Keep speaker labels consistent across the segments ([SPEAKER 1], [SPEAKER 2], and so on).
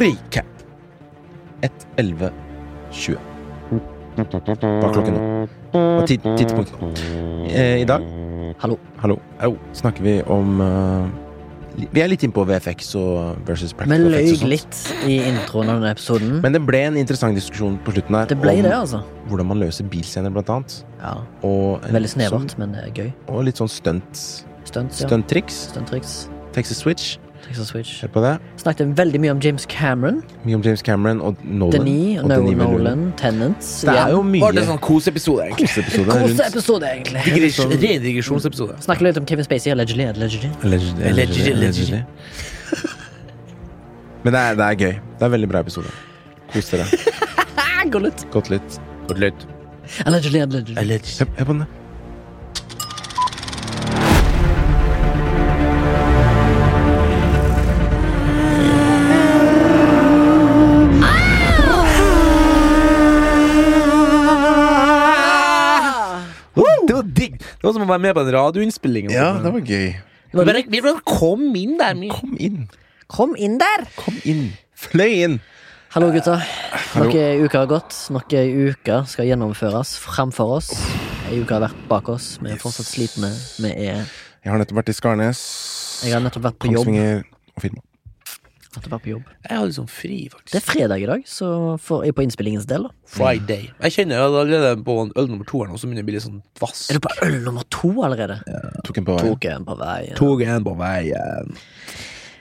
[SPEAKER 1] rike. 1.11,20 Bak klokken nå. Og tid- tidspunktet nå. Eh, I dag
[SPEAKER 2] Hallo.
[SPEAKER 1] Hallo. Au, snakker vi om eh, li- Vi er litt innpå VFX og versus
[SPEAKER 2] Vi
[SPEAKER 1] practical effects og sånt.
[SPEAKER 2] løy litt i introen av denne episoden.
[SPEAKER 1] Men det ble en interessant diskusjon på slutten her
[SPEAKER 2] det ble
[SPEAKER 1] om
[SPEAKER 2] det, altså.
[SPEAKER 1] hvordan man løser bilscener, blant annet.
[SPEAKER 2] Ja,
[SPEAKER 1] Og, en
[SPEAKER 2] Veldig
[SPEAKER 1] sånn,
[SPEAKER 2] snevert, men eh, gøy.
[SPEAKER 1] og litt sånn stunt,
[SPEAKER 2] Stunts, ja.
[SPEAKER 1] stunttriks.
[SPEAKER 2] Stunttriks.
[SPEAKER 1] Texas Switch.
[SPEAKER 2] Texas Switch.
[SPEAKER 1] Hør på det.
[SPEAKER 2] Snakket veldig mye om James Cameron.
[SPEAKER 1] Mye om James Cameron og Nolan.
[SPEAKER 2] Denis,
[SPEAKER 1] og
[SPEAKER 2] Nolan,
[SPEAKER 1] Denis Villeneuve.
[SPEAKER 2] Nolan Tennants.
[SPEAKER 1] Det er jo mye
[SPEAKER 3] Var det en sånn koseepisode, egentlig?
[SPEAKER 1] koseepisode
[SPEAKER 2] Hvordan
[SPEAKER 1] rundt
[SPEAKER 2] episode, egentlig?
[SPEAKER 3] Digresj- Ren digresjonsepisode.
[SPEAKER 2] Snakker litt om Kevin Spacey, allegedly, allegedly.
[SPEAKER 1] Allegedly,
[SPEAKER 3] Allegedly,
[SPEAKER 1] allegedly. Men det er, det er gøy. Det er en veldig bra episode. Kos dere.
[SPEAKER 2] Ah, gå litt.
[SPEAKER 1] Godt litt.
[SPEAKER 2] Allegedly, allegedly.
[SPEAKER 1] Hør, hør på den.
[SPEAKER 3] Det var digg. Det var som å være med på en radioinnspilling.
[SPEAKER 1] det var gøy.
[SPEAKER 2] Det var
[SPEAKER 3] Bare, vi bare kom inn der. vi-
[SPEAKER 1] Kom inn.
[SPEAKER 2] Kom inn der!
[SPEAKER 1] Kom inn. Fløy inn.
[SPEAKER 2] Hallo,
[SPEAKER 1] Eh,
[SPEAKER 2] gutta. Noen uker har gått. Noen uker skal gjennomføres framfor oss. Ei uke har vært bak oss. Vi er fortsatt slitne. Vi er
[SPEAKER 1] Jeg har nettopp vært i Skarnes.
[SPEAKER 2] Jeg har nettopp vært på jobb.
[SPEAKER 1] Kongsvinger og Firma.
[SPEAKER 2] Nettopp vært på jobb.
[SPEAKER 3] Jeg hadde liksom fri,
[SPEAKER 2] Det
[SPEAKER 3] faktisk.
[SPEAKER 2] er fredag i dag, så for, på innspillingens del, da.
[SPEAKER 3] Friday. Jeg kjenner jeg er allerede på en øl nummer to her nå, så begynner jeg å bli litt sånn dvass.
[SPEAKER 2] Er du på øl nummer to allerede?
[SPEAKER 1] Tok en på veien.
[SPEAKER 2] Tok en på veien.
[SPEAKER 3] Toget er på veien.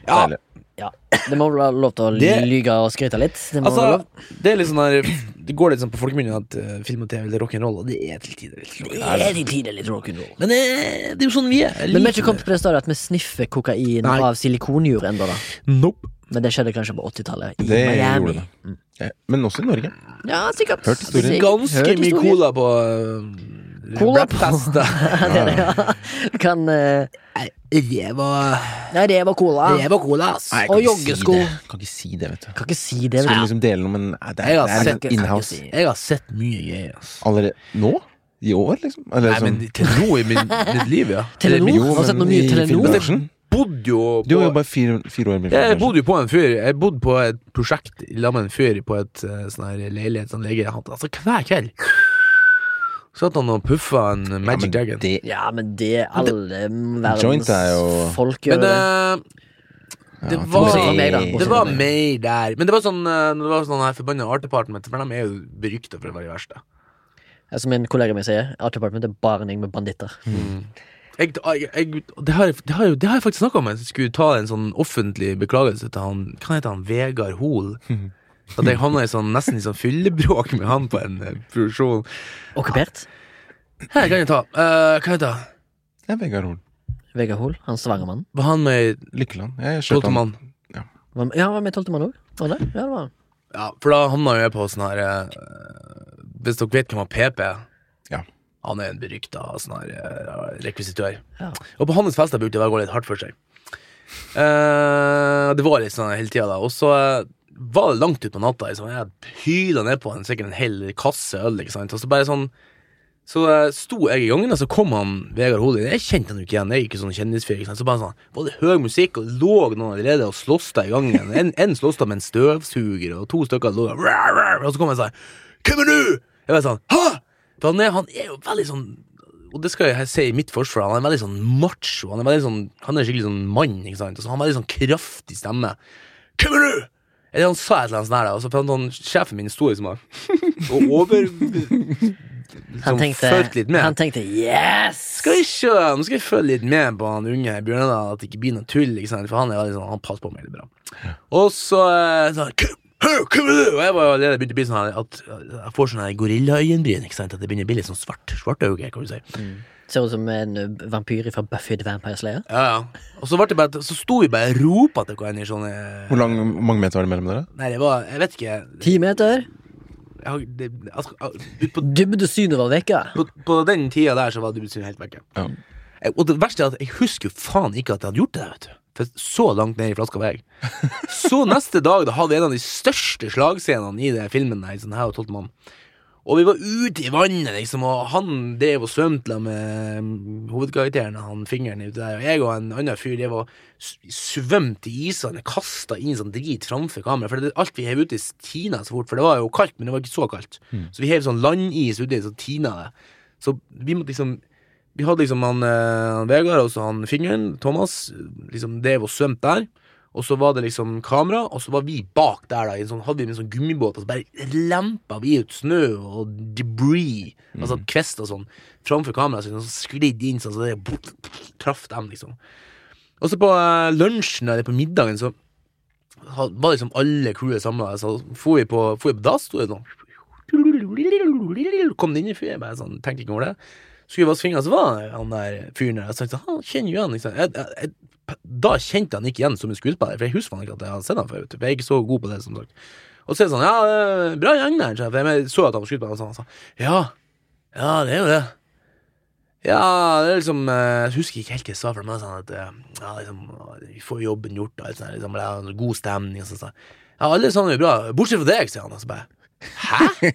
[SPEAKER 3] Ja,
[SPEAKER 1] Deilig.
[SPEAKER 2] Ja. Det må vel være lov til å
[SPEAKER 3] Det-
[SPEAKER 2] lyge og skryte litt? Det må være lov.
[SPEAKER 3] altså, det er litt sånn her Det går litt sånn på folkemunne at eh, film og TV er rock'n'roll, og det er til tider litt
[SPEAKER 2] Det
[SPEAKER 3] rock'n'roll.
[SPEAKER 2] er til tider litt rock'n'roll.
[SPEAKER 3] Men eh, det er jo sånn vi er. Jeg
[SPEAKER 2] Men vi er
[SPEAKER 3] liker
[SPEAKER 2] ikke kommet på det stadiet at vi sniffer kokain
[SPEAKER 3] Nei.
[SPEAKER 2] av silikonjur ennå, da.
[SPEAKER 3] det. Nope.
[SPEAKER 2] Men det skjedde kanskje på 80-tallet i
[SPEAKER 1] Det
[SPEAKER 2] Miami.
[SPEAKER 1] gjorde det. Eh, Men også i Norge.
[SPEAKER 2] Ja, sikkert.
[SPEAKER 1] Hørt historien.
[SPEAKER 2] Sikkert.
[SPEAKER 3] Ganske
[SPEAKER 2] Hørt
[SPEAKER 3] mye
[SPEAKER 2] historien.
[SPEAKER 3] cola på eh,
[SPEAKER 2] Cola
[SPEAKER 3] Cola på
[SPEAKER 2] Ja, det, ja. Kan eh,
[SPEAKER 3] Ræva
[SPEAKER 2] Nei, det var cola.
[SPEAKER 3] Ræva cola, ass.
[SPEAKER 2] Nei, jeg kan Og ikke si joggesko. det.
[SPEAKER 1] Ah, Kan ikke si det, vet du.
[SPEAKER 2] Kan ikke si det.
[SPEAKER 1] Skulle
[SPEAKER 2] Vet du.
[SPEAKER 1] liksom dele noe, men nei, det er,
[SPEAKER 3] Jeg har
[SPEAKER 1] det er
[SPEAKER 3] sett-
[SPEAKER 1] liksom inhouse.
[SPEAKER 2] kan ikke si.
[SPEAKER 3] Jeg har sett mye greier, ass.
[SPEAKER 1] Allerede nå? I år, liksom? Eller
[SPEAKER 3] Nei, men
[SPEAKER 1] sånn
[SPEAKER 3] til nå i min, mitt liv, ja.
[SPEAKER 2] Telenor?
[SPEAKER 1] Jo,
[SPEAKER 2] Har du sett noe
[SPEAKER 1] men
[SPEAKER 2] mye
[SPEAKER 1] i
[SPEAKER 2] Telenor?
[SPEAKER 1] filmbransjen?
[SPEAKER 3] Bodde jo
[SPEAKER 1] Du har
[SPEAKER 3] på
[SPEAKER 1] jo bare fire, fire år i
[SPEAKER 3] jeg
[SPEAKER 1] filmbransjen.
[SPEAKER 3] bodde jo på en fyr Jeg bodde på et prosjekt i lag med en fyr på et eh, sånn her leilighet sånn lege han, Altså hver kveld satt han og puffa en
[SPEAKER 1] Ja,
[SPEAKER 3] Magic
[SPEAKER 1] men
[SPEAKER 3] Dragon.
[SPEAKER 1] det
[SPEAKER 2] Ja, men det alle
[SPEAKER 1] Joint
[SPEAKER 2] verdens
[SPEAKER 1] er jo-
[SPEAKER 2] folk gjør
[SPEAKER 3] Men
[SPEAKER 2] det.
[SPEAKER 3] eh, det
[SPEAKER 1] Ja,
[SPEAKER 3] var
[SPEAKER 2] bortsett fra meg, da.
[SPEAKER 3] Det
[SPEAKER 2] Bortsett fra
[SPEAKER 3] var
[SPEAKER 2] meg.
[SPEAKER 3] mer der. Men det var sånn eh, Det var sånn her forbanna Art Department, for de er jo berykta for å være de verste.
[SPEAKER 2] Som en kollega min sier, Art Department er bare en gjeng med banditter.
[SPEAKER 3] Jeg, jeg, jeg, det, har, jeg- det, har, jo- det har jeg faktisk snakka om. Jeg skulle ta en sånn offentlig beklagelse til han Hva heter han? Vegard Hoel. At jeg havna i sånn, nesten i sånn fyllebråk med han på en eh, produksjon.
[SPEAKER 2] Okkupert.
[SPEAKER 3] Her kan jeg ta eh, Hva heter han?
[SPEAKER 1] Det er Vegard Hoel.
[SPEAKER 2] Vegard Hoel, han Stavanger-mannen.
[SPEAKER 3] Var han med
[SPEAKER 1] Lykkeland. Jeg kjørte han.
[SPEAKER 3] Toltemann?
[SPEAKER 2] Var- Ja, han var med i Tolvtemann òg? Var han det? Ja, det var han.
[SPEAKER 3] Ja, for da havna jo jeg på sånn her eh, Hvis dere vet hvem han PP er?
[SPEAKER 1] Ja.
[SPEAKER 3] Han er en berykta sånn her eh, rekvisitør.
[SPEAKER 2] Ja.
[SPEAKER 3] Og på hans fester brukte det å gå litt hardt for seg. Eh, det var litt sånn hele tida, da. Og så eh, var det langt ut på natta. Liksom. Jeg hyla ned på en, sikkert en hel kasse øl. Ikke sant? Og så bare sånn Så eh, sto jeg i gangen, og så kom han Vegard Holin. Jeg kjente han jo ikke igjen. Jeg er ikke sånn kjendisfyr. ikke sant? Så bare sånn Var det høy musikk, og det lå noen allerede og sloss der i gangen. En, en sloss der med en støvsuger, og to stykker lå der. Rar, rar. Og så kom jeg sånn Hvem er du? Jeg var sånn Hæ? For han er, han er jo veldig sånn Og det skal jeg si i mitt forsvar, han er veldig sånn macho. Han er, veldig sånn, han er skikkelig sånn mann. ikke sant? Og så har han veldig sånn kraftig stemme. Hvem er du? Eller han sa et eller annet sånt der, da, og så fant han sjefen min sto liksom og og over liksom,
[SPEAKER 2] Han tenkte,
[SPEAKER 3] følte litt med.
[SPEAKER 2] han tenkte yes!
[SPEAKER 3] skal vi se, nå skal jeg følge litt med på han unge her, Bjørnar, at det ikke blir noe tull, ikke sant? for han er veldig sånn, han passer på meg veldig bra. Og så eh, sånn, «Hvem- hvem- hvem er du?» Og jeg var jo allerede begynte å bli sånn her, at jeg får sånne her gorillaøyenbryn, ikke sant, at det begynner å bli litt sånn svart, svart øye, kan du si.
[SPEAKER 2] Mm. Ser ut som en ø, vampyr fra Buffy the Vampire Slayer.
[SPEAKER 3] Ja, ja. Og så, ble det bare, så sto vi bare og ropa til hverandre i sånne,
[SPEAKER 1] Hvor lang, mange meter var det mellom dere?
[SPEAKER 3] nei, det var, jeg vet ikke,
[SPEAKER 2] Ti meter.
[SPEAKER 3] jeg, har- det, altså, ut på,
[SPEAKER 2] Dybde synet var vekke.
[SPEAKER 3] på, på den tida der så var du helt vekke.
[SPEAKER 1] Ja.
[SPEAKER 3] Jeg- Og det verste er at jeg husker jo faen ikke at jeg hadde gjort det. der, vet du For Så langt ned i flaska var jeg. Så neste dag da hadde vi en av de største slagscenene i den filmen. Her, sånn her og 12 mann. Og vi var ute i vannet, liksom, og han drev og svømte la med mm, hovedkarakteren, han fingeren uti der, og jeg og en annen fyr drev og s- svømte i isvannet, kasta inn sånn drit framfor kamera, for det, alt vi hev uti, tina så fort, for det var jo kaldt, men det var ikke så kaldt. Så vi hev sånn landis uti, så tina det. Så vi måtte liksom vi hadde liksom han, eh, han Vegard og så han Fingeren, Thomas, liksom drev og svømte der. Og så var det liksom kamera, og så var vi bak der. da i en sånn, Hadde vi en sånn gummibåt, og så bare lempa vi ut snø og debris, altså kvist og sånn, framfor kameraet sitt, og så sklidd inn sånn, så det traff dem, liksom. Og så på eh, lunsjen eller på middagen så ha- var liksom alle crewet samla. Så for vi på, for vi på dass, sto det sånn Kom det inn en fyr? Jeg bare sånn, tenkte ikke over det. Skulle vi vaske fingrene, så var han der fyren der. Jeg tenkte, han kjenner jo igjen, ikke sant? Jeg, jeg, jeg, da kjente han ikke igjen som en skuespiller, for jeg husker han ikke at jeg hadde sett han før. vet du, For jeg er ikke så god på det, som sagt. Og så er det sånn, ja, eh, bra gjeng der, sjef. Jeg så at han var skuespiller, og så han sa, ja, ja, det er jo det. Ja, det er liksom eh, Jeg husker ikke helt hva jeg sa for meg, sånn at eh, ja, liksom, vi får jobben gjort, da, liksom, liksom, det er en god stemning, og sånn. sånn. Ja, alle sammen er bra, bortsett fra deg, sier han, og så bare, hæ?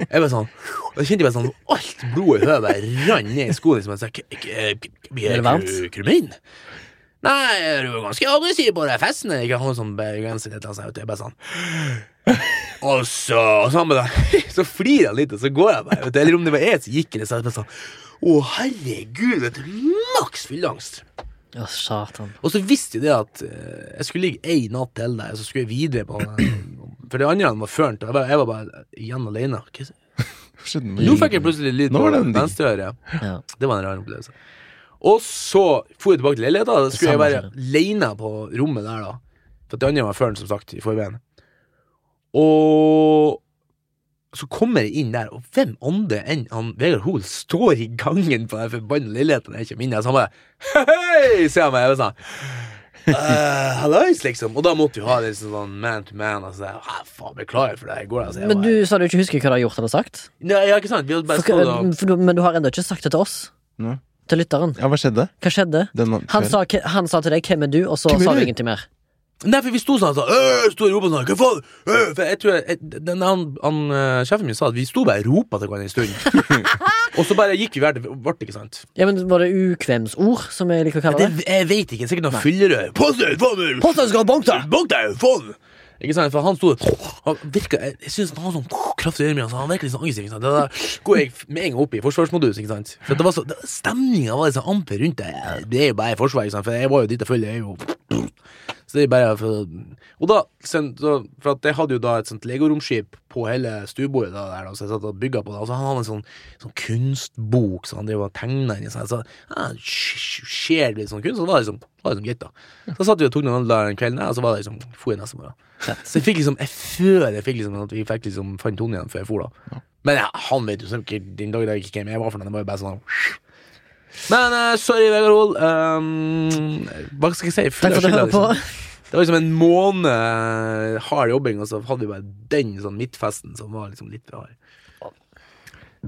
[SPEAKER 3] Jeg bare sånn, jeg kjente bare sånn, alt blodet i høyet bare rann ned i skoene, liksom, jeg sa, k- k- k- blir
[SPEAKER 2] Er det
[SPEAKER 3] det
[SPEAKER 2] varmt?
[SPEAKER 3] krumin? Nei, du er ganske aggressiv på de festene, ikke han sånn som begrenser dette, altså, vet du, jeg bare sånn, og så, Altså, og så, han bare, så flirer han litt, og så går jeg bare. Vet du, eller om det var jeg som gikk, eller så er det bare sånn Å, herregud, vet du. Maks fylleangst.
[SPEAKER 2] Å, satan.
[SPEAKER 3] Og så visste jo det at eh, jeg skulle ligge ei natt til der, og så skulle jeg videre på For de andre var førnt, og jeg var, jeg var bare igjen alene. Hva s-
[SPEAKER 1] Shit,
[SPEAKER 3] Nå fikk jeg plutselig lyd
[SPEAKER 1] Nå
[SPEAKER 3] på
[SPEAKER 1] var den digg.
[SPEAKER 3] venstre øre.
[SPEAKER 2] Ja.
[SPEAKER 3] Det var en rar opplevelse. Og så dro jeg tilbake til leiligheta. Da skulle jeg
[SPEAKER 2] samme
[SPEAKER 3] være alene på rommet der, da. For det andre var føren, som sagt, i forveien. Og så kommer jeg inn der, og hvem andre enn han Vegard Hoel står i gangen på den forbanna leiligheten jeg kommer inn i, så han bare Hei, ser han meg, og sånn «Eh, Hallois, liksom. Og da måtte vi ha litt sånn man to man. Altså, «Hæ, faen, beklager for det her i går. Altså, jeg
[SPEAKER 2] Men
[SPEAKER 3] bare-
[SPEAKER 2] du sa du ikke husker hva du har gjort eller sagt?
[SPEAKER 3] Nei, ja, ikke sant? Vi hadde bare
[SPEAKER 2] For,
[SPEAKER 3] stått og
[SPEAKER 2] hva- for, du- men du har ennå ikke sagt det til oss.
[SPEAKER 1] Nei.
[SPEAKER 2] Til lytteren.
[SPEAKER 1] Ja, hva skjedde?
[SPEAKER 2] Hva skjedde?
[SPEAKER 1] Den
[SPEAKER 2] Han sa, ke- han sa til deg 'Hvem er du?' og så
[SPEAKER 1] Hvem er
[SPEAKER 2] sa du
[SPEAKER 1] du?
[SPEAKER 2] ingenting mer.
[SPEAKER 3] Nei, for vi sto sånn og sa «Øh», sto og ropa sånn Hva faen? Øh, for jeg tror jeg, jeg- den, han, han eh, Sjefen min sa at vi sto bare og ropa til hverandre en stund. og så bare gikk vi hver til vårt, ikke sant?
[SPEAKER 2] Ja, men Var det ukvemsord, som jeg liker å kalle
[SPEAKER 3] Det,
[SPEAKER 2] det?
[SPEAKER 3] jeg vet ikke. Sikkert noe fyllerør. Pass deg, faen!
[SPEAKER 2] Påstå skal banke deg!
[SPEAKER 3] Bak deg, faen! Ikke sant, for Han sto han virka, Jeg, jeg synes han har sånn kraftig ørmil. Han virker litt sånn aggressiv. ikke sant? Da da går jeg med en gang opp i forsvarsmodus. ikke sant? For det var så, Stemninga var liksom amper rundt deg. Det er jo bare forsvar, ikke sant? for jeg var jo dit og følge. Jeg er jo så det er bare for, Og da, sen- så- for at jeg hadde jo da et sånt legoromskip på hele stuebordet da, der, da, så jeg satt og bygget på det, og så hadde han en sånn, sånn kunstbok som han drev og tegnet inn i seg, så ja, sk- skjer det litt sånn kunst, så det var liksom, det var liksom greit da. Så satt vi og tok noen andre den kvelden, der, og så var det liksom, for jeg neste morgen. Så jeg fikk liksom, jeg føler jeg fikk liksom at vi fikk liksom, fant tonen igjen før jeg for da. Men ja, han vet jo så ikke den dag i dag ikke hvem jeg var for noe, det var jo bare sånn, men eh, sorry, Vegard Hoel. Um, hva skal jeg si? Full
[SPEAKER 2] Takk
[SPEAKER 3] av
[SPEAKER 2] for at du
[SPEAKER 3] skylda,
[SPEAKER 2] hører
[SPEAKER 3] liksom.
[SPEAKER 2] på.
[SPEAKER 3] Det var liksom en måned eh, hard jobbing, og så hadde vi bare den sånn midtfesten som var liksom litt for hard.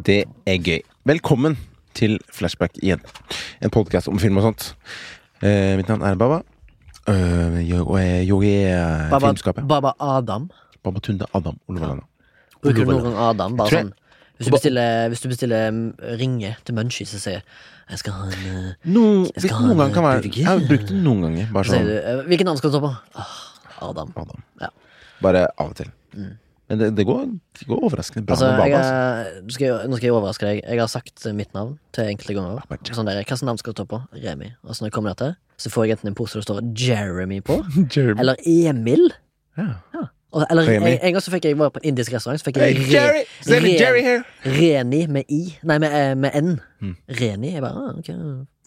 [SPEAKER 1] Det er gøy. Velkommen til Flashback igjen. En podkast om film og sånt. Eh, mitt navn er Baba. Eh, jeg, og jeg, jeg er
[SPEAKER 2] Baba,
[SPEAKER 1] filmskaper.
[SPEAKER 2] Baba Adam.
[SPEAKER 1] Baba Tunde Adam Olvalanda.
[SPEAKER 2] Bruker du
[SPEAKER 1] Olav
[SPEAKER 2] noen gang Adam? Bare
[SPEAKER 1] Tror jeg-
[SPEAKER 2] sånn. Hvis du bestiller, hvis du bestiller mm, ringe til Munchie, så sier jeg, jeg skal ha en eh,
[SPEAKER 1] No,
[SPEAKER 2] Jeg
[SPEAKER 1] hvis
[SPEAKER 2] skal ha
[SPEAKER 1] noen
[SPEAKER 2] en
[SPEAKER 1] gang kan være
[SPEAKER 2] burger.
[SPEAKER 1] Jeg har brukt det noen ganger. Bare
[SPEAKER 2] så sier
[SPEAKER 1] sånn
[SPEAKER 2] du, eh, Hvilken navn skal du ta på? Ah, Adam.
[SPEAKER 1] Adam.
[SPEAKER 2] Ja.
[SPEAKER 1] Bare av og til. Men det, det, går, det går overraskende bra
[SPEAKER 2] Altså,
[SPEAKER 1] med
[SPEAKER 2] jeg
[SPEAKER 1] Baba. altså.
[SPEAKER 2] er, nå skal jeg, nå skal jeg overraske deg. Jeg har sagt eh, mitt navn til enkelte ganger.
[SPEAKER 1] Robert.
[SPEAKER 2] Sånn der, Hvilket navn skal du ta på? Remi. Og så når jeg kommer der til, så får jeg enten en pose det står Jeremy på,
[SPEAKER 1] Jeremy.
[SPEAKER 2] eller Emil.
[SPEAKER 1] Ja.
[SPEAKER 2] Og- Eller
[SPEAKER 1] Remi.
[SPEAKER 2] en, en gang så fikk jeg var på en indisk restaurant, så fikk
[SPEAKER 1] Hey,
[SPEAKER 2] jeg
[SPEAKER 1] Jerry! Se
[SPEAKER 2] Ren-
[SPEAKER 1] Jerry her!
[SPEAKER 2] Reni med i. Nei, med, eh, med n.
[SPEAKER 1] Mm.
[SPEAKER 2] Reni. Jeg bare ah, ok,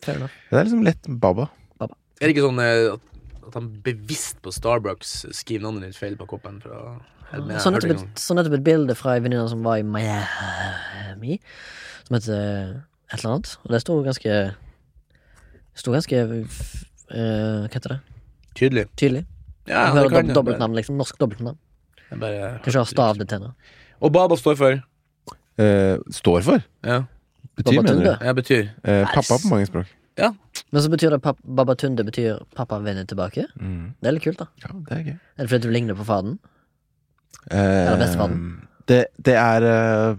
[SPEAKER 2] fair enough.
[SPEAKER 1] Det er liksom lett Baba.
[SPEAKER 3] Er det ikke sånn eh, at, at han bevisst på Starbucks skriver navnet ditt feil på koppen? For å, jeg, men jeg
[SPEAKER 2] Så
[SPEAKER 3] hørte
[SPEAKER 2] nettopp
[SPEAKER 3] ikke
[SPEAKER 2] et,
[SPEAKER 3] noe.
[SPEAKER 2] så nettopp et bilde fra ei venninne som var i Miami, som het eh, et eller annet. Og det sto ganske Sto ganske f- eh, Hva heter det?
[SPEAKER 3] Tydelig.
[SPEAKER 2] Tydelig.
[SPEAKER 3] Ja,
[SPEAKER 2] Du
[SPEAKER 3] det
[SPEAKER 2] hører
[SPEAKER 3] kan
[SPEAKER 2] dob
[SPEAKER 3] jeg.
[SPEAKER 2] dobbeltnavn, liksom. Norsk dobbeltnavn.
[SPEAKER 3] Jeg bare-
[SPEAKER 2] Kanskje har stav det til henne.
[SPEAKER 3] Og Baba står for?
[SPEAKER 1] Eh, står for.
[SPEAKER 3] Ja,
[SPEAKER 1] Betyr, mener du?
[SPEAKER 2] Babatunde.
[SPEAKER 3] jeg betyr
[SPEAKER 1] Eh, pappa på mange språk.
[SPEAKER 2] Men så betyr det pap Babatunde betyr pappa vender tilbake.
[SPEAKER 1] Mm.
[SPEAKER 2] Det er litt kult, da.
[SPEAKER 1] Ja, det er gøy.
[SPEAKER 2] Er det fordi du ligner på faren?
[SPEAKER 1] Eh,
[SPEAKER 2] bestefaren?
[SPEAKER 1] Det, det er eh,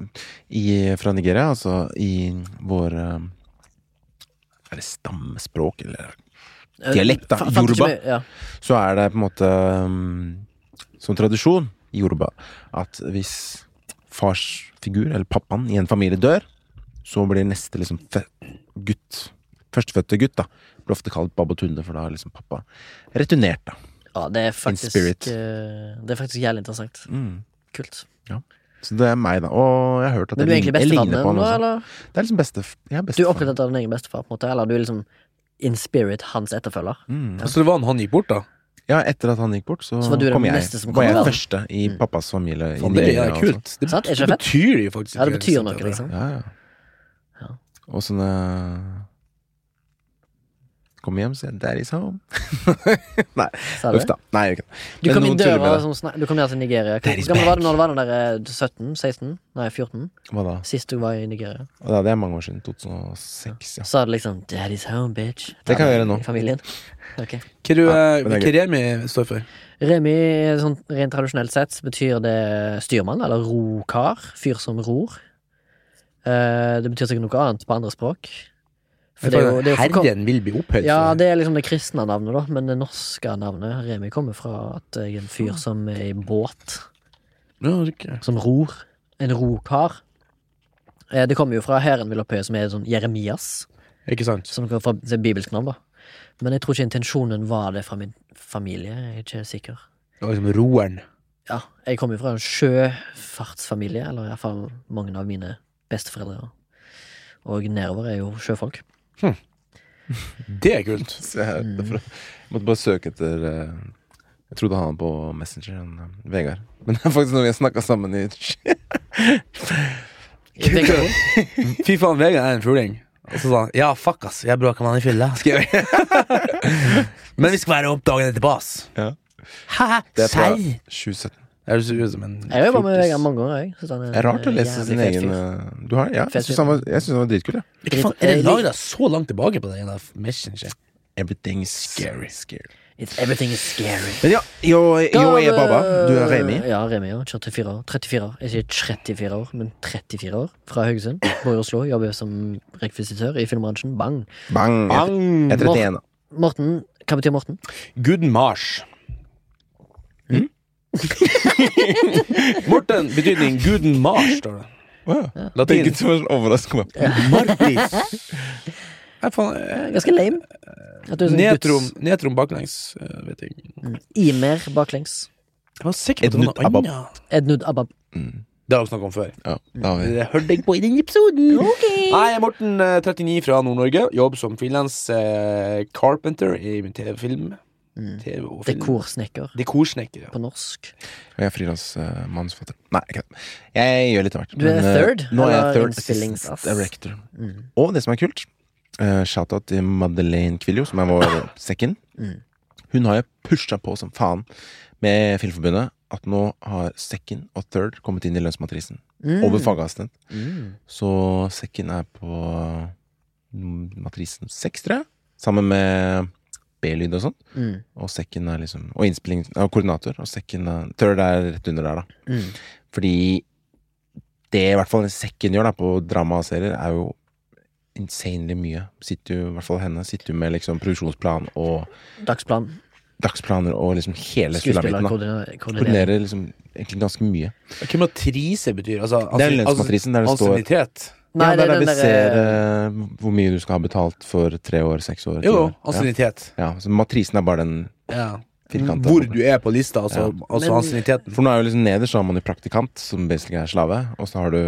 [SPEAKER 1] i, fra Nigeria, altså i vår eh, Er det stammespråk, eller
[SPEAKER 2] Eh,
[SPEAKER 1] Dialekt, da.
[SPEAKER 2] fa- fant ikke
[SPEAKER 1] Yoruba.
[SPEAKER 2] med- Ja.
[SPEAKER 1] så er det på en måte um, som tradisjon i Yoruba at hvis fars figur, eller pappaen, i en familie dør, så blir neste liksom fe- gutt Førstefødte gutt, da. Blir ofte kalt Babatunde, for da er liksom pappa returnert, da.
[SPEAKER 2] ja, det er faktisk
[SPEAKER 1] spirit.
[SPEAKER 2] eh, Det er faktisk jævlig interessant.
[SPEAKER 1] Mm.
[SPEAKER 2] Kult.
[SPEAKER 1] Så det er meg, da. Og jeg har hørt at
[SPEAKER 2] Men du er
[SPEAKER 1] jeg, lign-
[SPEAKER 2] egentlig
[SPEAKER 1] jeg
[SPEAKER 2] bestefaren
[SPEAKER 1] ligner på han
[SPEAKER 2] din nå,
[SPEAKER 1] også.
[SPEAKER 2] eller?
[SPEAKER 1] Det er liksom bestef... Jeg er
[SPEAKER 2] Du er
[SPEAKER 1] bestefar.
[SPEAKER 2] opptatt av din egen bestefar, på en måte? Eller du er liksom in spirit hans etterfølger?
[SPEAKER 1] Mm.
[SPEAKER 3] Så Altså, det var han han gikk bort, da?
[SPEAKER 1] Ja, etter at han gikk bort, så,
[SPEAKER 2] Så var du den
[SPEAKER 1] kom jeg.
[SPEAKER 2] neste som kom,
[SPEAKER 1] var jeg
[SPEAKER 2] da?
[SPEAKER 1] første i
[SPEAKER 2] Mm.
[SPEAKER 1] pappas familie. i
[SPEAKER 3] Faen, det er
[SPEAKER 1] Nigeria,
[SPEAKER 3] jævlig
[SPEAKER 1] altså.
[SPEAKER 3] kult. Det,
[SPEAKER 2] Sant? Er
[SPEAKER 3] det
[SPEAKER 2] ikke det fett?
[SPEAKER 3] betyr jo faktisk
[SPEAKER 2] Ja, det
[SPEAKER 3] ikke
[SPEAKER 2] betyr
[SPEAKER 3] sant,
[SPEAKER 2] noe,
[SPEAKER 3] at det-
[SPEAKER 2] liksom.
[SPEAKER 1] Ja,
[SPEAKER 2] Ja.
[SPEAKER 1] ja. Og sånne Kom hjem, sier jeg 'Daddy's home'.
[SPEAKER 2] Sa du?
[SPEAKER 1] Uff da. Nei, jeg gjør ikke det.
[SPEAKER 2] Du
[SPEAKER 1] Men
[SPEAKER 2] kom inn
[SPEAKER 1] noen tuller med
[SPEAKER 2] døra
[SPEAKER 1] det.
[SPEAKER 2] som snak- Du kom ned til Nigeria. Hvor
[SPEAKER 1] Daddy's
[SPEAKER 2] gammel var
[SPEAKER 1] back.
[SPEAKER 2] du når du var den der eh, 17? 16? Nei, 14?
[SPEAKER 1] Hva da?
[SPEAKER 2] Sist du var i Nigeria.
[SPEAKER 1] Og da, det er mange år siden. 2006, ja.
[SPEAKER 2] Så er det liksom 'Daddy's home, bitch'.
[SPEAKER 1] Det kan jeg gjøre nå.
[SPEAKER 2] I familien. Ok.
[SPEAKER 3] Hva du, eh,
[SPEAKER 1] men det er
[SPEAKER 3] hva Remi står for?
[SPEAKER 2] Remi, sånn rent tradisjonelt sett, så betyr det styrmann, eller rokar. Fyr som ror. Eh, det betyr sikkert noe annet på andre språk. For
[SPEAKER 3] Jeg
[SPEAKER 2] det er
[SPEAKER 3] tror
[SPEAKER 2] jo, det er jo forko-
[SPEAKER 3] Herren vil bli opphøyd.
[SPEAKER 2] Ja,
[SPEAKER 3] så-
[SPEAKER 2] det er liksom det kristne navnet, da. Men det norske navnet Remi kommer fra at jeg er en
[SPEAKER 1] Ah.
[SPEAKER 2] fyr som er i båt.
[SPEAKER 3] Ja, ok.
[SPEAKER 2] Som ror. En rokar. Eh, Det kommer jo fra hæren vil opphøye, som er sånn Jeremias.
[SPEAKER 3] Ikke sant?
[SPEAKER 2] Som kommer fra det er bibelsk navn, da. Men jeg tror ikke intensjonen var det fra min familie. Jeg er ikke sikker.
[SPEAKER 3] Og liksom roeren.
[SPEAKER 2] Ja, jeg kommer jo fra en sjøfartsfamilie, eller iallfall mange av mine besteforeldre. Og nedover er jo sjøfolk.
[SPEAKER 3] Det er kult.
[SPEAKER 1] Så jeg, derfor, jeg måtte bare søke etter eh, Jeg trodde han var på Messenger, han eh, Vegard. Men det er faktisk når vi har snakka sammen i
[SPEAKER 2] Jeg tenker på-
[SPEAKER 3] Fy faen, Vegard er en fuling. Og så sa han ja, fuck ass, jeg bråker med han i fylla. skrev jeg. Men vi skal være opp dagen etterpå, ass.
[SPEAKER 1] Ja.
[SPEAKER 3] Haha,
[SPEAKER 1] Det er fra
[SPEAKER 3] serr?
[SPEAKER 1] 2017.
[SPEAKER 3] Er du seriøs som en
[SPEAKER 2] Jeg har jobba med
[SPEAKER 3] fjortis?
[SPEAKER 2] Vegard mange ganger, jeg. Synes han
[SPEAKER 1] Det er rart å
[SPEAKER 2] en
[SPEAKER 1] lese
[SPEAKER 2] jævlig
[SPEAKER 1] sin
[SPEAKER 2] fet
[SPEAKER 1] egen
[SPEAKER 2] fyr.
[SPEAKER 1] eh, Du har Ja,
[SPEAKER 2] Fet
[SPEAKER 1] jeg syns han var, jeg synes han var dritkul, jeg.
[SPEAKER 3] Hva faen, Er det lagra så langt tilbake på den jævla Messenger?
[SPEAKER 1] Everything's
[SPEAKER 3] Scary.
[SPEAKER 1] scary.
[SPEAKER 2] It's everything is scary.
[SPEAKER 1] Men ja, yo, yo, jeg er Baba. Du er Remi.
[SPEAKER 2] eh, Ja, Remi. ja, 24 år. 34 år. Jeg sier 34 år, men 34 år. Fra Haugesund. Bor i Oslo. Jobber som rekvisitør i filmbransjen. Bang.
[SPEAKER 1] Bang! Jeg,
[SPEAKER 3] Bang!
[SPEAKER 1] jeg er 31, da.
[SPEAKER 2] Morten. Hva betyr Morten?
[SPEAKER 3] Guden Mars. Mm? Morten, betydning Guden Mars, står det.
[SPEAKER 1] Wow.
[SPEAKER 3] Latin.
[SPEAKER 1] Begge to var sånn overraska.
[SPEAKER 3] Martis. Nei, faen, eh,
[SPEAKER 2] Ganske lame. At du er sånn
[SPEAKER 3] Nedrom,
[SPEAKER 2] guds-
[SPEAKER 3] nedrom baklengs, eh, vet jeg.
[SPEAKER 2] Imer baklengs.
[SPEAKER 3] Jeg var sikker på at det
[SPEAKER 1] Ednut
[SPEAKER 3] var noe
[SPEAKER 1] Abab.
[SPEAKER 3] annet.
[SPEAKER 2] Ednud Abab.
[SPEAKER 3] Det har vi snakket om før.
[SPEAKER 1] Ja, da har vi
[SPEAKER 3] Det hørte jeg på i den episoden. Nei, Jeg er Morten, eh, 39, fra Nord-Norge. Jobb som frilans eh, carpenter i min TV-film.
[SPEAKER 1] Mm.
[SPEAKER 3] TV og film.
[SPEAKER 2] Dekorsnekker.
[SPEAKER 3] Dekorsnekker. ja.
[SPEAKER 2] På norsk.
[SPEAKER 1] Og jeg er frilansmanusforfatter. eh, Nei, ikke det. Jeg gjør litt av hvert.
[SPEAKER 2] Du er
[SPEAKER 1] men, eh,
[SPEAKER 2] third,
[SPEAKER 1] Nå er jeg
[SPEAKER 2] eller
[SPEAKER 1] third
[SPEAKER 2] innspillings- Mm.
[SPEAKER 1] assistant director. Og det som er kult eh, Shoutout til Madeleine Quillo, som er vår second.
[SPEAKER 2] Mm.
[SPEAKER 1] Hun har jeg pusha på som faen med Filmforbundet. At nå har second og third kommet inn i lønnsmatrisen.
[SPEAKER 2] Mm.
[SPEAKER 1] Over fagassistent.
[SPEAKER 2] Mm.
[SPEAKER 1] Så second er på mm, matrisen seks, tror jeg. Sammen med B-lyd og sånn.
[SPEAKER 2] Mm.
[SPEAKER 1] Og sekken er liksom Og innspilling og koordinator. Og sekken er Third er rett under der, da.
[SPEAKER 2] Mm.
[SPEAKER 1] Fordi det i hvert fall sekken gjør da på drama og serier, er jo insanely mye. Sitter jo, i hvert fall henne, sitter jo med liksom produksjonsplan og
[SPEAKER 2] Dagsplan.
[SPEAKER 1] dagsplaner og liksom hele sulamitten. da.
[SPEAKER 2] Skuespillerkoordinering.
[SPEAKER 1] Koordinerer liksom egentlig ganske mye.
[SPEAKER 3] Hva matrise betyr? Altså,
[SPEAKER 1] Det er lønnsmatrisen der det står
[SPEAKER 3] Ansiennitet.
[SPEAKER 1] Ja, det er der vi
[SPEAKER 2] derre-
[SPEAKER 1] ser eh, hvor mye du skal ha betalt for tre år, seks år, ti
[SPEAKER 3] Jo, altså- jo,
[SPEAKER 1] år. Ja.
[SPEAKER 3] ansiennitet.
[SPEAKER 1] ja, så matrisen er bare den
[SPEAKER 3] Ja.
[SPEAKER 1] firkanta.
[SPEAKER 3] Hvor du er på lista, altså, altså
[SPEAKER 2] Men-
[SPEAKER 3] ansienniteten.
[SPEAKER 1] For nå er jo liksom nederst så har man jo praktikant, som basically er slave, og så har du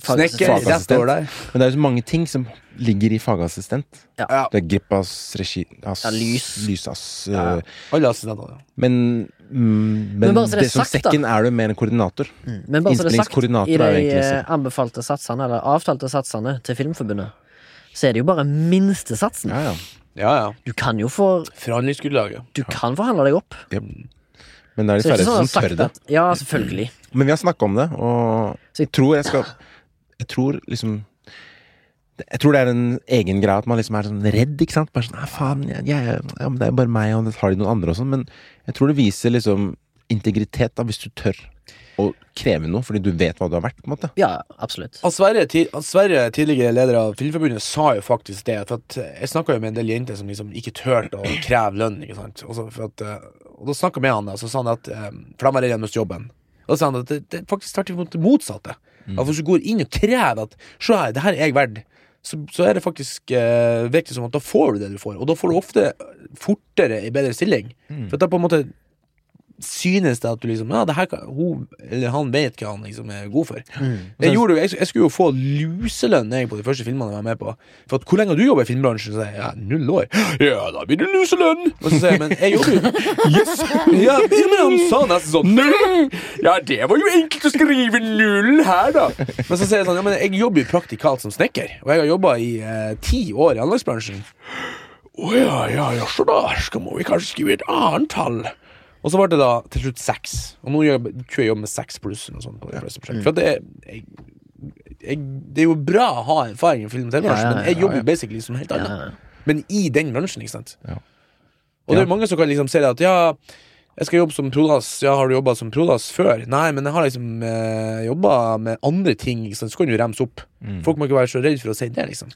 [SPEAKER 3] Snekker,
[SPEAKER 2] Fagassistent.
[SPEAKER 3] der står det.
[SPEAKER 1] Men det er jo så mange ting som ligger i fagassistent.
[SPEAKER 2] Ja.
[SPEAKER 3] Ja.
[SPEAKER 1] Det er grippas, regi... Ass,
[SPEAKER 2] Ja, lys.
[SPEAKER 1] ass,
[SPEAKER 3] Ja.
[SPEAKER 1] øh,
[SPEAKER 3] Alle assistentene.
[SPEAKER 1] Men, mm, men,
[SPEAKER 2] Men bare så det
[SPEAKER 1] det,
[SPEAKER 2] er
[SPEAKER 1] som
[SPEAKER 2] sagt, da. Mm.
[SPEAKER 1] sekken er du mer en koordinator.
[SPEAKER 2] Men bare så det er sagt,
[SPEAKER 1] Innspillingskoordinator
[SPEAKER 2] i
[SPEAKER 1] er jo
[SPEAKER 2] de
[SPEAKER 1] egentlig
[SPEAKER 2] eh,
[SPEAKER 1] sekken.
[SPEAKER 2] anbefalte satsene, eller avtalte satsene til Filmforbundet, så er det jo bare minstesatsen.
[SPEAKER 1] Ja, ja.
[SPEAKER 3] Ja, ja.
[SPEAKER 2] Du kan jo for,
[SPEAKER 3] Forhandlingsgrunnlaget.
[SPEAKER 2] du kan forhandle deg opp.
[SPEAKER 1] Men det er de
[SPEAKER 2] Så det er ikke
[SPEAKER 1] færreste som
[SPEAKER 2] sånn
[SPEAKER 1] tør
[SPEAKER 2] sagt
[SPEAKER 1] det.
[SPEAKER 2] at Ja, selvfølgelig.
[SPEAKER 1] Men vi har snakka om det, og jeg tror jeg skal Jeg tror liksom jeg tror det er en egen greie at man liksom er sånn redd. ikke sant? Bare sånn, Nei, faen, jeg, jeg, ja, men Det er jo bare meg, og det har de noen andre og sånn. Men jeg tror det viser liksom integritet, da, hvis du tør å kreve noe fordi du vet hva du har vært. på en måte
[SPEAKER 2] Ja, absolutt.
[SPEAKER 3] Han Altså, Sverre, ti- han Sverre, tidligere leder av Filmforbundet, sa jo faktisk det. For at jeg snakka jo med en del jenter som liksom ikke turte å kreve lønn. ikke sant? Og, så, for at, eh, og da snakka jeg med han, og så sa han at eh, For de var redd de mistet jobben. Og da sa han at det, det er faktisk tvert imot det motsatte. At hvis du går inn og krever at Se her, det her er jeg verdt. Så, så er det faktisk eh, virker som at da får du det du får, og da får du ofte fortere ei bedre stilling. For at da på en måte synes det at du liksom Ja, det her kan, hun, eller han vet hva han liksom er god for. Jeg, gjorde, jo- jeg, jeg skulle jo få luselønn jeg, på de første filmene jeg var med på. For at, hvor lenge har du jobba i filmbransjen? Så sier jeg ja, null år. Ja, da blir du luselønn! Og så sier jeg men jeg jobber jo yes. ja, men men han sa nesten sånn «Nei, Ja, det var jo enkelt å skrive null her, da. Men så sier jeg sånn ja, men jeg jobber jo praktikalt som snekker, og jeg har jobba i eh, ti år i anleggsbransjen. Å ja, ja, ja, så da skal må vi kanskje skrive et annet tall. Og så ble det da til slutt seks. Og nå jobber tror jeg jeg jobber med seks pluss. eller noe sånt på de fleste
[SPEAKER 2] Mm.
[SPEAKER 3] prosjekt. For at det, er- jeg, jeg, det er jo bra å ha erfaring i film- og
[SPEAKER 2] Ja,
[SPEAKER 3] TV-bransjen,
[SPEAKER 2] ja,
[SPEAKER 3] men jeg
[SPEAKER 1] ja,
[SPEAKER 3] jobber
[SPEAKER 1] ja.
[SPEAKER 3] jo basically som helt annet.
[SPEAKER 2] Ja,
[SPEAKER 3] Men i den bransjen, ikke sant.
[SPEAKER 1] Ja.
[SPEAKER 3] Og det er
[SPEAKER 1] Ja.
[SPEAKER 3] jo mange som kan liksom si det at ja, jeg skal jobbe som prodas. Ja, har du jobba som prodas før? Nei, men jeg har liksom eh, jobba med andre ting, ikke sant. Så kan du remse opp.
[SPEAKER 2] Mm.
[SPEAKER 3] Folk må ikke være så redd for å si det, liksom.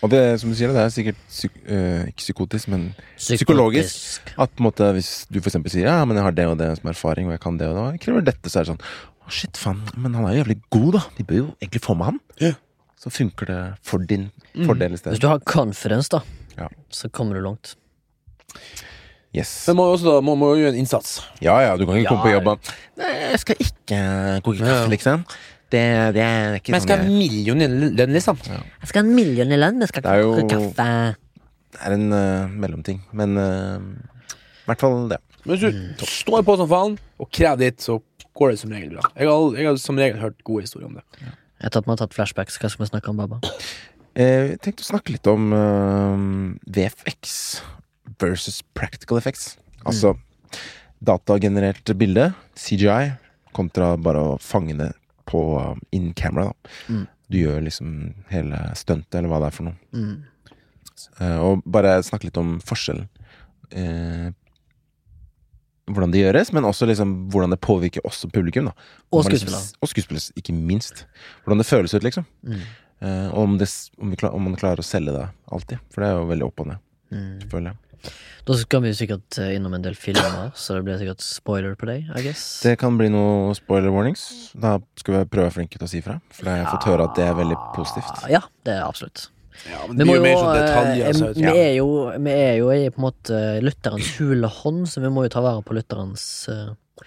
[SPEAKER 1] Og det som du sier, det er sikkert psyk eh, ikke psykotisk, men psykologisk. At på en måte, hvis du for eksempel sier ja, men jeg har det og det som erfaring, og jeg kan det og det, og jeg krever dette, så er det sånn «Å, Shit, faen, men han er jo jævlig god, da. De bør jo egentlig få med han.
[SPEAKER 3] Ja.
[SPEAKER 1] Så funker det for din
[SPEAKER 3] Mm.
[SPEAKER 1] fordel i
[SPEAKER 2] Hvis
[SPEAKER 1] stedet.
[SPEAKER 2] du har confidence, da,
[SPEAKER 1] Ja.
[SPEAKER 2] så kommer du langt.
[SPEAKER 1] Yes.
[SPEAKER 3] Men man må jo også da, man må jo gjøre en innsats.
[SPEAKER 1] Ja ja, du kan ikke
[SPEAKER 2] Ja.
[SPEAKER 1] komme på jobb og Nei, jeg skal ikke koke
[SPEAKER 3] Ja, ja.
[SPEAKER 1] kaffe, liksom. Det, det er ikke
[SPEAKER 3] Men jeg skal
[SPEAKER 1] sånn
[SPEAKER 3] ha
[SPEAKER 1] jeg
[SPEAKER 3] million i lønn, liksom.
[SPEAKER 2] Jeg skal ha en million i lønn, men jeg skal
[SPEAKER 1] Det er
[SPEAKER 2] ikke
[SPEAKER 1] jo-
[SPEAKER 2] koke kaffe.
[SPEAKER 1] Det er en eh, mellomting. Men eh, i hvert fall det.
[SPEAKER 3] Men hvis du står på som faen og krever ditt, så går det som regel bra. Jeg har, jeg har som regel hørt gode historier om det.
[SPEAKER 2] Jeg tatt, man har tatt flashbacks. Hva skal vi snakke om, Baba?
[SPEAKER 1] Eh, Jeg tenkte å snakke litt om eh, VFX versus practical effects. Altså datagenerert bilde, CGI, kontra bare å fange det på eh, in camera. Da.
[SPEAKER 2] Mm.
[SPEAKER 1] Du gjør liksom hele stuntet, eller hva det er for noe.
[SPEAKER 2] Mm.
[SPEAKER 1] Eh, og bare snakke litt om forskjellen. Eh, hvordan det gjøres, men også liksom hvordan det påvirker også publikum. da
[SPEAKER 2] Og
[SPEAKER 1] Hvordan
[SPEAKER 2] skuespillere.
[SPEAKER 1] Liksom, og skuespillere, ikke minst. Hvordan det føles ut, liksom.
[SPEAKER 2] Mm.
[SPEAKER 1] Eh, og om, det, s- om, vi klar, om man klarer å selge det alltid. For det er jo veldig opp og ned,
[SPEAKER 2] Mm.
[SPEAKER 1] føler jeg.
[SPEAKER 2] Da skal vi jo sikkert eh, innom en del filmer, så det blir sikkert spoiler på deg, I guess.
[SPEAKER 1] Det kan bli noen spoiler warnings. Da skal vi prøve å være flinke til å si fra. For jeg har fått høre at det er veldig positivt.
[SPEAKER 2] Ah, Ja, det er absolutt.
[SPEAKER 3] Ja,
[SPEAKER 2] Vi, må jo,
[SPEAKER 3] sånn
[SPEAKER 2] eh,
[SPEAKER 3] så-
[SPEAKER 2] vi, er jo, vi er jo i på en måte lytterens hule hånd, så vi må jo ta vare på lytterens eh,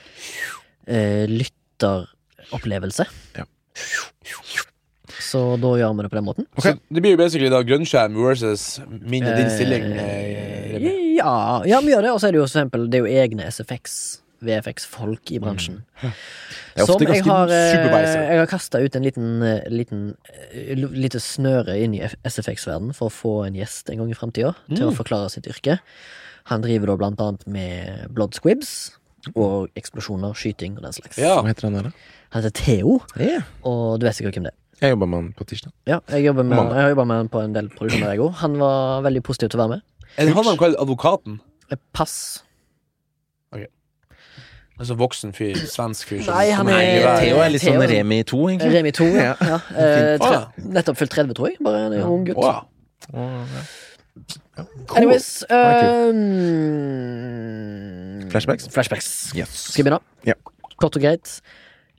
[SPEAKER 2] eh, lytteropplevelse.
[SPEAKER 1] Ja.
[SPEAKER 2] Så da gjør vi det på den måten.
[SPEAKER 3] Så det blir jo basically da grønnskjerm versus min og din stilling. eh, Remi.
[SPEAKER 2] Eh, ja, ja, vi gjør det. Og så er det jo for eksempel Det er jo egne SFX, VFX-folk i bransjen.
[SPEAKER 1] Mm. Det er ofte
[SPEAKER 2] Som jeg
[SPEAKER 1] ganske
[SPEAKER 2] har, eh,
[SPEAKER 1] supervisor.
[SPEAKER 2] jeg har kasta ut en liten, eh, liten eh, l- lite snøre inn i SFX-verden for å få en gjest en gang i framtida til
[SPEAKER 1] Mm.
[SPEAKER 2] å forklare sitt yrke. Han driver da blant annet med blood squibs og eksplosjoner, skyting og den slags.
[SPEAKER 3] Ja.
[SPEAKER 1] Hva heter han der, da?
[SPEAKER 2] Han heter Theo,
[SPEAKER 1] Ja.
[SPEAKER 2] og du vet sikkert hvem det er.
[SPEAKER 1] Jeg jobba med han på tirsdag.
[SPEAKER 2] Ja, jeg, jobber med,
[SPEAKER 1] Mann.
[SPEAKER 2] jeg har jobba med han på en del produksjoner, jeg òg. Han var veldig positiv til å være med.
[SPEAKER 3] Er det han han kaller advokaten?
[SPEAKER 2] Eh, Pass.
[SPEAKER 3] Altså voksen fyr, svensk fyr. som-
[SPEAKER 2] Nei, han
[SPEAKER 3] som
[SPEAKER 2] er-
[SPEAKER 3] henger i været.
[SPEAKER 1] Theo er litt sånn
[SPEAKER 2] Eh, Theo-
[SPEAKER 1] Remi 2, egentlig.
[SPEAKER 2] Remi 2, ja. ja. Eh,
[SPEAKER 3] Fint.
[SPEAKER 2] tre,
[SPEAKER 3] Ah.
[SPEAKER 2] nettopp fylt 30, tror jeg. Bare en ung gutt.
[SPEAKER 3] Wow.
[SPEAKER 1] Å,
[SPEAKER 2] Eh,
[SPEAKER 1] ja.
[SPEAKER 2] Anyways
[SPEAKER 1] var
[SPEAKER 2] ehm,
[SPEAKER 1] Flashbacks?
[SPEAKER 2] Flashbacks.
[SPEAKER 1] Yes.
[SPEAKER 2] Skal jeg begynne?
[SPEAKER 1] Ja.
[SPEAKER 2] Kort og greit.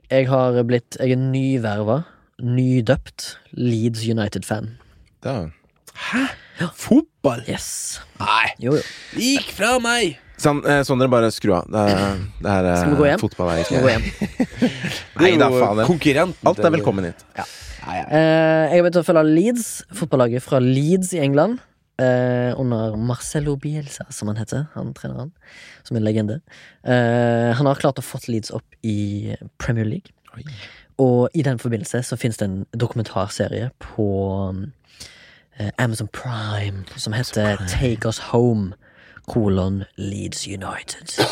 [SPEAKER 2] Jeg har blitt Jeg er nyverva, nydøpt Leeds United-fan.
[SPEAKER 1] Da.
[SPEAKER 3] Fotball?
[SPEAKER 2] Yes.
[SPEAKER 3] Nei,
[SPEAKER 2] Jo, jo.
[SPEAKER 3] gikk fra meg!
[SPEAKER 1] Sånn, eh, Sondre, bare skru av. Det er, det er, eh,
[SPEAKER 2] Skal vi gå hjem?
[SPEAKER 1] Fotball er
[SPEAKER 2] Skal vi gå
[SPEAKER 1] ikke
[SPEAKER 2] hjem.
[SPEAKER 1] Nei
[SPEAKER 3] Det er
[SPEAKER 1] da,
[SPEAKER 3] jo
[SPEAKER 1] faen. det-
[SPEAKER 3] Konkurrenten
[SPEAKER 1] Alt er
[SPEAKER 3] til-
[SPEAKER 1] velkommen hit.
[SPEAKER 3] Nei, nei.
[SPEAKER 2] Eh, jeg har begynt å følge Leeds, fotballaget fra Leeds i England. eh, under Marcelo Bielsa, som han heter. Han treneren. Som en legende. Eh, han har klart å fått Leeds opp i Premier League.
[SPEAKER 1] Oi.
[SPEAKER 2] Og i den forbindelse så finnes det en dokumentarserie på eh, Amazon Prime som heter Take Us Home. Kolon Leeds United.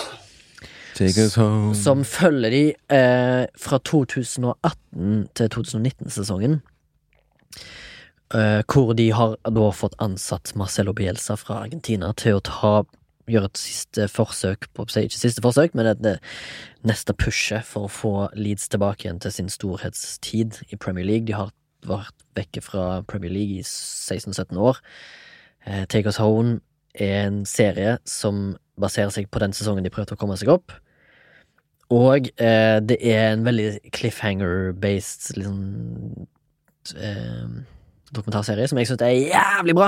[SPEAKER 1] Take us home.
[SPEAKER 2] Som følger de eh, fra 2018 til 2019-sesongen. Eh, hvor de har da fått ansatt Marcelo Bielsa fra Argentina til å ta gjør et siste forsøk på si, Ikke siste forsøk, men det, det neste pushet for å få Leeds tilbake igjen til sin storhetstid i Premier League. De har vært vekke fra Premier League i 16-17 år. Eh, Take Us Home er en serie som baserer seg på den sesongen de prøvde å komme seg opp. Og eh, det er en veldig cliffhanger-based liksom, eh, dokumentarserie som jeg syns er jævlig bra.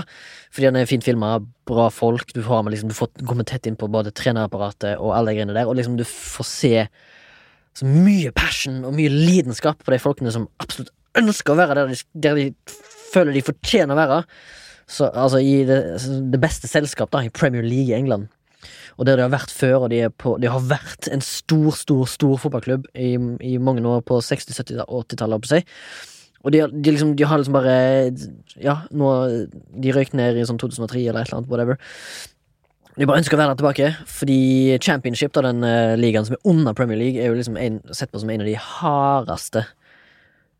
[SPEAKER 2] Fordi den er fint filma, bra folk, du, har med, liksom, du får komme tett inn på både trenerapparatet og alle de greiene der, og liksom du får se så mye passion og mye lidenskap på de folkene som absolutt ønsker å være der de, der de føler de fortjener å være. Så, altså I det, det beste selskap, da, i Premier League i England. Og der de har vært før, og de, er på, de har vært en stor, stor stor fotballklubb i, i mange år på 60-, 70- og 80-tallet, holdt jeg på å si. Og de, har- de, liksom, de har liksom bare Ja, nå De røyk ned i sånn 2003 eller et eller annet, whatever. De bare ønsker å være der tilbake, fordi championship, da, den eh, ligaen som er under Premier League, er jo liksom en, sett på som en av de hardeste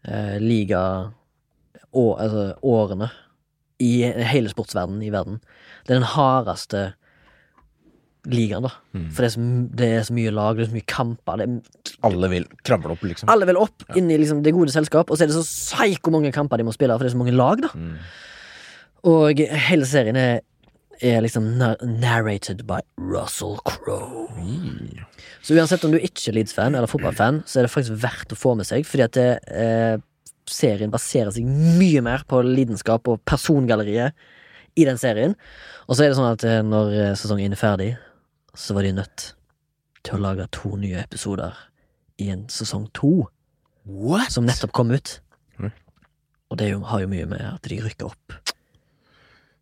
[SPEAKER 2] eh, liga... Å, altså, årene i hele sportsverdenen i verden. Det er den hardeste ligaen, da. For det er, så, m- det er så mye lag, det er så mye kamper, det er
[SPEAKER 1] Alle vil kravle opp, liksom.
[SPEAKER 2] alle vil opp inn i liksom det gode selskap, og så er det så psyko mange kamper de må spille, for det er så mange lag, da.
[SPEAKER 1] Mm.
[SPEAKER 2] Og hele serien er, er liksom nar narrated by Russell Crowe. Så uansett om du ikke er Leeds-fan eller fotballfan, så er det faktisk verdt å få med seg, fordi at det, eh, serien baserer seg mye mer på lidenskap og persongalleriet i den serien. Og så er det sånn at eh, når eh, sesongen er ferdig, så var de nødt til å lage to nye episoder i en sesong to
[SPEAKER 3] What?
[SPEAKER 2] som nettopp kom ut.
[SPEAKER 1] Oi.
[SPEAKER 2] Og det er jo, har jo mye med at de rykker opp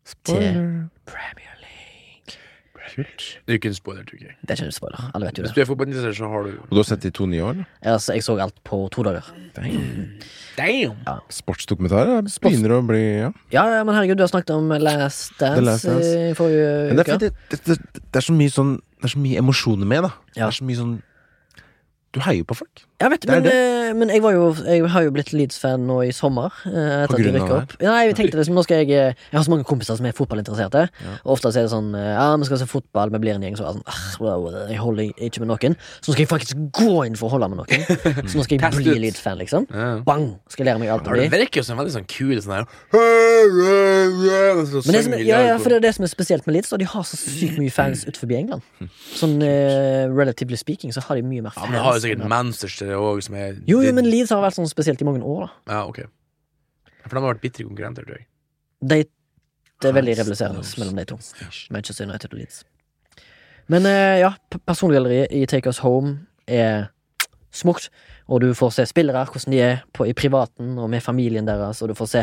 [SPEAKER 1] Spoiler.
[SPEAKER 2] Premier League.
[SPEAKER 1] Kult.
[SPEAKER 3] Det er jo ikke en spoiler, tror jeg.
[SPEAKER 2] Det er ikke en spoiler. Alle vet jo
[SPEAKER 3] Hvis
[SPEAKER 2] det.
[SPEAKER 3] du er fotballinteressert, så har du
[SPEAKER 1] Og du har sett de to nye år?
[SPEAKER 2] Altså, jeg så alt på to dager.
[SPEAKER 3] Damn!
[SPEAKER 1] Sportsdokumentarer det begynner å bli ja.
[SPEAKER 2] Ja, ja, men herregud, du har snakket om Last Dance, eh,
[SPEAKER 1] The Last Dance.
[SPEAKER 2] i forrige
[SPEAKER 1] Men det er,
[SPEAKER 2] uke.
[SPEAKER 1] fordi det, det, det, det er så mye sånn Det er så mye emosjoner med, da. Det
[SPEAKER 2] Ja.
[SPEAKER 1] er så mye sånn Du heier jo på folk.
[SPEAKER 2] Jeg vet,
[SPEAKER 1] Det er
[SPEAKER 2] men, eh, men jeg, var jo, jeg har jo blitt Leeds-fan nå i sommer. eh,
[SPEAKER 1] På
[SPEAKER 2] Etter at de
[SPEAKER 1] grunn av
[SPEAKER 2] rykket opp. Nei, jeg tenkte liksom, nå skal jeg eh, Jeg har så mange kompiser som er fotballinteresserte. Og ofte så er det sånn eh, Ja, vi skal se fotball, vi blir en gjeng som er sånn «Ah, wow, Jeg holder ikke med noen. Så nå skal jeg faktisk gå inn for å holde med noen. Så nå skal jeg
[SPEAKER 3] Test
[SPEAKER 2] bli
[SPEAKER 3] ut.
[SPEAKER 2] Leeds-fan, liksom.
[SPEAKER 3] Ja.
[SPEAKER 2] Bang! Skal lære meg alt om
[SPEAKER 3] Det
[SPEAKER 2] de.
[SPEAKER 3] virker jo som en veldig sånn kul sånn her Men
[SPEAKER 2] Men det som, ja, ja, for det er det som er spesielt med Leeds, og de har så sykt mye
[SPEAKER 3] Mm.
[SPEAKER 2] fans utenfor England. Sånn eh, relatively speaking, så har de mye mer
[SPEAKER 3] Ja,
[SPEAKER 2] fans.
[SPEAKER 3] men det har jo sikkert
[SPEAKER 2] enn-
[SPEAKER 3] Manchester òg, som er
[SPEAKER 2] jo, jo, men Leeds har vært sånn spesielt i mange år, da.
[SPEAKER 3] Ja, ok. For de har vært bitre konkurrenter, tror jeg.
[SPEAKER 2] De, det er veldig
[SPEAKER 1] Hans
[SPEAKER 2] revolusjonerende
[SPEAKER 1] knows.
[SPEAKER 2] mellom de to. Manchester United og Leeds. Men eh, ja, p- persongalleriet i Take Us Home er smukt. Og du får se spillere, hvordan de er på, i privaten og med familien deres. Og du får se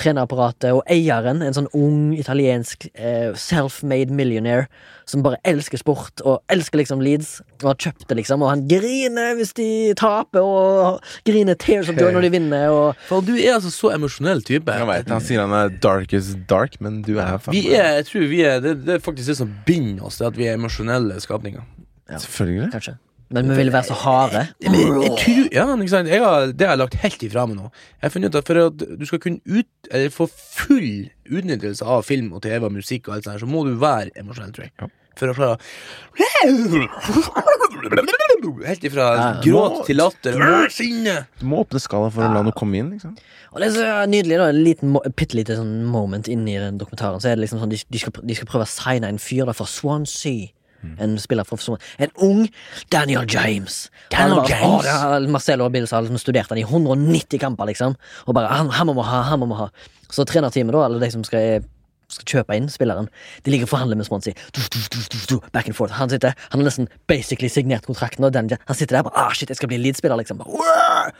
[SPEAKER 2] trenerapparatet og eieren, en sånn ung italiensk eh, self-made millionaire som bare elsker sport og elsker liksom Leeds. Og har kjøpt det, liksom. Og han griner hvis de taper, og griner tears of joy når de vinner. Og
[SPEAKER 3] For du er altså så emosjonell type.
[SPEAKER 1] Jeg vet, Han sier han er dark as dark, men du er faen
[SPEAKER 3] Vi
[SPEAKER 1] meg-
[SPEAKER 3] er, jeg tror vi er det, det er faktisk det som binder oss, det er at vi er emosjonelle skapninger.
[SPEAKER 1] Selvfølgelig.
[SPEAKER 2] kanskje. Men vi vil være så harde.
[SPEAKER 3] Jeg tror, ja, men ikke sant? Jeg har, det har jeg lagt helt ifra meg nå. Jeg har funnet ut at For at du skal kunne ut, eller få full utnyttelse av film og TV og musikk, og alt sånt, her, så må du være emosjonell, tror jeg.
[SPEAKER 1] Ja.
[SPEAKER 3] For å klare å Helt ifra
[SPEAKER 2] Ja,
[SPEAKER 3] gråt
[SPEAKER 1] må-
[SPEAKER 3] til latter. øh, Sinne!
[SPEAKER 1] Du må åpne skala for å la noe komme inn. liksom
[SPEAKER 2] Og det er så nydelig, da. En liten mo- et bitte lite sånn moment inni den dokumentaren. Så er det liksom sånn, De, de, skal, pr- de skal prøve å signe en fyr da fra Swansea.
[SPEAKER 3] Mm.
[SPEAKER 2] En spiller fra Swansea. En ung Daniel James.
[SPEAKER 3] Daniel
[SPEAKER 2] Og alle bare,
[SPEAKER 3] James?
[SPEAKER 2] «Å, det har- Marcelo Bills har liksom studert han i 190 kamper, liksom. Og bare han, han må vi ha, han må vi ha. Så trenerteamet, da, eller de som skal eh, skal kjøpe inn spilleren. De ligger og forhandler med Swansea. Du, du, du, du, du, back and forth. Han sitter, han har nesten basically signert kontrakten. Og den, han sitter der bare, ah shit, jeg skal bli Leeds-spiller, liksom. Bare, «Wow!»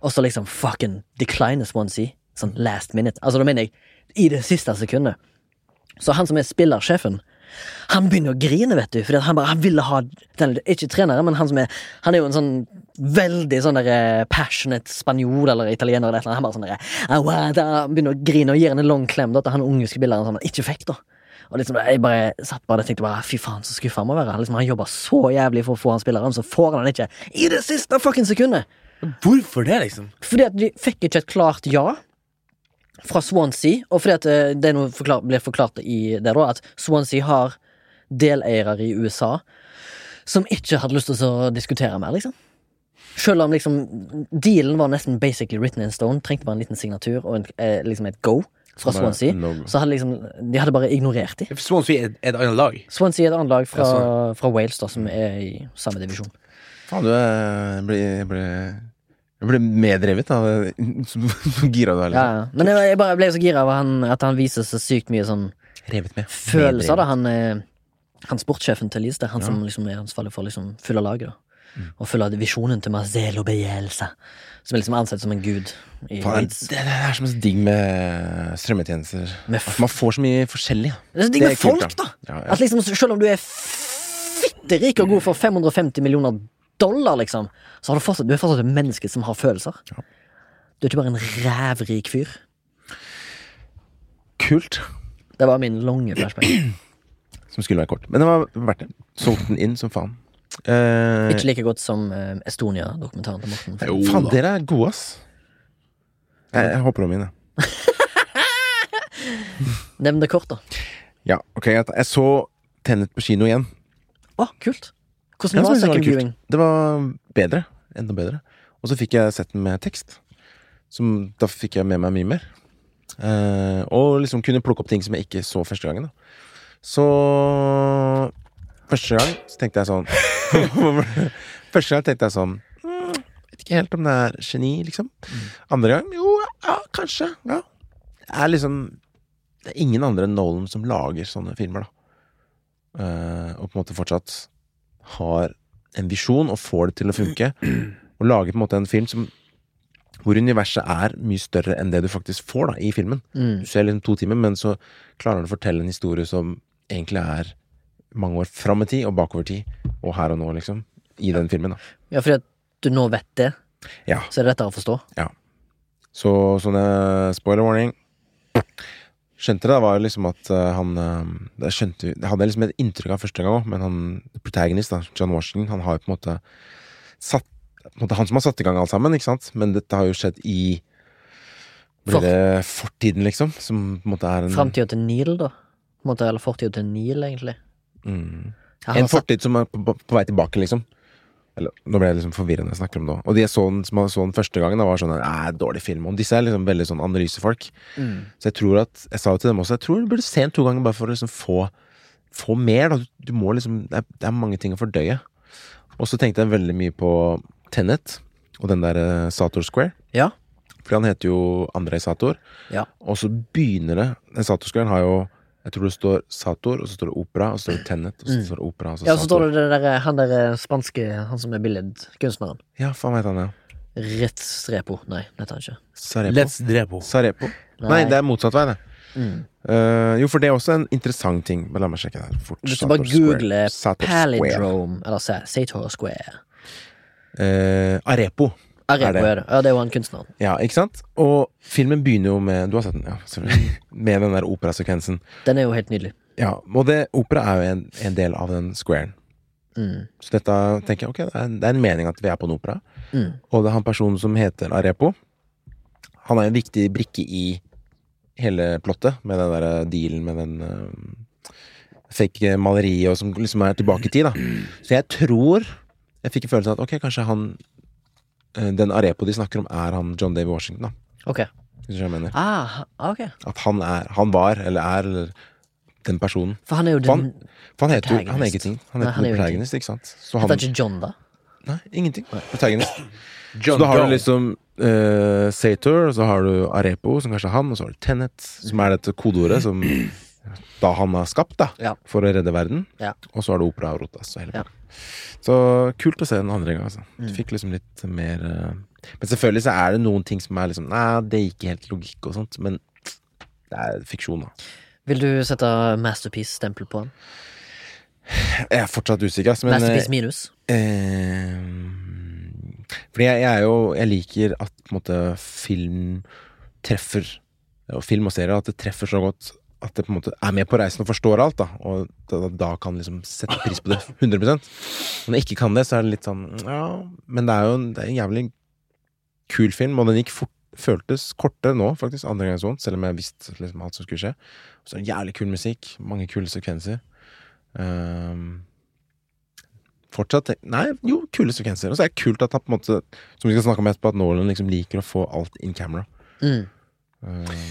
[SPEAKER 2] Og så liksom fucking decline Swansea. Sånn last minute. Altså, da mener jeg i det siste sekundet. Så han som er spillersjefen, han begynner å grine, vet du. Fordi at han bare, han ville ha den, Ikke treneren, men han som er Han er jo en sånn veldig sånn der eh, passionate spanjol eller italiener eller et eller annet. Han bare sånn der, "I want a-" han begynner å grine og gir henne en lang klem da, til han unge spilleren som han ikke fikk, da. Og liksom, Jeg bare satt bare og tenkte bare, fy faen, så skuffa han må være. Han Liksom, han jobba så jævlig for å få han spilleren, så får han han ikke i det siste fucking sekundet!
[SPEAKER 3] Hvorfor det, liksom?
[SPEAKER 2] Fordi at de fikk ikke et klart ja fra Swansea, og fordi at eh, det er noe forklar- blir forklart i det da, at Swansea har deleiere i USA som ikke hadde lyst til å diskutere mer, liksom. Selv om liksom dealen var nesten basically written in stone, trengte bare en liten signatur og en, eh, liksom et go fra
[SPEAKER 1] Som er
[SPEAKER 2] Swansea.
[SPEAKER 1] no-
[SPEAKER 2] Så hadde liksom, de hadde bare ignorert de.
[SPEAKER 3] Swansea er et annet lag.
[SPEAKER 2] Swansea er et annet lag fra,
[SPEAKER 3] Ja,
[SPEAKER 2] fra Wales, da, som er i samme divisjon.
[SPEAKER 1] Faen, du er- jeg ble, jeg ble, jeg ble medrevet av Så så gira du er,
[SPEAKER 2] Ja,
[SPEAKER 1] liksom.
[SPEAKER 2] ja. Men jeg, jeg bare ble så gira av han, at han viser så sykt mye sånn
[SPEAKER 1] Revet med.
[SPEAKER 2] følelser, da.
[SPEAKER 1] Medrevet.
[SPEAKER 2] Han, eh, han sportssjefen til Leeds, det er han som liksom er ansvarlig for å liksom, fylle laget. da.
[SPEAKER 1] Mm.
[SPEAKER 2] Og fylle visjonen til Marcelo Bielsa, som er liksom ansett som en gud i
[SPEAKER 1] Faen,
[SPEAKER 2] Leeds.
[SPEAKER 1] det, det er som er så digg med strømmetjenester.
[SPEAKER 2] Med
[SPEAKER 1] At
[SPEAKER 2] f-
[SPEAKER 1] man får så mye forskjellig. da.
[SPEAKER 2] Det er så digg
[SPEAKER 1] Det er
[SPEAKER 2] med folk,
[SPEAKER 1] kult, da.
[SPEAKER 2] da!
[SPEAKER 1] Ja, ja.
[SPEAKER 2] At liksom, selv om du er fitterik og god for 550 millioner dollar, liksom, så har du fortsatt, du er fortsatt et menneske som har følelser. Du er ikke bare en rævrik fyr.
[SPEAKER 1] Kult.
[SPEAKER 2] Det var min lange flashback.
[SPEAKER 1] Som skulle være kort. Men det var verdt det. Solgte den inn som faen. Eh,
[SPEAKER 2] Ikke like godt som eh, Estonia-dokumentaren til Morten.
[SPEAKER 1] Jo, Faen,
[SPEAKER 3] da.
[SPEAKER 1] dere er gode, ass. Jeg, jeg håper om mine.
[SPEAKER 2] Nevn det kort, da.
[SPEAKER 1] Ja, ok, jeg, jeg så Tenet på kino igjen.
[SPEAKER 2] Å, kult!
[SPEAKER 1] Ja,
[SPEAKER 2] Hvordan
[SPEAKER 1] som
[SPEAKER 2] var
[SPEAKER 1] jeg synes var
[SPEAKER 2] second
[SPEAKER 1] kult.
[SPEAKER 2] viewing?
[SPEAKER 1] Det var bedre. Enda bedre. Og så fikk jeg sett den med tekst. Som, da fikk jeg med meg mye mer. Eh, og liksom kunne plukke opp ting som jeg ikke så første gangen. Da. Så Første gang så tenkte jeg sånn Første gang tenkte jeg sånn mm, Vet ikke helt om det er geni, liksom.
[SPEAKER 2] Mm.
[SPEAKER 1] Andre gang jo, ja, kanskje. Ja. Det er liksom Det er ingen andre enn Nolan som lager sånne filmer, da. Eh, og på en måte fortsatt har en visjon og får det til å funke. Og lager på en måte en film som, hvor universet er mye større enn det du faktisk får da, i filmen.
[SPEAKER 2] Mm.
[SPEAKER 1] Du ser liksom to timer, men så klarer han å fortelle en historie som egentlig er mange år fram i tid og bakover tid, og her og nå, liksom. I den filmen, da.
[SPEAKER 2] Ja, fordi at du nå vet det,
[SPEAKER 1] Ja.
[SPEAKER 2] så er det lettere å forstå.
[SPEAKER 1] Så sånne spoiler warning Skjønte det, var jo liksom at eh, han eh, Det skjønte vi Det hadde jeg liksom et inntrykk av første gang òg, men han protagonist, da, John Washington, han har jo på en måte satt på en måte Han som har satt i gang alt sammen, ikke sant? Men dette har jo skjedd i
[SPEAKER 2] For-
[SPEAKER 1] Blir det fortiden, liksom? Som på en måte er en
[SPEAKER 2] Framtida til Neil, da. På en måte, eller fortida til Neil, egentlig.
[SPEAKER 1] Mm.
[SPEAKER 2] Ja, altså. han
[SPEAKER 1] En
[SPEAKER 2] har satt-
[SPEAKER 1] fortid som er på, på, på vei tilbake, liksom. Eller, nå ble jeg liksom forvirrende når jeg snakker om det òg. Og de jeg så den, som jeg så den første gangen, da var sånn Æh, dårlig film. Og disse er liksom veldig sånn analysefolk.
[SPEAKER 2] Mm.
[SPEAKER 1] Så jeg tror at Jeg sa jo til dem også Jeg tror du burde se den to ganger bare for å liksom få Få mer, da. Du, du må liksom det er, det er mange ting å fordøye. Og så tenkte jeg veldig mye på Tenet og den der eh, Sator Square.
[SPEAKER 2] Ja.
[SPEAKER 1] For han heter jo Andrej Sator.
[SPEAKER 2] Ja.
[SPEAKER 1] Og så begynner det Den Sator Squaren har jo Jeg tror det står Sator, og så står det Opera, og så står det Tenet, og så
[SPEAKER 2] Mm.
[SPEAKER 1] står det Opera, og så
[SPEAKER 2] Ja, så
[SPEAKER 1] Sator.
[SPEAKER 2] står det det der, han der eh, spanske, han som er billedkunstneren.
[SPEAKER 1] Ja, faen vet han det.
[SPEAKER 2] Restrepo. Nei, det heter han ikke.
[SPEAKER 1] Sarepo.
[SPEAKER 3] Let's drepo.
[SPEAKER 1] Sarepo. Nei. det er motsatt vei, det.
[SPEAKER 2] Mm.
[SPEAKER 1] Eh, jo, for det er også en interessant ting. Men la meg sjekke det her fort.
[SPEAKER 2] Hvis du
[SPEAKER 1] Sator
[SPEAKER 2] bare
[SPEAKER 1] Square.
[SPEAKER 2] googler
[SPEAKER 1] Sator Square.
[SPEAKER 2] Palindrome, eller sa- Sator Square
[SPEAKER 1] Eh, Arepo. Er
[SPEAKER 2] Arepo
[SPEAKER 1] det?
[SPEAKER 2] er det. Ja, det er jo han kunstneren.
[SPEAKER 1] Ja, ikke sant? Og filmen begynner jo med Du har sett den, ja. selvfølgelig.
[SPEAKER 2] Mm.
[SPEAKER 1] Med den der operasekvensen.
[SPEAKER 2] Den er jo helt nydelig.
[SPEAKER 1] Ja, og det, opera er jo en, en del av den squaren.
[SPEAKER 2] Mm.
[SPEAKER 1] Så dette tenker jeg, ok, det er, en- det er en mening at vi er på en opera.
[SPEAKER 2] Mm.
[SPEAKER 1] Og det er han personen som heter Arepo. Han er en viktig brikke i hele plottet, med den der eh, dealen med den eh, fake eh, maleriet og som liksom er tilbake i tid, da. Så jeg tror Jeg fikk en følelse av at ok, kanskje han eh, Den Arepo de snakker om, er han John Davy Washington, da.
[SPEAKER 2] Ok.
[SPEAKER 1] Hvis du skjønner hva jeg mener.
[SPEAKER 2] Ah, ok.
[SPEAKER 1] At han er Han var, eller er, eller den personen.
[SPEAKER 2] For han er jo
[SPEAKER 1] For han,
[SPEAKER 2] den
[SPEAKER 1] for han heter jo Han er
[SPEAKER 2] Protagonist.
[SPEAKER 1] ingenting. Han
[SPEAKER 2] Nei,
[SPEAKER 1] heter
[SPEAKER 2] han er jo
[SPEAKER 1] protagonist, ikke sant. Så
[SPEAKER 2] Heter
[SPEAKER 1] han
[SPEAKER 2] han ikke John, da?
[SPEAKER 1] Nei, ingenting. Protagonist. Så
[SPEAKER 3] John
[SPEAKER 1] da har
[SPEAKER 3] Doe.
[SPEAKER 1] du liksom eh, Sator, og så har du Arepo, som kanskje er han, og så har du Tenet, som er dette kodeordet som da han har skapt, da,
[SPEAKER 2] Ja.
[SPEAKER 1] for å redde verden.
[SPEAKER 2] Ja.
[SPEAKER 1] Og så har du opera og Rotas og hele
[SPEAKER 2] Ja.
[SPEAKER 1] pakka. Så kult å se den andre gang, altså. Du fikk liksom litt mer eh, Men selvfølgelig så er det noen ting som er liksom Nei, det gikk helt logikk og sånt, men det er fiksjon, da.
[SPEAKER 2] Vil du sette masterpiece-stempel på han?
[SPEAKER 1] Jeg er fortsatt usikker, ass, men eh,
[SPEAKER 2] Masterpiece minus?
[SPEAKER 1] Ehm, Fordi jeg, jeg er jo Jeg liker at på en måte film treffer og Film og serier, at det treffer så godt at det på en måte er med på reisen og forstår alt. da Og da, da- da kan liksom sette pris på det 100 Når jeg ikke kan det, så er det litt sånn ja, Men det er jo en, det er en jævlig kul film, og den gikk fort. Føltes kortere nå, faktisk, andre gang jeg så den, selv om jeg visste liksom alt som skulle skje. Så er det jævlig kul musikk, mange kule sekvenser. Ehm, fortsatt tenk- Nei, jo, kule sekvenser. Og så er det kult at han på en måte Som vi skal snakke om etterpå, at Nolan liksom liker å få alt in camera.
[SPEAKER 2] Mm.
[SPEAKER 1] Ehm,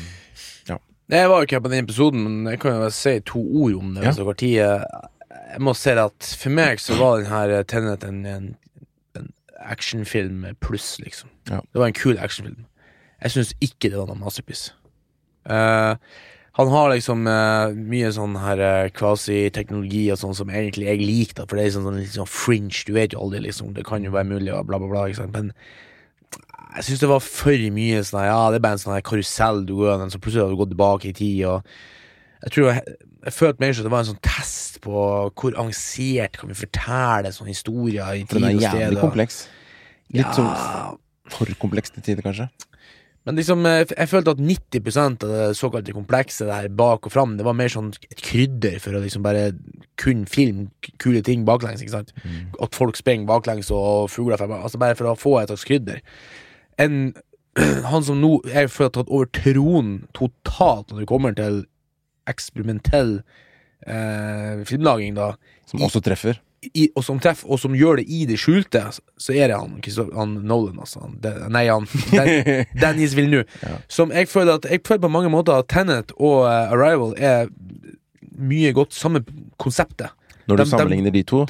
[SPEAKER 3] Jeg var jo ikke her på den episoden, men jeg kan jo si to ord om det.
[SPEAKER 1] Ja.
[SPEAKER 3] Hvis dere har tid. Jeg må si det at for meg så var den her eh, Tenet en, en, en actionfilm pluss, liksom.
[SPEAKER 1] Ja.
[SPEAKER 3] Det var en kul actionfilm. Jeg syns ikke det var noe masterpiece. Eh, han har liksom eh, mye sånn her eh, kvasi-teknologi og sånn som egentlig jeg liker, da, for det er sånn, sånn, litt sånn fringe. Du vet jo aldri, liksom. Det kan jo være mulig, og bla, bla, bla. Ikke sant? Men jeg syns det var for mye sånn her, Ja, det er bare en sånn her karusell du går gjennom, så plutselig har du gått tilbake i tid, og Jeg tror jeg, jeg følte mer som det var en sånn test på hvor avansert kan vi fortelle sånne historier i
[SPEAKER 1] for den er
[SPEAKER 3] tid og sted.
[SPEAKER 1] jævlig
[SPEAKER 3] og-
[SPEAKER 1] kompleks. Litt
[SPEAKER 3] Ja,
[SPEAKER 1] sånn for kompleks til tider, kanskje.
[SPEAKER 3] Men liksom, eh, jeg følte at 90 av det såkalte komplekse der bak og fram, det var mer sånn et krydder for å liksom bare kun filme k- kule ting baklengs. ikke sant? At folk springer baklengs og fugler fer bak- altså Bare for å få et slags krydder. En, han som nå jeg føler har tatt over tronen totalt når det kommer til eksperimentell eh, filmlaging, da,
[SPEAKER 1] Som også treffer.
[SPEAKER 3] i, og som treffer, og som gjør det i det skjulte, så er det han, Christo- han Nolan, altså. Han, den- nei, han den, Dennis Villeneuve. Som jeg føler at Jeg føler på mange måter at Tenet og eh, Arrival er mye godt samme konseptet.
[SPEAKER 1] Når du
[SPEAKER 3] Dem- dem-
[SPEAKER 1] sammenligner de to,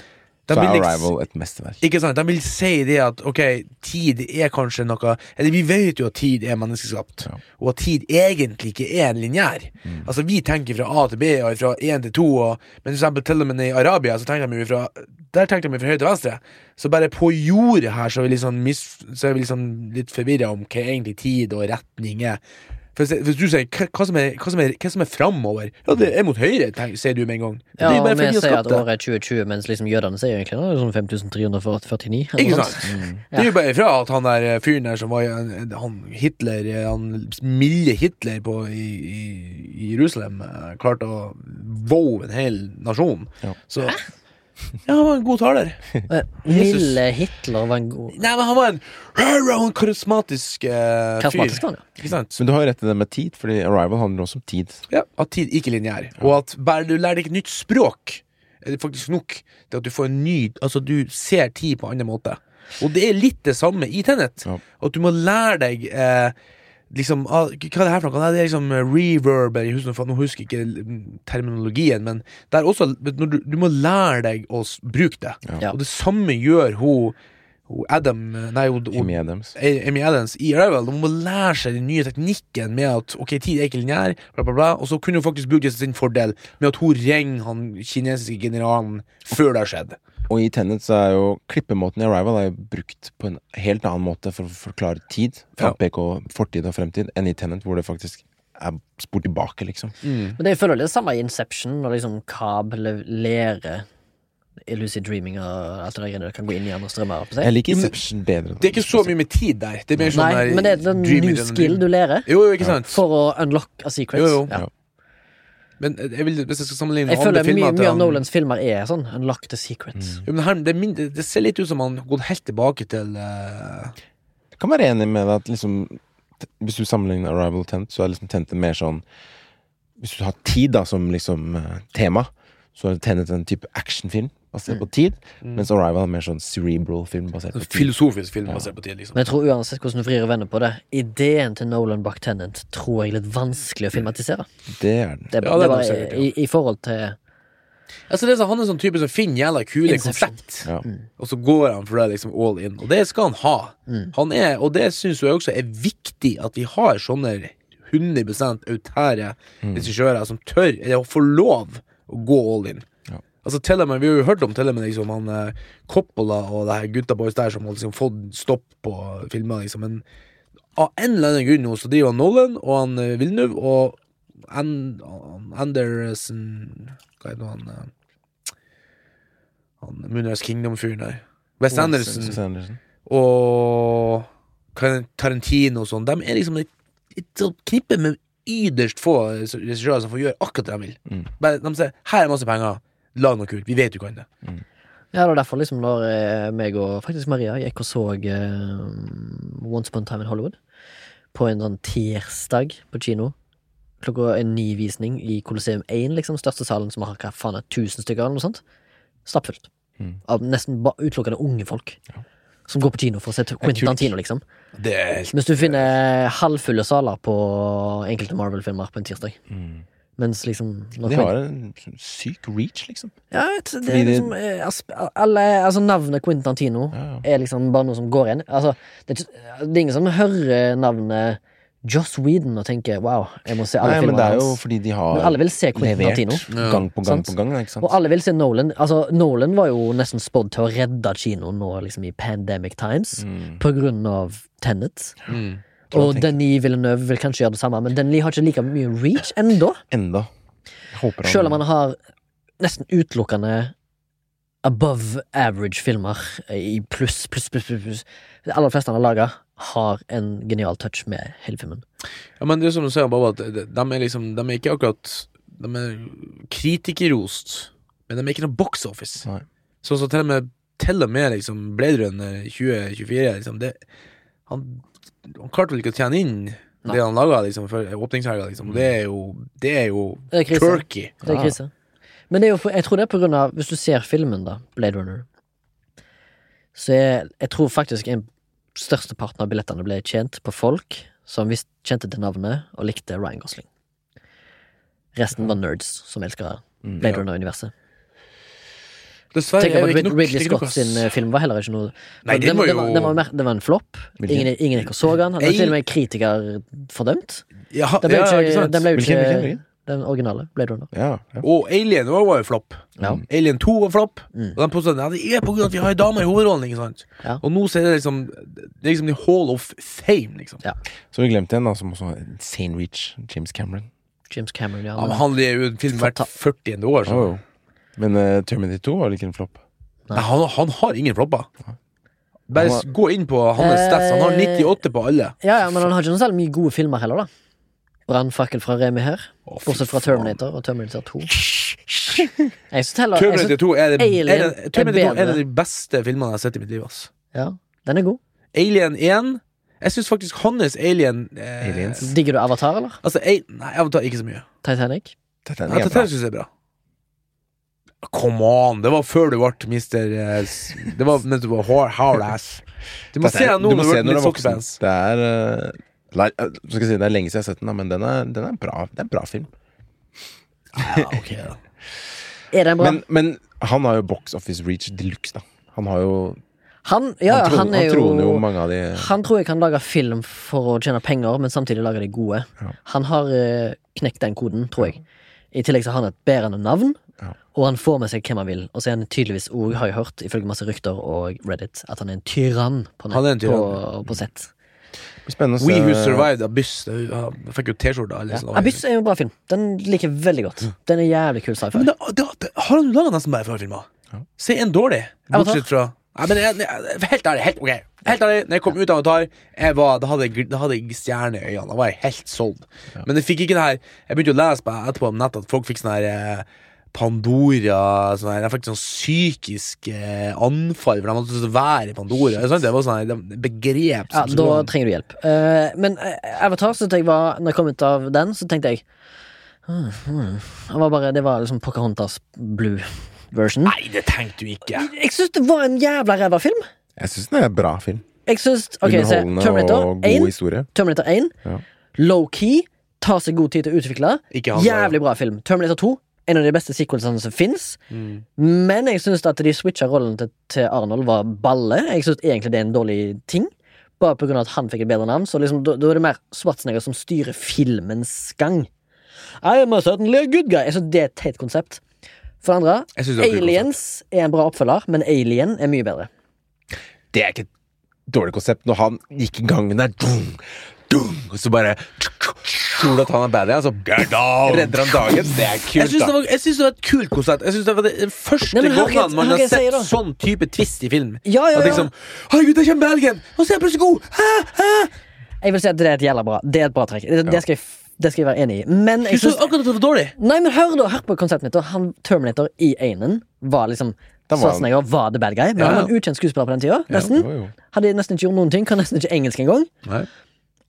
[SPEAKER 3] dem
[SPEAKER 1] så er
[SPEAKER 3] vil liksom ikke-
[SPEAKER 1] Arrival et mesterverk.
[SPEAKER 3] Ikke sant? De vil si det at ok, tid er kanskje noe Eller vi vet jo at tid er menneskeskapt,
[SPEAKER 1] Ja.
[SPEAKER 3] og at tid egentlig ikke er lineær. Altså, vi tenker fra A til B og fra 1 til 2, og, men for eksempel til og med i Arabia så tenker de jo fra Der tenker de jo fra høyre til venstre. Så bare på jordet her så er vi liksom, mis, så er vi liksom litt forvirra om hva egentlig tid og retning er. For se- Hvis du sier hva hva som er, hva som er, hva som er framover Ja, det er mot høyre, tenk- sier du med en gang. Men
[SPEAKER 2] Ja,
[SPEAKER 3] det er jo
[SPEAKER 2] og
[SPEAKER 3] bare
[SPEAKER 2] vi
[SPEAKER 3] fordi vi har
[SPEAKER 2] sier
[SPEAKER 3] skapt
[SPEAKER 2] at
[SPEAKER 3] det.
[SPEAKER 2] året er 2020, mens liksom jødene sier egentlig nå er det sånn 5349. eller
[SPEAKER 3] Ikke
[SPEAKER 2] noe
[SPEAKER 3] sant?
[SPEAKER 2] sånt.
[SPEAKER 3] Det er jo bare ifra at han der eh, fyren der som var eh, han Hitler, eh, han milde Hitler på, i, i, i Jerusalem, eh, klarte å vove en hel nasjon.
[SPEAKER 1] Ja.
[SPEAKER 3] Så Ja, han var en god taler.
[SPEAKER 2] Eh,
[SPEAKER 3] Jesus.
[SPEAKER 2] Ville Hitler var en god
[SPEAKER 3] Nei, men han var en, han var en karismatisk eh, fyr.
[SPEAKER 2] Karismatisk var han, ja.
[SPEAKER 3] Ikke sant?
[SPEAKER 1] Men du har jo rett i det med tid, fordi Arrival handler også om tid.
[SPEAKER 3] Ja, at tid ikke er lineær, og at bare du lærer deg et nytt språk, er det faktisk nok til at du får en ny Altså, du ser tid på en annen måte. Og det er litt det samme i Tenet.
[SPEAKER 1] Ja.
[SPEAKER 3] At du må lære deg eh, liksom ah, Hva er det her for noe? Nei, Det er liksom eh, reverb eller jeg husker- faen, Nå husker jeg ikke mm, terminologien, men det er også vet du, når du, du må lære deg å s- bruke det.
[SPEAKER 2] Ja.
[SPEAKER 3] Og det samme gjør hun, hun Adam eh, Nei, hun, hun
[SPEAKER 1] Jimmy Adams.
[SPEAKER 3] Amy Adams i Arrival De må lære seg den nye teknikken med at Ok, tid er ikke linjær, bla, bla, bla. Og så kunne hun faktisk bruke det til sin fordel med at hun ringer han kinesiske generalen før det har skjedd.
[SPEAKER 1] Og i Tenet så er jo klippemåten i Arrival er jo brukt på en helt annen måte for å forklare tid.
[SPEAKER 3] Ja.
[SPEAKER 1] Ja. fortid og fremtid enn i Tenet, hvor det faktisk er spor tilbake, liksom.
[SPEAKER 2] Men det jeg føler det er det samme i Inception, når liksom Cab le- lærer i Lucid Dreaming og alt det der greiene. Kan gå inn i andre strømmer. holdt på å si.
[SPEAKER 1] Jeg liker Inception bedre.
[SPEAKER 3] Det er ikke så mye med tid der. Det er mer sånn
[SPEAKER 2] Nei,
[SPEAKER 3] der,
[SPEAKER 2] men det er en
[SPEAKER 3] dreamer
[SPEAKER 2] ny
[SPEAKER 3] than a
[SPEAKER 2] skill
[SPEAKER 3] dream.
[SPEAKER 2] du lærer
[SPEAKER 3] Jo, jo, ikke sant?
[SPEAKER 2] for å unlock a secret.
[SPEAKER 3] Jo, jo.
[SPEAKER 2] Ja.
[SPEAKER 3] Men eh, jeg vil, hvis jeg skal sammenligne
[SPEAKER 2] Jeg
[SPEAKER 3] med
[SPEAKER 2] føler
[SPEAKER 3] andre
[SPEAKER 2] mye,
[SPEAKER 3] filmer
[SPEAKER 2] mye av
[SPEAKER 3] at han- Mm.
[SPEAKER 2] Nolans filmer er sånn. Unlock the secret.
[SPEAKER 3] jo, men her, det, er min- det det ser litt ut som han har gått helt tilbake til eh,
[SPEAKER 1] Jeg kan være enig med deg at liksom t- Hvis du sammenligner Arrival og Tenet, så er liksom Tenet en mer sånn Hvis du har tid da som liksom eh, tema, så er Tenet en type actionfilm basert
[SPEAKER 2] Mm.
[SPEAKER 1] på tid, mens Arrival er mer sånn cerebral film basert på
[SPEAKER 3] en
[SPEAKER 1] tid.
[SPEAKER 3] filosofisk film basert på tid. liksom
[SPEAKER 2] Men jeg tror uansett hvordan du vrir og vender på det, ideen til Nolan bak Tennant tror jeg er litt vanskelig å filmatisere.
[SPEAKER 1] Det er den.
[SPEAKER 2] Det, er det er
[SPEAKER 3] Ja, det er
[SPEAKER 2] bare
[SPEAKER 3] nok sikkert, ja.
[SPEAKER 2] i, i forhold til
[SPEAKER 3] Altså, det er sånn, han er sånn type som finner jævla kule
[SPEAKER 2] Inception.
[SPEAKER 3] konsept.
[SPEAKER 1] Ja.
[SPEAKER 2] Mm.
[SPEAKER 3] Og så går han for det liksom all in, og det skal han ha. Han er, og det syns jeg også er viktig at vi har sånne 100 autære regissører som tør, eller får lov, å gå all in.
[SPEAKER 1] Ja.
[SPEAKER 3] Altså til og med, Vi har jo hørt om til og med liksom, han eh, Coppola og det her gutta boys der som har liksom fått stopp på filmer, liksom. Men av en eller annen grunn nå så driver han Nolan og han eh, Villeneuve og An han Anderson Hva heter han eh, Han Moonrise Kingdom-fyren der. West Anderson
[SPEAKER 1] Wes Anderson.
[SPEAKER 3] og Quentin Tarantino og sånn, de er liksom et, et sånt knippe med ytterst få regissører som får gjøre akkurat det de vil.
[SPEAKER 1] Mm.
[SPEAKER 3] Bare, de sier 'her er masse penger, lag noe kult', vi vet du kan det.
[SPEAKER 2] Ja, det var derfor liksom når eh, meg og faktisk Maria gikk og så eh, Once Upon a Time in Hollywood på en sånn tirsdag på kino klokka en ny visning i Colosseum 1, liksom, største salen som har hva faen er 1000 stykker eller noe sånt. Stappfullt.
[SPEAKER 1] Mm.
[SPEAKER 2] Av nesten ba utelukkende unge folk. Som går på kino for å se Quentin
[SPEAKER 1] tror
[SPEAKER 2] Tarantino, liksom.
[SPEAKER 3] Det er helt
[SPEAKER 2] Mens du finner halvfulle saler på enkelte Marvel-filmer på en tirsdag.
[SPEAKER 1] Mm.
[SPEAKER 2] Mens liksom når
[SPEAKER 1] De
[SPEAKER 2] Quentin-
[SPEAKER 1] har en sånn syk reach, liksom.
[SPEAKER 2] Ja, vet, du, det
[SPEAKER 1] Fordi
[SPEAKER 2] er
[SPEAKER 1] det-
[SPEAKER 2] liksom eh, asp- alle, altså Navnet Quentin Tarantino
[SPEAKER 1] Ja, ja.
[SPEAKER 2] er liksom bare noe som går igjen. Altså, det, er ikke- det er ingen som hører navnet Joss Whedon og tenker 'wow, jeg må se alle
[SPEAKER 1] Nei, men det
[SPEAKER 2] filmene
[SPEAKER 1] er jo
[SPEAKER 2] hans'.
[SPEAKER 1] fordi de
[SPEAKER 2] Men
[SPEAKER 1] har
[SPEAKER 2] alle vil se Quentin Tarantino.
[SPEAKER 1] levert
[SPEAKER 3] Ja.
[SPEAKER 1] gang på gang
[SPEAKER 2] Sant?
[SPEAKER 1] på gang. Ikke sant?
[SPEAKER 2] Og alle vil se Nolan. Altså, Nolan var jo nesten spådd til å redde kinoen nå liksom i pandemic times.
[SPEAKER 1] Mm.
[SPEAKER 2] På grunn av Tenet.
[SPEAKER 3] mm.
[SPEAKER 1] Tror
[SPEAKER 2] Og
[SPEAKER 1] jeg
[SPEAKER 2] Denis Villeneuve vil kanskje gjøre det samme, men Denis har ikke like mye reach enda.
[SPEAKER 1] Enda. Jeg Håper han
[SPEAKER 2] Selv om han har nesten utelukkende above average filmer i pluss, pluss, pluss, pluss, pluss. De aller fleste han har laga, har en genial touch med hele filmen.
[SPEAKER 3] Ja, men det er som du sier, Baba, at de de er liksom De er ikke akkurat De er kritikerrost, men de er ikke noe box office.
[SPEAKER 1] Nei.
[SPEAKER 3] Så, så til og med, til og med liksom Blade Runner 2024 liksom, det, han, han klarte vel ikke å tjene inn
[SPEAKER 2] Nei.
[SPEAKER 3] det han laga liksom, før åpningshelga, liksom. Det er jo Det er jo
[SPEAKER 2] Det er krise.
[SPEAKER 3] turkey.
[SPEAKER 2] Det er
[SPEAKER 1] Ja.
[SPEAKER 2] krise. Men det er jo, for- jeg tror det er på grunn av Hvis du ser filmen, da, Blade Runner, så jeg, jeg tror faktisk en største parten av billettene ble tjent på folk som visst kjente til navnet og likte Ryan Gosling. Resten var nerds som elsker
[SPEAKER 1] Mm.
[SPEAKER 2] Blade Runner-universet.
[SPEAKER 3] Dessverre
[SPEAKER 2] Tenker
[SPEAKER 3] er
[SPEAKER 2] på
[SPEAKER 3] det
[SPEAKER 2] at
[SPEAKER 3] ikke
[SPEAKER 2] Rid
[SPEAKER 3] nok. det
[SPEAKER 2] Ridley
[SPEAKER 3] er ikke nok,
[SPEAKER 2] Scott
[SPEAKER 3] ass.
[SPEAKER 2] sin eh, film var heller ikke noe
[SPEAKER 3] Nei,
[SPEAKER 2] den,
[SPEAKER 3] den var
[SPEAKER 2] den, var,
[SPEAKER 3] jo-
[SPEAKER 2] den, var mer, den var en flopp.
[SPEAKER 1] Hvilken?
[SPEAKER 2] Ingen, ingen ikke så den. Han var
[SPEAKER 3] Ei-
[SPEAKER 2] til og med kritiker fordømt.
[SPEAKER 3] Ja,
[SPEAKER 2] Den ble
[SPEAKER 3] ja,
[SPEAKER 2] jo
[SPEAKER 3] ikke
[SPEAKER 2] ikke,
[SPEAKER 3] sant?
[SPEAKER 2] den, ble jo
[SPEAKER 1] Hvilken-
[SPEAKER 2] ikke
[SPEAKER 1] hvilken- hvilken?
[SPEAKER 2] den originale Blade Runner.
[SPEAKER 1] Ja, ja.
[SPEAKER 3] Og Alien også var jo flopp.
[SPEAKER 2] Ja.
[SPEAKER 3] Alien 2 var flopp.
[SPEAKER 2] Mm.
[SPEAKER 3] Og de påstod at ja, det er på grunn av at vi har en dame i hovedrollen. ikke sant?
[SPEAKER 2] Ja.
[SPEAKER 3] Og nå så er det liksom Det er liksom the hall of fame, liksom.
[SPEAKER 2] Ja.
[SPEAKER 1] Så har vi glemt en da, som også har insane reach. James Cameron.
[SPEAKER 2] James Cameron, ja.
[SPEAKER 3] Ja, men
[SPEAKER 2] men-
[SPEAKER 3] han er jo en film hvert
[SPEAKER 2] Fanta-
[SPEAKER 3] 40. år, så
[SPEAKER 1] Oh, jo. Men eh, Terminator 2 var vel ikke en flopp?
[SPEAKER 2] Nei.
[SPEAKER 3] Nei, han, han har ingen flopper.
[SPEAKER 1] Han
[SPEAKER 3] Bare
[SPEAKER 1] har-
[SPEAKER 3] s- gå inn på hans
[SPEAKER 2] Eh,
[SPEAKER 3] stats. Han har 98 på alle.
[SPEAKER 2] ja, ja, men han har ikke noe særlig mye gode filmer heller, da. Brannfakkel fra Remi her,
[SPEAKER 3] Å, fy
[SPEAKER 2] bortsett fra
[SPEAKER 3] faen.
[SPEAKER 2] Terminator og Terminator 2. Jeg synes heller jeg
[SPEAKER 3] Terminator
[SPEAKER 2] synes,
[SPEAKER 3] 2 er, det,
[SPEAKER 2] Alien
[SPEAKER 3] er,
[SPEAKER 2] er
[SPEAKER 3] det, Terminator 2 er
[SPEAKER 2] bedre.
[SPEAKER 3] de beste filmene jeg har sett i mitt liv. ass
[SPEAKER 2] ja, Den er god.
[SPEAKER 3] Alien 1 Jeg syns faktisk hans Alien eh,
[SPEAKER 1] Aliens.
[SPEAKER 2] Digger du Avatar, eller?
[SPEAKER 3] Altså, A- nei, Avatar ikke så mye.
[SPEAKER 2] Titanic?
[SPEAKER 1] Titanic
[SPEAKER 3] Ja,
[SPEAKER 1] er
[SPEAKER 3] Titanic
[SPEAKER 1] bra.
[SPEAKER 3] syns jeg er bra. Come on! Det var før du ble mister eh, s- Det var mens du var hard, hard ass. Du må se
[SPEAKER 1] Titanic-
[SPEAKER 3] den nå når du har
[SPEAKER 1] den
[SPEAKER 3] blitt
[SPEAKER 1] er voksen.
[SPEAKER 3] sokkefans.
[SPEAKER 1] Det er eh, nei, eh, skal jeg si, det er lenge siden jeg har sett den, da, men den er, den er bra. Det er en bra film.
[SPEAKER 3] Ja, ok, da.
[SPEAKER 2] Er den bra?
[SPEAKER 1] Men, men han har jo box office reach de luxe, da. Han har jo
[SPEAKER 2] han, ja,
[SPEAKER 1] han,
[SPEAKER 2] han,
[SPEAKER 1] tro,
[SPEAKER 2] han er
[SPEAKER 1] troner jo
[SPEAKER 2] jo
[SPEAKER 1] mange av de
[SPEAKER 2] Han tror jeg kan lage film for å tjene penger, men samtidig lage de gode.
[SPEAKER 1] Ja.
[SPEAKER 2] Han har eh, knekt den koden, tror jeg. I tillegg så har han et bærende navn,
[SPEAKER 1] Ja.
[SPEAKER 2] og han får med seg hvem han vil. Og så er han tydeligvis òg, har jeg hørt, ifølge masse rykter og Reddit, at han er en tyrann på, nett,
[SPEAKER 3] Han er en Mm.
[SPEAKER 2] på, på sett.
[SPEAKER 1] Det blir Spennende å
[SPEAKER 3] We Who
[SPEAKER 1] se.
[SPEAKER 3] Survived Abyss. det- ja, Jeg fikk jo T-skjorte. alle sånne.
[SPEAKER 2] Abyss er jo en bra film. Den liker jeg veldig godt. Den er jævlig kul
[SPEAKER 3] Mm.
[SPEAKER 2] sci-fi.
[SPEAKER 3] Men da, da, da har han laga nesten bare filmer.
[SPEAKER 1] Ja.
[SPEAKER 3] Se en dårlig.
[SPEAKER 2] Avatar?
[SPEAKER 3] Bortsett fra Nei, men jeg, jeg, Helt ærlig, helt, ok. helt ærlig, når jeg kom ut av Avatar, jeg var, da, hadde jeg, gl- da hadde jeg stjerne i øynene. Da var jeg helt solgt. Men jeg fikk ikke det her Jeg begynte å lese på etterpå om nettet at folk fikk sånn her eh, Pandora sånn her, Jeg fikk sånn psykisk eh, anfall, for de måtte så være i Pandora. Er det sant? Det var sånn her, det- det begrep
[SPEAKER 2] Ja,
[SPEAKER 3] som
[SPEAKER 2] da trenger du hjelp. Eh, men eh, Avatar, så tenkte jeg var, når jeg kom ut av den, så tenkte jeg hmm, hmm. Det var bare, Det var liksom Pocahontas blue version.
[SPEAKER 3] Nei, det tenkte du ikke.
[SPEAKER 2] Jeg syns det var en jævla ræva film.
[SPEAKER 1] Jeg syns den er en bra film.
[SPEAKER 2] Jeg synes, ok, se,
[SPEAKER 1] Underholdende
[SPEAKER 2] Terminator
[SPEAKER 1] og god
[SPEAKER 2] 1,
[SPEAKER 1] historie.
[SPEAKER 2] Terminator 1
[SPEAKER 1] Ja.
[SPEAKER 2] low-key, tar seg god tid til å utvikle.
[SPEAKER 3] Ikke han, da.
[SPEAKER 2] Jævlig bra film. Terminator 2, en av de beste sequelsene som fins.
[SPEAKER 3] Mm.
[SPEAKER 2] Men jeg syns at de switcha rollen til, til Arnold var balle. Jeg syns egentlig det er en dårlig ting. Bare pga. at han fikk et bedre navn. Så liksom, da, da er det mer Schwarzenegger som styrer filmens gang. I am a certainly a good guy. Jeg synes det er et teit konsept. For det andre,
[SPEAKER 3] Jeg synes det var et kult altså.
[SPEAKER 2] Aliens er en bra oppfølger, men Alien er mye bedre.
[SPEAKER 1] Det er ikke et dårlig konsept når han gikk i gangen der dung, dung, Og så bare Tror du at han er bad, ja? Så
[SPEAKER 3] altså?
[SPEAKER 1] redder han dagen. Det er
[SPEAKER 3] Jeg
[SPEAKER 1] kult,
[SPEAKER 3] syns det,
[SPEAKER 1] da.
[SPEAKER 3] var- jeg synes det var et kult konsept. Jeg synes Det var det den første
[SPEAKER 2] Nei, men hør hva jeg-
[SPEAKER 3] gangen man
[SPEAKER 2] hør hva
[SPEAKER 3] har
[SPEAKER 2] jeg sier
[SPEAKER 3] sett
[SPEAKER 2] da.
[SPEAKER 3] sånn type twist i film.
[SPEAKER 2] Ja, ja,
[SPEAKER 3] At
[SPEAKER 2] ja.
[SPEAKER 3] liksom Herregud, der kommer Belgien! Og så er jeg plutselig god! Hæ? Hæ?
[SPEAKER 2] Jeg vil si at det er et jævla bra Det er et bra trekk. Det, det, skal, jeg, f- det skal jeg være enig i. Men
[SPEAKER 3] Du
[SPEAKER 2] jeg
[SPEAKER 3] så
[SPEAKER 2] synes,
[SPEAKER 3] akkurat at det var dårlig.
[SPEAKER 2] Nei, men hør da, hør på konseptet mitt. da. Han Terminator i Einen var liksom
[SPEAKER 1] Da var han-
[SPEAKER 2] Schwarzenegger var the bad guy, men
[SPEAKER 3] Ja,
[SPEAKER 2] han
[SPEAKER 3] ja.
[SPEAKER 2] var en ukjent skuespiller på den tida.
[SPEAKER 1] Ja,
[SPEAKER 2] Nesten.
[SPEAKER 1] jo, jo.
[SPEAKER 2] Hadde nesten ikke gjort noen ting, kan nesten ikke engelsk engang.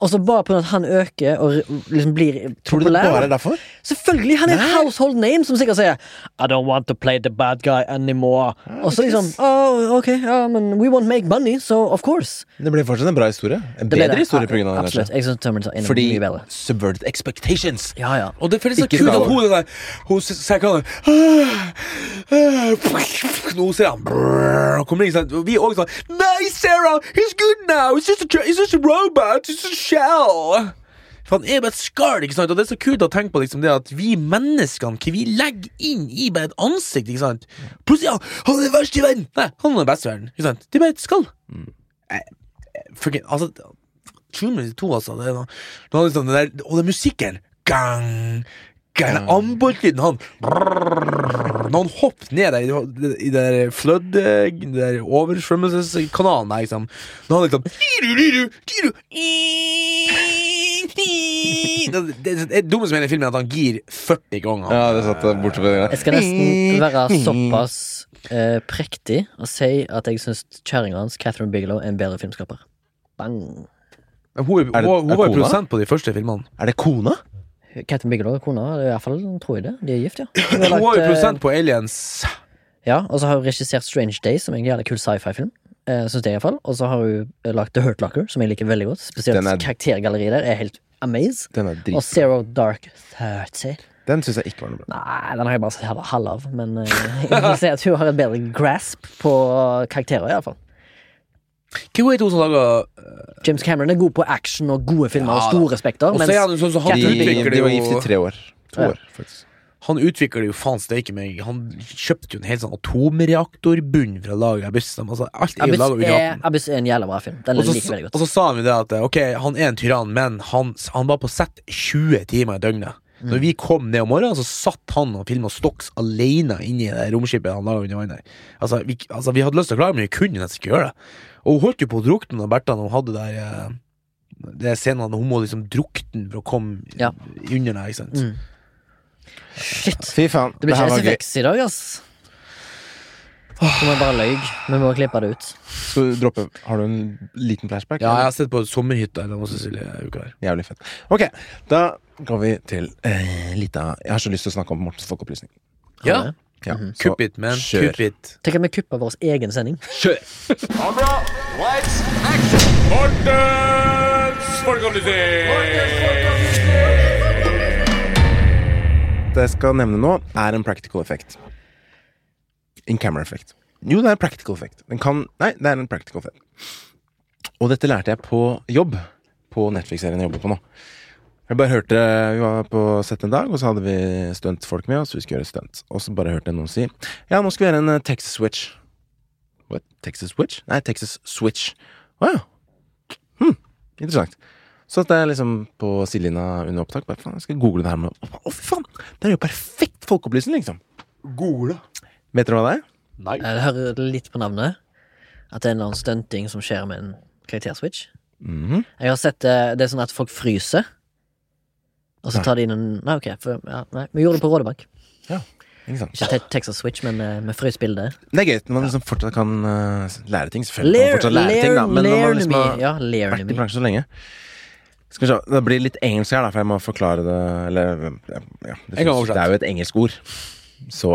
[SPEAKER 2] Og så bare på grunn av at han øker og liksom blir
[SPEAKER 1] Tror du det
[SPEAKER 2] populær.
[SPEAKER 1] bare er derfor?
[SPEAKER 2] Selvfølgelig! Han er en
[SPEAKER 1] Nei.
[SPEAKER 2] household name som sikkert sier I don't want to play the bad guy anymore.
[SPEAKER 1] Ah,
[SPEAKER 2] og så liksom oh, Ok, ja, men we won't make money, so of course.
[SPEAKER 1] Det ble fortsatt en bra historie. En
[SPEAKER 2] Det ble
[SPEAKER 1] bedre
[SPEAKER 2] det.
[SPEAKER 1] historie på grunn av
[SPEAKER 2] Ja,
[SPEAKER 1] det.
[SPEAKER 2] Absolutt.
[SPEAKER 1] kanskje.
[SPEAKER 2] Jeg synes Terminator er
[SPEAKER 1] Fordi
[SPEAKER 2] mye bedre.
[SPEAKER 1] subverted expectations.
[SPEAKER 2] Ja, ja.
[SPEAKER 3] Og det er så
[SPEAKER 1] Ikke
[SPEAKER 3] kult
[SPEAKER 1] Star Wars.
[SPEAKER 3] at hun der Hun s- sier hva det er. «Ah, Nå sier han brrr, og kommer inn, sant? Og vi er også sånn Nei, Sarah! He's good now! He's just a, tra- he's just a robot! He's just a shell! For han er bare et skall, ikke sant? Og det er så kult å tenke på liksom, det at vi menneskene hva vi legger inn i bare et ansikt. ikke sant? Plutselig ja, han er den verste i verden! Nei, han er den beste i verden. ikke sant? Det er bare et skall. Eh, eh, fucking- altså, Truman 2, altså. Det, er noe- det var liksom det der, og den musikken Gang! gang den Amboltlyden, han brrrr, Når han hoppet ned der, i det- i det der flood eh, det der oversvømmelseskanalen der, liksom Når han liksom diru, diru, diru, i- i- Det- Det det dummeste med hele filmen er at han gir 40 ganger.
[SPEAKER 1] Ja, det satt eh, borte ved
[SPEAKER 2] Jeg skal nesten være såpass eh, prektig og si at jeg syns kjerringa hans, Catherine Bigelow, er en bedre filmskaper. Bang!
[SPEAKER 3] Hun, hun,
[SPEAKER 1] Er det-
[SPEAKER 3] hun
[SPEAKER 1] er
[SPEAKER 3] var jo
[SPEAKER 1] kona?
[SPEAKER 3] produsent på de første filmene.
[SPEAKER 1] Er det kona?
[SPEAKER 2] Catherine Bigelow og kona, i hvert fall tror jeg det. De er gift, ja. Hun har
[SPEAKER 3] Hun var
[SPEAKER 2] lagt,
[SPEAKER 3] jo
[SPEAKER 2] eh,
[SPEAKER 3] produsent på Aliens.
[SPEAKER 2] Ja, og så har hun regissert Strange Days, som er en jævlig kul sci-fi-film. Eh, synes jeg i hvert fall Og så har hun eh, lagt The Hurt Locker, som jeg liker veldig godt. Spesielt
[SPEAKER 1] Den er-
[SPEAKER 2] karaktergalleriet der er helt amaze.
[SPEAKER 1] Den er
[SPEAKER 2] Og
[SPEAKER 1] drit.
[SPEAKER 2] Zero Dark 30.
[SPEAKER 1] Den syns jeg ikke var noe bra.
[SPEAKER 2] Nei, den har jeg bare sett halv- halv av, men eh, jeg ser at hun har et bedre grasp på karakterer, i hvert fall.
[SPEAKER 3] Hvem er det hun som lager
[SPEAKER 2] James Cameron er god på action og gode filmer
[SPEAKER 3] Ja,
[SPEAKER 2] og store spekter,
[SPEAKER 3] Og så
[SPEAKER 2] mens
[SPEAKER 3] er han jo sånn som han
[SPEAKER 1] De,
[SPEAKER 3] utvikler
[SPEAKER 1] de
[SPEAKER 3] jo
[SPEAKER 1] var gift i tre år. To
[SPEAKER 2] Ja.
[SPEAKER 1] år, faktisk.
[SPEAKER 3] Han utvikler jo faen steike meg. Han kjøpte jo en hel sånn atomreaktorbunn fra laget Abyss. De- Altså, alt er jo
[SPEAKER 2] Abyss
[SPEAKER 3] laget under
[SPEAKER 2] er,
[SPEAKER 3] hatten.
[SPEAKER 2] Abyss er en jævla bra film. Den
[SPEAKER 3] Og så,
[SPEAKER 2] liker jeg veldig
[SPEAKER 3] og
[SPEAKER 2] godt.
[SPEAKER 3] så sa han jo det at ok, han er en tyrann, men han, han var på sett 20 timer i døgnet.
[SPEAKER 2] Mm.
[SPEAKER 3] Når vi kom ned om morgenen, så satt han og filma Stocks alene inni det romskipet han laga under vann der. Altså, vi, altså, vi hadde lyst til å klare men vi kunne nesten ikke gjøre det. Og hun holdt jo på å drukne når Bertha når hun hadde der eh, Det er scenen når hun må liksom drukne for å komme
[SPEAKER 2] Ja.
[SPEAKER 3] under der, ikke sant.
[SPEAKER 2] Mm. Shit.
[SPEAKER 1] Fy faen.
[SPEAKER 2] Det blir
[SPEAKER 1] her
[SPEAKER 2] ikke
[SPEAKER 1] var gøy.
[SPEAKER 2] SFX i dag, ass. Så man bare løy. Vi må klippe det ut.
[SPEAKER 1] Skal du droppe Har du en liten flashback?
[SPEAKER 3] Ja, jeg har sett på sommerhytta eller noe Cecilie denne uka her.
[SPEAKER 1] Jævlig fett. Ok, da går vi til eh, lita Jeg har så lyst til å snakke om Mortens folkeopplysning.
[SPEAKER 3] Ja,
[SPEAKER 1] Ja, så
[SPEAKER 3] kupp it, man.
[SPEAKER 1] Kjør.
[SPEAKER 3] Kupp it.
[SPEAKER 2] Tenk at vi kupper vår egen sending.
[SPEAKER 3] Kjør.
[SPEAKER 4] Kamera, lights, action! Mortens folkeopplysning!
[SPEAKER 1] Det jeg skal nevne nå, er en practical effect. In camera effect. Jo, det er en practical effect. Den kan Nei, det er en practical effect. Og dette lærte jeg på jobb. På Netflix-serien jeg jobber på nå. Jeg bare hørte Vi var på sett en dag, og så hadde vi stuntfolk med oss. Vi skulle gjøre stunt. Og så bare hørte jeg noen si Ja, nå skal vi gjøre en eh, Texas Switch. What? Texas Switch? Nei, Texas Switch. Å ja. Hm. Interessant. Så at jeg liksom på sidelinja under opptak bare, faen, jeg skal google det her med Å, fy faen! Det er jo perfekt folkeopplysning, liksom.
[SPEAKER 3] Gole.
[SPEAKER 1] Vet dere hva det er?
[SPEAKER 3] Nei.
[SPEAKER 2] Jeg hører Eh, litt på navnet at det er en eller annen stunting som skjer med en karakterswitch.
[SPEAKER 1] Mhm.
[SPEAKER 2] Jeg har sett det, det er sånn at folk fryser, og så
[SPEAKER 1] Nei.
[SPEAKER 2] tar de inn en Nei, ok. For, ja, nei. Vi gjorde det på Rådebank.
[SPEAKER 1] Ikke sant?
[SPEAKER 2] Ikke te- Texas Switch, men eh, vi frøs bildet.
[SPEAKER 1] Det er gøy når man liksom fortsatt kan eh, lære ting. Selvfølgelig kan man
[SPEAKER 2] Lair,
[SPEAKER 1] fortsatt lære ting, da. Men når man liksom
[SPEAKER 2] me.
[SPEAKER 1] har
[SPEAKER 2] Ja, lair
[SPEAKER 1] vært i
[SPEAKER 2] me.
[SPEAKER 1] bransjen så lenge Skal vi se, Det blir litt engelsk her, da, for jeg må forklare det Eller ja, det,
[SPEAKER 3] Jeg kan
[SPEAKER 1] finnes,
[SPEAKER 3] oversette.
[SPEAKER 1] det er jo et engelsk ord. Så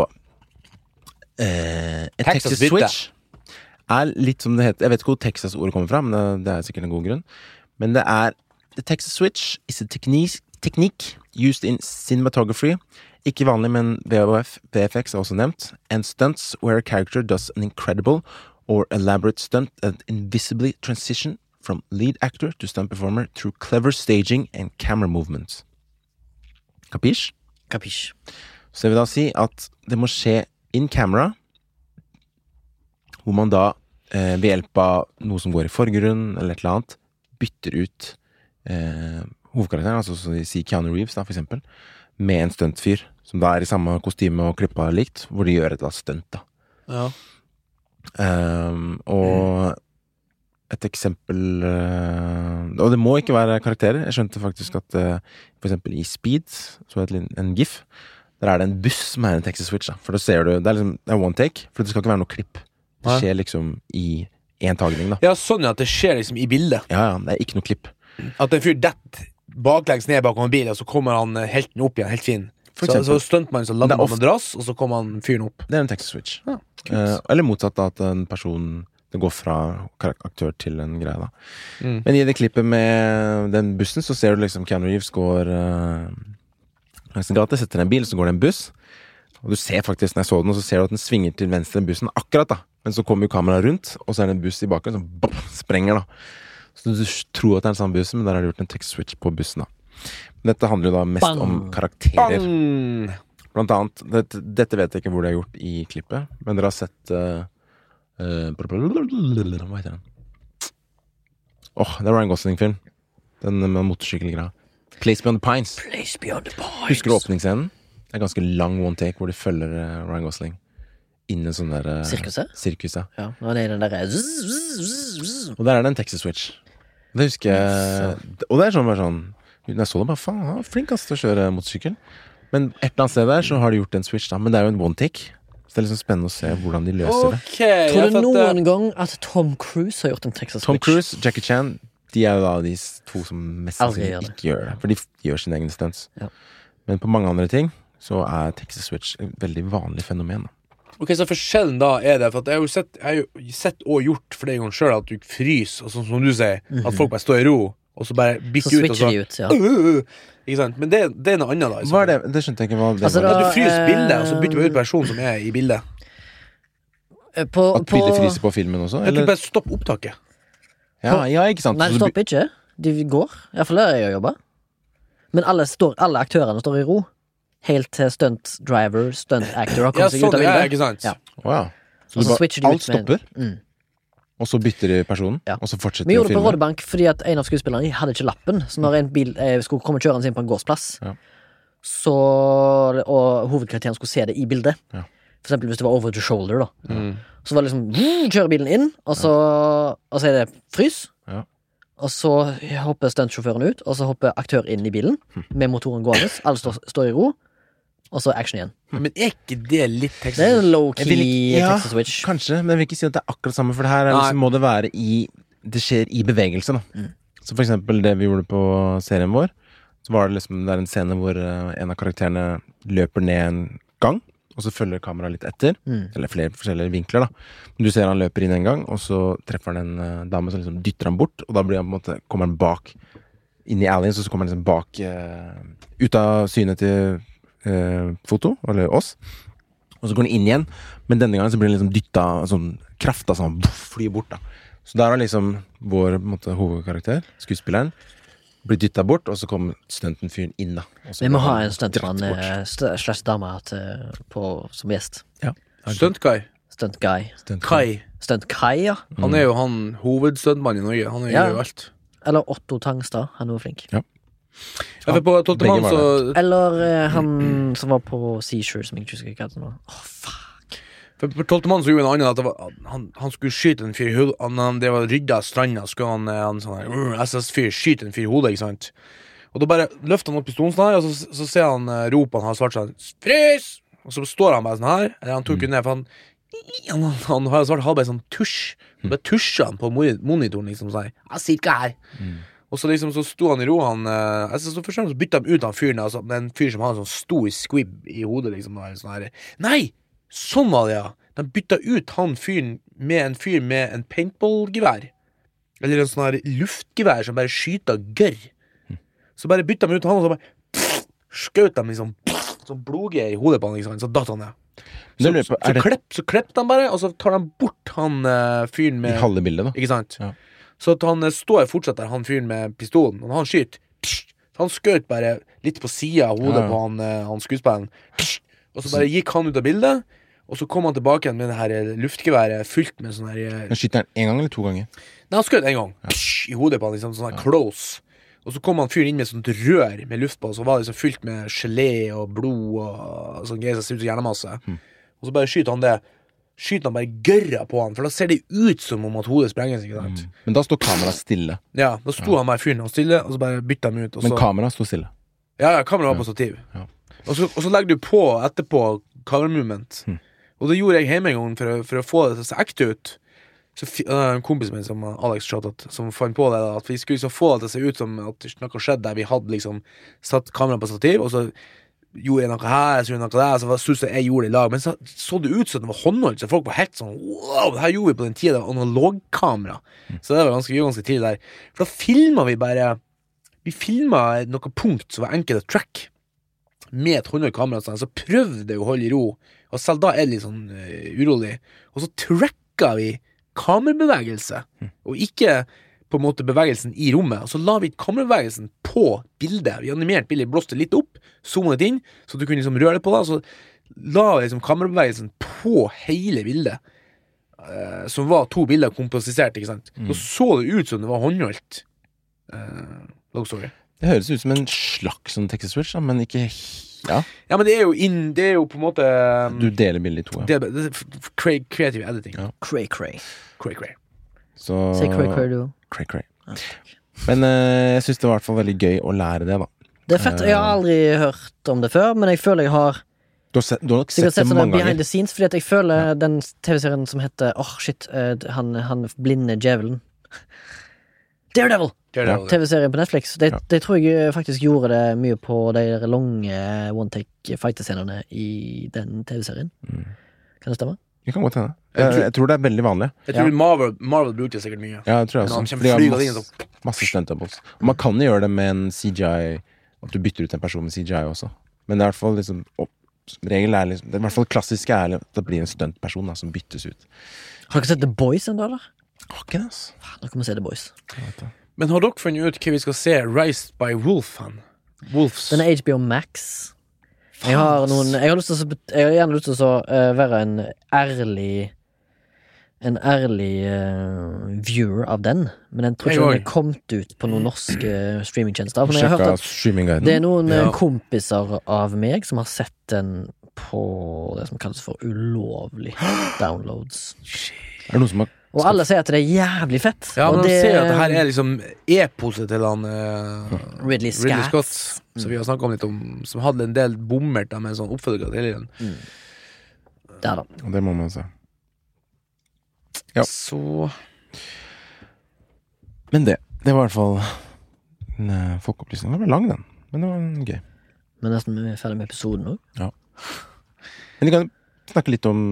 [SPEAKER 1] eh, Et
[SPEAKER 3] Texas
[SPEAKER 1] Texas
[SPEAKER 3] bytte.
[SPEAKER 1] Switch er litt som det heter Jeg vet ikke hvor Texas-ordet kommer fra, men det, det er sikkert en god grunn. Men det er The Texas Switch is a technique, technique used in cinematography. Ikke vanlig, men VHF, VFX er også nevnt. And stunts where a character does an incredible or elaborate stunt and invisibly transition from lead actor to stunt performer through clever staging and camera movements. Kapisj?
[SPEAKER 2] Kapisj.
[SPEAKER 1] Så det vil da si at det må skje in camera, hvor man da eh, ved hjelp av noe som går i forgrunnen, eller et eller annet, bytter ut eh, hovedkarakteren, altså så de sier Keanu Reeves, da, for eksempel, med en stuntfyr, som da er i samme kostyme og klippa likt, hvor de gjør et eller annet stunt, da.
[SPEAKER 3] Ja.
[SPEAKER 1] Ehm, og et eksempel eh, Og det må ikke være karakterer. Jeg skjønte faktisk at eh, for eksempel i Speed, så er det en- en gif, der er det en buss som er en Texas Switch. Da. For da ser du, Det er liksom det er one take, for det skal ikke være noe klipp. Det
[SPEAKER 3] Nei.
[SPEAKER 1] skjer liksom i én tagning, da.
[SPEAKER 3] ja, sånn ja, at det skjer liksom i bildet.
[SPEAKER 1] Ja, ja, det er ikke noe klipp.
[SPEAKER 3] At en fyr detter baklengs ned bakom en bil, og så kommer han eh, helten opp igjen, helt fin.
[SPEAKER 1] For
[SPEAKER 3] så
[SPEAKER 1] eksempel.
[SPEAKER 3] så stuntmannen så lander
[SPEAKER 1] Det er
[SPEAKER 3] på
[SPEAKER 1] ofte-
[SPEAKER 3] madrass, og så kommer han fyren opp.
[SPEAKER 1] Det er en Texas Switch.
[SPEAKER 3] Ja,
[SPEAKER 1] Eh, eller motsatt, da, at en person Det går fra karak- aktør til en greie, da.
[SPEAKER 3] Mm.
[SPEAKER 1] Men i det klippet med den bussen, så ser du liksom Keanu Reeves går eh, langs en gate, setter en bil, så går det en buss. Og du ser faktisk, når jeg så den, så ser du at den svinger til venstre, den bussen, akkurat, da. Men så kommer jo kameraet rundt, og så er det en buss i bakgrunnen som bam, sprenger, da. Så du s- tror at det er den samme bussen, men der har de gjort en text switch på bussen, da. Men Dette handler jo da mest
[SPEAKER 2] Bang.
[SPEAKER 1] om karakterer.
[SPEAKER 3] Bang!
[SPEAKER 1] Blant annet dette, dette vet jeg ikke hvor det er gjort i klippet, men dere har sett eh, eh, blablabla, Hva heter den? Åh, det er Ryan Gosling-film. Den med motorsykkelgreia. Place Beyond the Pines.
[SPEAKER 2] Place beyond the pines.
[SPEAKER 1] Husker du åpningsscenen? Det er en ganske lang one take hvor de følger eh, Ryan Gosling inn i sånn der eh,
[SPEAKER 2] Sirkuset?
[SPEAKER 1] sirkus, ja.
[SPEAKER 2] Ja, og det er den derre zzz, zzz, zzz, zzz.
[SPEAKER 1] Og der er det en Texas Switch. Det husker jeg. Og det er sånn bare sånn Når jeg så det, bare faen, han er flink ass til å kjøre motorsykkel. Men et eller annet sted der så har de gjort en switch, da. Men det er jo en one take. Så det er liksom spennende å se hvordan de løser det.
[SPEAKER 3] Ok, jeg eh,
[SPEAKER 2] Tror du
[SPEAKER 3] fatter.
[SPEAKER 2] noen gang at Tom Cruise har gjort en Texas
[SPEAKER 1] Tom
[SPEAKER 2] Switch?
[SPEAKER 1] Cruise, Jackie Chan, de er jo da de to som mest
[SPEAKER 2] Aldri
[SPEAKER 1] sannsynlig
[SPEAKER 2] gjør det.
[SPEAKER 1] ikke gjør det. For de f- gjør sine egne stunts.
[SPEAKER 2] Ja.
[SPEAKER 1] Men på mange andre ting så er Texas Switch et veldig vanlig fenomen. Da.
[SPEAKER 3] eh, Ok, Så forskjellen da er det For at jeg har jo sett, jeg har jo sett og gjort flere ganger sjøl at du fryser, og sånn som du sier, at folk bare står i ro, og så bare
[SPEAKER 2] Mhm. Så
[SPEAKER 3] bikker ut.
[SPEAKER 2] switcher
[SPEAKER 3] Og så,
[SPEAKER 2] de ut, ja.
[SPEAKER 3] Øh, øh, øh. ikke sant? Men det, det er noe annet, da. i så
[SPEAKER 1] Hva er
[SPEAKER 3] fall.
[SPEAKER 1] det? Det skjønte jeg ikke hva det
[SPEAKER 2] Altså,
[SPEAKER 1] var.
[SPEAKER 3] At du fryser
[SPEAKER 2] Eh,
[SPEAKER 3] bildet, og så bytter vi ut personen som er i bildet.
[SPEAKER 2] Eh, På,
[SPEAKER 1] At
[SPEAKER 2] på...
[SPEAKER 1] bildet fryser på filmen også?
[SPEAKER 3] Kan du
[SPEAKER 1] Eller?
[SPEAKER 3] bare stoppe opptaket?
[SPEAKER 1] Ja, ja, ikke sant?
[SPEAKER 2] Nei,
[SPEAKER 1] Så du-
[SPEAKER 2] stopp ikke. De går. Iallfall der jeg jobber. Men alle, står, alle aktørene står i ro. Helt til stunt driver, stunt actor har
[SPEAKER 3] Ja,
[SPEAKER 2] kommet seg
[SPEAKER 3] sånn,
[SPEAKER 2] ut av
[SPEAKER 3] ja,
[SPEAKER 2] bildet.
[SPEAKER 3] ikke sant?
[SPEAKER 2] Ja.
[SPEAKER 1] Å ja. Så du
[SPEAKER 2] Og så
[SPEAKER 1] bare-
[SPEAKER 2] switcher de
[SPEAKER 1] alt
[SPEAKER 2] ut med
[SPEAKER 1] stopper,
[SPEAKER 2] mm.
[SPEAKER 1] og så bytter de personen,
[SPEAKER 2] Ja.
[SPEAKER 1] og så fortsetter de
[SPEAKER 2] Vi
[SPEAKER 1] å
[SPEAKER 2] gjorde det på
[SPEAKER 1] filme.
[SPEAKER 2] Rådebank fordi at en av skuespillerne hadde ikke lappen. Så når en bil eh, skulle komme kjørende inn på en gårdsplass,
[SPEAKER 1] Ja.
[SPEAKER 2] så, og hovedkarakteren skulle se det i bildet
[SPEAKER 1] Ja. Mm.
[SPEAKER 2] For eksempel hvis det var over the shoulder, da. Så var det liksom vroom, Kjører bilen inn, og så, og så er det frys.
[SPEAKER 1] Ja.
[SPEAKER 2] Og så hopper stuntsjåføren ut, og så hopper aktør inn i bilen
[SPEAKER 1] Hm.
[SPEAKER 2] med motoren gående. Alle står, står i ro, og så action igjen.
[SPEAKER 3] Men er ikke det litt
[SPEAKER 2] Det er
[SPEAKER 3] Texas?
[SPEAKER 2] en
[SPEAKER 1] Jeg
[SPEAKER 2] low-key
[SPEAKER 1] vil ikke- ja,
[SPEAKER 2] Texas Switch.
[SPEAKER 1] Kanskje, men jeg vil ikke si at det er akkurat samme, for det her er
[SPEAKER 3] Nei.
[SPEAKER 1] liksom, må det være i Det skjer i bevegelse, da.
[SPEAKER 2] Mm.
[SPEAKER 1] Så for eksempel det vi gjorde på serien vår, så var det liksom Det er en scene hvor eh, en av karakterene løper ned en gang, og så følger kameraet litt etter.
[SPEAKER 2] Mm.
[SPEAKER 1] Eller flere forskjellige vinkler, da. Men du ser han løper inn en gang, og så treffer han en eh, dame som liksom dytter ham bort, og da blir han på en måte Kommer han bak inn i alleyen, så så kommer han liksom bak eh, Ut av synet til eh, foto, eller oss. Og så går han inn igjen, men denne gangen så blir han liksom dytta sånn krafta sånn, boff, flyr bort, da. Så der har liksom vår på en måte, hovedkarakter, skuespilleren, blitt dytta bort, og så kom stunten-fyren inn, da. Og så
[SPEAKER 2] Vi må
[SPEAKER 1] ble
[SPEAKER 2] ha
[SPEAKER 1] han
[SPEAKER 2] en stuntmann
[SPEAKER 1] dratt bort.
[SPEAKER 2] eh, st- slash dame til- på- som gjest.
[SPEAKER 1] Ja.
[SPEAKER 3] Stunt-Kai.
[SPEAKER 2] Stunt guy.
[SPEAKER 1] Stunt-
[SPEAKER 3] Kai.
[SPEAKER 2] Stunt Kai, ja.
[SPEAKER 3] Han er jo han hovedstuntmannen i Norge. Han er
[SPEAKER 2] Mm. Ja.
[SPEAKER 3] jo alt.
[SPEAKER 2] Eller Otto Tangstad. Han er også flink.
[SPEAKER 3] Ja, for på Tolvte
[SPEAKER 1] Begge
[SPEAKER 3] mann
[SPEAKER 1] var
[SPEAKER 3] så
[SPEAKER 2] Eller eh, han som var på Seashore, som jeg ikke husker hva heter nå. Åh, fuck.
[SPEAKER 3] For på tolvte mann så gjorde en annen at det var, han, han skulle skyte en fyr i hodet. Han, han drev og rydda stranda, skulle han, eh, han sånn her, "Urgh, SS-fyr skyte en fyr i hodet, ikke sant? Og da bare løfter han opp pistolen sånn her, og så, så ser han eh, ropet han har svart sånn Frys! Og så står han bare sånn her. Eller han tok jo ned, for han han, han, han har jo svart halvveis sånn tusj. Så bare tusja han på moni- monitoren, liksom. Sånn. her, Jeg sitter ikke her. Og så liksom så sto han i ro, han eh, altså, så, først, og fremst så bytta han ut han fyren. Altså, det er en fyr som har en sånn stor squibb i hodet, liksom. Og er sånn her, Nei! Sånn var det, ja! De bytta ut han fyren med en fyr med en paintballgevær. Eller en sånn her luftgevær som bare skyter gørr.
[SPEAKER 1] Hm.
[SPEAKER 3] Så bare bytta de ut han, og så bare pff, skjøt de liksom pff, sånn blodgreier i hodet på han, liksom. Så datt han ned.
[SPEAKER 1] Men
[SPEAKER 3] Så,
[SPEAKER 1] det lurer jeg
[SPEAKER 3] så,
[SPEAKER 1] på, er det-
[SPEAKER 3] klepp, så klepp de bare, og så tar de bort han eh, fyren
[SPEAKER 1] I
[SPEAKER 3] med
[SPEAKER 1] halve bildet, da.
[SPEAKER 3] Ikke sant?
[SPEAKER 1] Ja.
[SPEAKER 3] Så at han eh, står fortsatt der, han fyren med pistolen, og han skyter. Pssst! Han skjøt bare litt på sida av hodet
[SPEAKER 1] Ja, ja.
[SPEAKER 3] på han, eh, han skuespilleren. Pssst! Og så bare gikk han ut av bildet, og så kom han tilbake igjen med det her eh, luftgeværet fylt med sånn her eh,
[SPEAKER 1] Men skyter han én gang eller to ganger?
[SPEAKER 3] Nei, han skjøt en gang. Pssst! I hodet på han, liksom. Sånn her close. Og så kom han fyren inn med et sånt rør med luft på, og så var det liksom fylt med gelé og blod og sånn greier som ser ut som hjernemasse.
[SPEAKER 1] Hmm.
[SPEAKER 3] Og så bare skyter han det. Skyter han bare gørra på han, for da ser det ut som om at hodet sprenges. ikke sant?
[SPEAKER 1] Men da står kameraet stille.
[SPEAKER 3] Ja, Da sto han bare fyren og stille, og så bare bytta han ut. Og så,
[SPEAKER 1] Men kameraet står stille.
[SPEAKER 3] ja, ja, kameraet var på stativ.
[SPEAKER 1] Ja.
[SPEAKER 3] Og, så, og så legger du på etterpå cover movement. Og det gjorde jeg hjemme en gang for å, for å få det til å se ekte ut. Så fi- eh, en kompis min som eh, Alex Shoutout, som fant på det, da, at vi skulle så få det til å se ut som at noe skjedde der vi hadde liksom satt kameraet på stativ, og så gjorde jeg noe her, så gjorde jeg noe der, så var- synes jeg jeg gjorde det i lag, men så så det ut som det var håndholdt, så folk var helt sånn wow, det her gjorde vi på den tida det var analogkamera. Så det var ganske, vi var ganske tidlig der. For da filma vi bare Vi filma noe punkt som var enkelt å track med et håndholdt kamera, sånn, så prøvde jeg å holde i ro, og selv da er det litt sånn eh, urolig, og så tracka vi kamerabevegelse, og ikke på en måte bevegelsen i rommet, og så la vi kamerabevegelsen på bildet. Vi animerte bildet, blåste litt opp, zoomet det inn, så du kunne liksom røre det på det, og så la vi liksom kamerabevegelsen på hele bildet, eh, som var to bilder komposisert, ikke sant. Så så det ut som det var håndholdt. Eh, long story.
[SPEAKER 1] Det høres ut som en slags sånn Texas Switch, da, men ikke he- Ja,
[SPEAKER 3] Ja, men det er jo inn, det er jo på en måte um,
[SPEAKER 1] du deler bildet i to. Ja.
[SPEAKER 3] det, er bare- det, er f- f- cre- Creative editing.
[SPEAKER 1] Ja.
[SPEAKER 2] Cray-cray.
[SPEAKER 3] Cray, cray.
[SPEAKER 1] Så
[SPEAKER 2] Si cray-cray, du.
[SPEAKER 1] Cray, cray.
[SPEAKER 2] Ah,
[SPEAKER 1] Men eh, jeg syns det var i hvert fall veldig gøy å lære det, da.
[SPEAKER 2] Det er fett. Jeg har aldri hørt om det før, men jeg føler jeg har
[SPEAKER 1] Du har, sett, du har nok
[SPEAKER 2] sikkert
[SPEAKER 1] sett
[SPEAKER 2] sett
[SPEAKER 1] det
[SPEAKER 2] sånne
[SPEAKER 1] mange
[SPEAKER 2] behind
[SPEAKER 1] ganger.
[SPEAKER 2] the scenes, fordi at jeg føler den TV-serien som heter Åh, shit, eh, han, han blinde djevelen. Daredevil!
[SPEAKER 3] Daredevil.
[SPEAKER 2] TV-serien på Netflix. Det,
[SPEAKER 1] Ja.
[SPEAKER 2] det tror jeg faktisk gjorde det mye på de der lange one-take-fight-scenene i den TV-serien.
[SPEAKER 1] Mm.
[SPEAKER 2] Kan det stemme?
[SPEAKER 1] Det kan godt hende.
[SPEAKER 3] Jeg
[SPEAKER 1] Jeg,
[SPEAKER 3] tror-
[SPEAKER 1] jeg tror det er veldig vanlig.
[SPEAKER 3] Jeg tror Marvel, Marvel brukte sikkert mye.
[SPEAKER 1] Ja, sånn. det tror jeg
[SPEAKER 3] Når han
[SPEAKER 1] også. For
[SPEAKER 3] kommer
[SPEAKER 1] de har
[SPEAKER 3] flygende inn,
[SPEAKER 1] masse, masse stunt doubles. Og man kan jo gjøre det med en CGI At du bytter ut en person med CGI også. Men det er i hvert fall liksom opp, som regel er liksom, det er i hvert fall klassiske er at det blir en stuntperson da, som byttes ut.
[SPEAKER 2] Har dere sett The Boys ennå, eller?
[SPEAKER 1] Har ikke det, altså.
[SPEAKER 2] Faen, dere må se The Boys.
[SPEAKER 3] Men har dere funnet ut hva vi skal se Rise by Wolf-fan? Wolfs
[SPEAKER 2] Den er HBO Max. Jeg har, noen, jeg har, lyst til å, så- jeg har gjerne lyst til å så, eh, være en ærlig En ærlig eh, viewer av den, men den tror
[SPEAKER 3] Jeg
[SPEAKER 2] ikke den
[SPEAKER 3] òg.
[SPEAKER 2] er kommet ut på noen norske eh, streamingtjenester. Men jeg har hørt
[SPEAKER 1] Sjekka
[SPEAKER 2] at Det er
[SPEAKER 1] streamingguiden.
[SPEAKER 2] noen
[SPEAKER 3] Ja.
[SPEAKER 2] eh, kompiser av meg som har sett den på det som kalles for ulovlig downloads.
[SPEAKER 1] Er det noen som har
[SPEAKER 2] Og alle sier at det er jævlig fett.
[SPEAKER 3] Ja,
[SPEAKER 2] og
[SPEAKER 3] men det... ser at det her er liksom eposet til han eh,
[SPEAKER 2] Ridley Scott.
[SPEAKER 3] Ridley Scott,
[SPEAKER 1] Mm.
[SPEAKER 3] som vi har snakka om litt om, som hadde en del bommer da, med en sånn oppfølger til den.
[SPEAKER 2] Der, da.
[SPEAKER 1] Ja, Det må man se. Ja.
[SPEAKER 3] Så
[SPEAKER 1] Men det. Det var i hvert fall en, eh, folkeopplysning. Den var lang, den. Men det var mm, gøy.
[SPEAKER 2] Men nesten vi er ferdig med episoden òg.
[SPEAKER 1] Men vi kan snakke litt om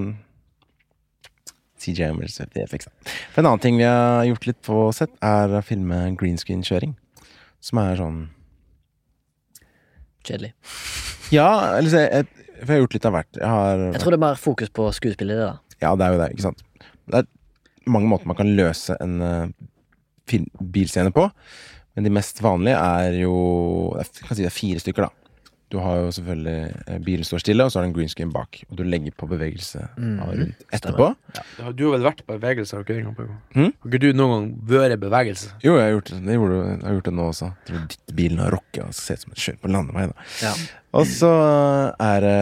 [SPEAKER 1] CJ Amers VFX. da. For en annen ting vi har gjort litt på sett, er å filme green screen-kjøring. Som er sånn
[SPEAKER 2] Kjedelig.
[SPEAKER 1] Ja, eller så jeg, jeg, for jeg har gjort litt av hvert. Jeg har,
[SPEAKER 2] Jeg tror det er mer fokus på skuespillet i det, da.
[SPEAKER 1] ja, det er jo det, ikke sant. Det er mange måter man kan løse en eh, film, bilscene på. Men de mest vanlige er jo Jeg kan si det er fire stykker, da. Du har jo selvfølgelig eh, Bilen står stille, og så har du en green screen bak. Og du legger på bevegelse
[SPEAKER 2] Mm,
[SPEAKER 1] av rundt etterpå.
[SPEAKER 3] Du har vel vært på bevegelse? Har ikke det, Kampen?
[SPEAKER 1] Hm?
[SPEAKER 3] Har ikke du noen gang vært i bevegelse?
[SPEAKER 1] Jo, jeg har gjort det, jeg gjorde, jeg har gjort det nå også. Jeg Tror ditt bilen har rocka og ser ut som en kjører på landevei. Da.
[SPEAKER 2] Ja.
[SPEAKER 1] Og så er det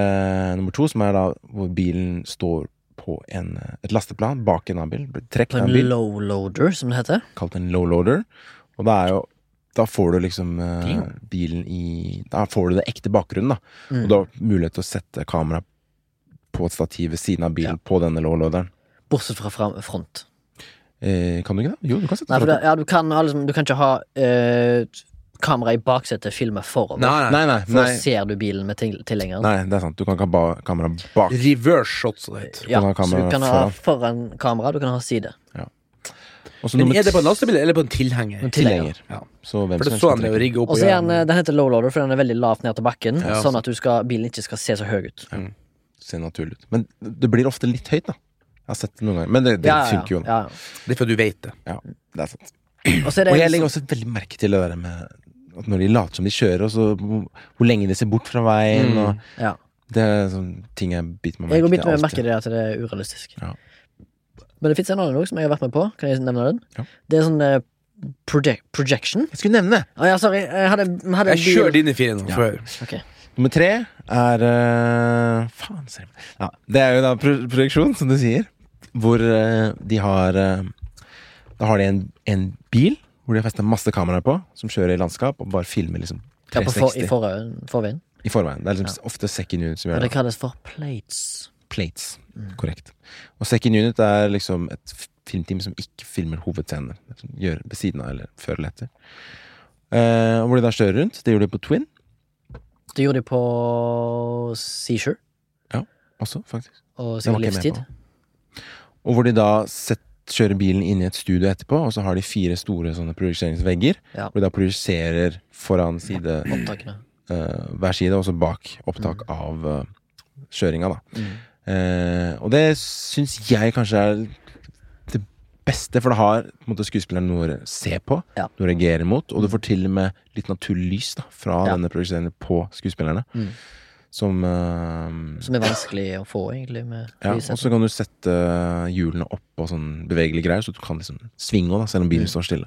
[SPEAKER 1] nummer to, som er da hvor bilen står på en, eh, et lasteplan bak en annen bil. Blir
[SPEAKER 2] På
[SPEAKER 1] Trekt av
[SPEAKER 2] en
[SPEAKER 1] en bil,
[SPEAKER 2] lowloader, som det heter.
[SPEAKER 1] kalt en lowloader. Og da er jo da får du liksom eh, bilen i Da får du det ekte bakgrunnen, da. Og
[SPEAKER 2] Mm.
[SPEAKER 1] du har mulighet til å sette kamera på et stativ ved siden av bilen på denne lowloaderen.
[SPEAKER 2] Bortsett fra fram, front.
[SPEAKER 1] Eh, kan du ikke det? Jo, du kan sette
[SPEAKER 2] Nei, for det,
[SPEAKER 1] kamera.
[SPEAKER 2] ja, du, kan, ha liksom, du kan ikke ha eh, kamera i baksetet, filme forover.
[SPEAKER 1] Nei, nei,
[SPEAKER 2] For
[SPEAKER 1] nei,
[SPEAKER 2] da ser du bilen med til- tilhengeren.
[SPEAKER 1] nei, det er sant. Du kan ikke ha ba- kamera bak.
[SPEAKER 3] Reverse shot, som det heter.
[SPEAKER 2] Ja,
[SPEAKER 1] kan ha
[SPEAKER 2] så
[SPEAKER 1] kamera
[SPEAKER 2] du kan ha
[SPEAKER 1] foran.
[SPEAKER 2] foran kamera, du kan ha side.
[SPEAKER 1] Og så
[SPEAKER 3] Men
[SPEAKER 1] nummer
[SPEAKER 3] er det på en lastebil eller på en tilhenger?
[SPEAKER 2] Men
[SPEAKER 1] tilhenger.
[SPEAKER 3] Ja.
[SPEAKER 1] Så hvem
[SPEAKER 3] For det
[SPEAKER 1] som
[SPEAKER 3] så
[SPEAKER 1] helst
[SPEAKER 3] han
[SPEAKER 1] kan
[SPEAKER 3] det å
[SPEAKER 1] trekke.
[SPEAKER 3] rigge opp
[SPEAKER 2] Og så
[SPEAKER 3] og
[SPEAKER 2] er
[SPEAKER 3] gjøre
[SPEAKER 2] den, eh,
[SPEAKER 3] den.
[SPEAKER 2] den heter lowloader, for den er veldig lavt ned til bakken.
[SPEAKER 3] Ja,
[SPEAKER 2] sånn at du skal, bilen ikke skal se så høy ut.
[SPEAKER 1] Ser naturlig ut. Men det blir ofte litt høyt, da. Jeg har sett det noen ganger. Men det, det
[SPEAKER 2] Ja, ja, ja.
[SPEAKER 1] funker jo. nå.
[SPEAKER 2] Ja.
[SPEAKER 3] Det er for at du vet det.
[SPEAKER 1] Ja, det er sant.
[SPEAKER 2] Og så er det
[SPEAKER 1] Og jeg
[SPEAKER 2] en,
[SPEAKER 1] legger også veldig merke til det der med at når de later som de kjører, og så hvor, hvor lenge de ser bort fra veien,
[SPEAKER 3] Mm.
[SPEAKER 1] og
[SPEAKER 2] ja.
[SPEAKER 1] Det er sånn ting jeg biter meg
[SPEAKER 2] Jeg
[SPEAKER 1] merke
[SPEAKER 2] går midt
[SPEAKER 1] til
[SPEAKER 2] med å
[SPEAKER 1] alltid.
[SPEAKER 2] merke det at det er urealistisk.
[SPEAKER 1] Ja.
[SPEAKER 2] Men det fins en annen òg som jeg har vært med på. Kan jeg nevne den?
[SPEAKER 1] Ja.
[SPEAKER 2] Det er sånn eh, proje projection.
[SPEAKER 1] Jeg skulle nevne det!
[SPEAKER 2] Å ja, sorry. Jeg hadde, vi hadde en
[SPEAKER 3] Jeg kjører
[SPEAKER 2] bil-
[SPEAKER 3] dine fire nå
[SPEAKER 1] Ja.
[SPEAKER 3] før.
[SPEAKER 2] Ok.
[SPEAKER 1] Nummer tre er eh, Faen, ser jeg ja, Det er jo da pro projeksjon, som du sier. Hvor eh, de har eh, Da har de en, en bil hvor de har festa masse kameraer på, som kjører i landskap og bare filmer liksom
[SPEAKER 2] Ja, på for,
[SPEAKER 1] 360
[SPEAKER 2] I
[SPEAKER 1] i,
[SPEAKER 2] forveien. forveien.
[SPEAKER 1] forveien. Det er liksom ofte second unit som
[SPEAKER 2] Og
[SPEAKER 1] gjør
[SPEAKER 2] det
[SPEAKER 1] det.
[SPEAKER 2] kalles for plates.
[SPEAKER 1] Plates. Korrekt. Og second unit er liksom et f- filmteam som ikke filmer hovedscener. som Gjør ved siden av eller før eller etter. Eh, og hvor de da kjører rundt. Det gjorde de på Twin
[SPEAKER 2] Det gjorde de på Seashore
[SPEAKER 1] også, faktisk.
[SPEAKER 2] og
[SPEAKER 1] Det var
[SPEAKER 2] sin
[SPEAKER 1] ikke jeg med
[SPEAKER 2] livstid.
[SPEAKER 1] på. Og hvor de da sett, kjører bilen inn i et studio etterpå, og så har de fire store sånne projiseringsvegger.
[SPEAKER 2] Ja.
[SPEAKER 1] Hvor de da projiserer foran side
[SPEAKER 2] Opptakene.
[SPEAKER 1] eh, hver side, og så bak opptak av uh, kjøringa, da.
[SPEAKER 2] Mm.
[SPEAKER 1] Eh, og det syns jeg kanskje er det beste, for det har på en måte, skuespilleren noe å se på,
[SPEAKER 2] Ja. Mm.
[SPEAKER 1] noe å reagere mot, og du får til og med litt naturlig lys da, fra
[SPEAKER 2] Ja.
[SPEAKER 1] denne prosjekteringen på skuespillerne.
[SPEAKER 2] Mm.
[SPEAKER 1] Som, eh,
[SPEAKER 2] Som er vanskelig å få, egentlig, med
[SPEAKER 1] ja,
[SPEAKER 2] lyssetting.
[SPEAKER 1] og så kan du sette hjulene opp og sånn bevegelige greier, så du kan liksom svinge også da, selv om bilen
[SPEAKER 2] Mm.
[SPEAKER 1] står stille.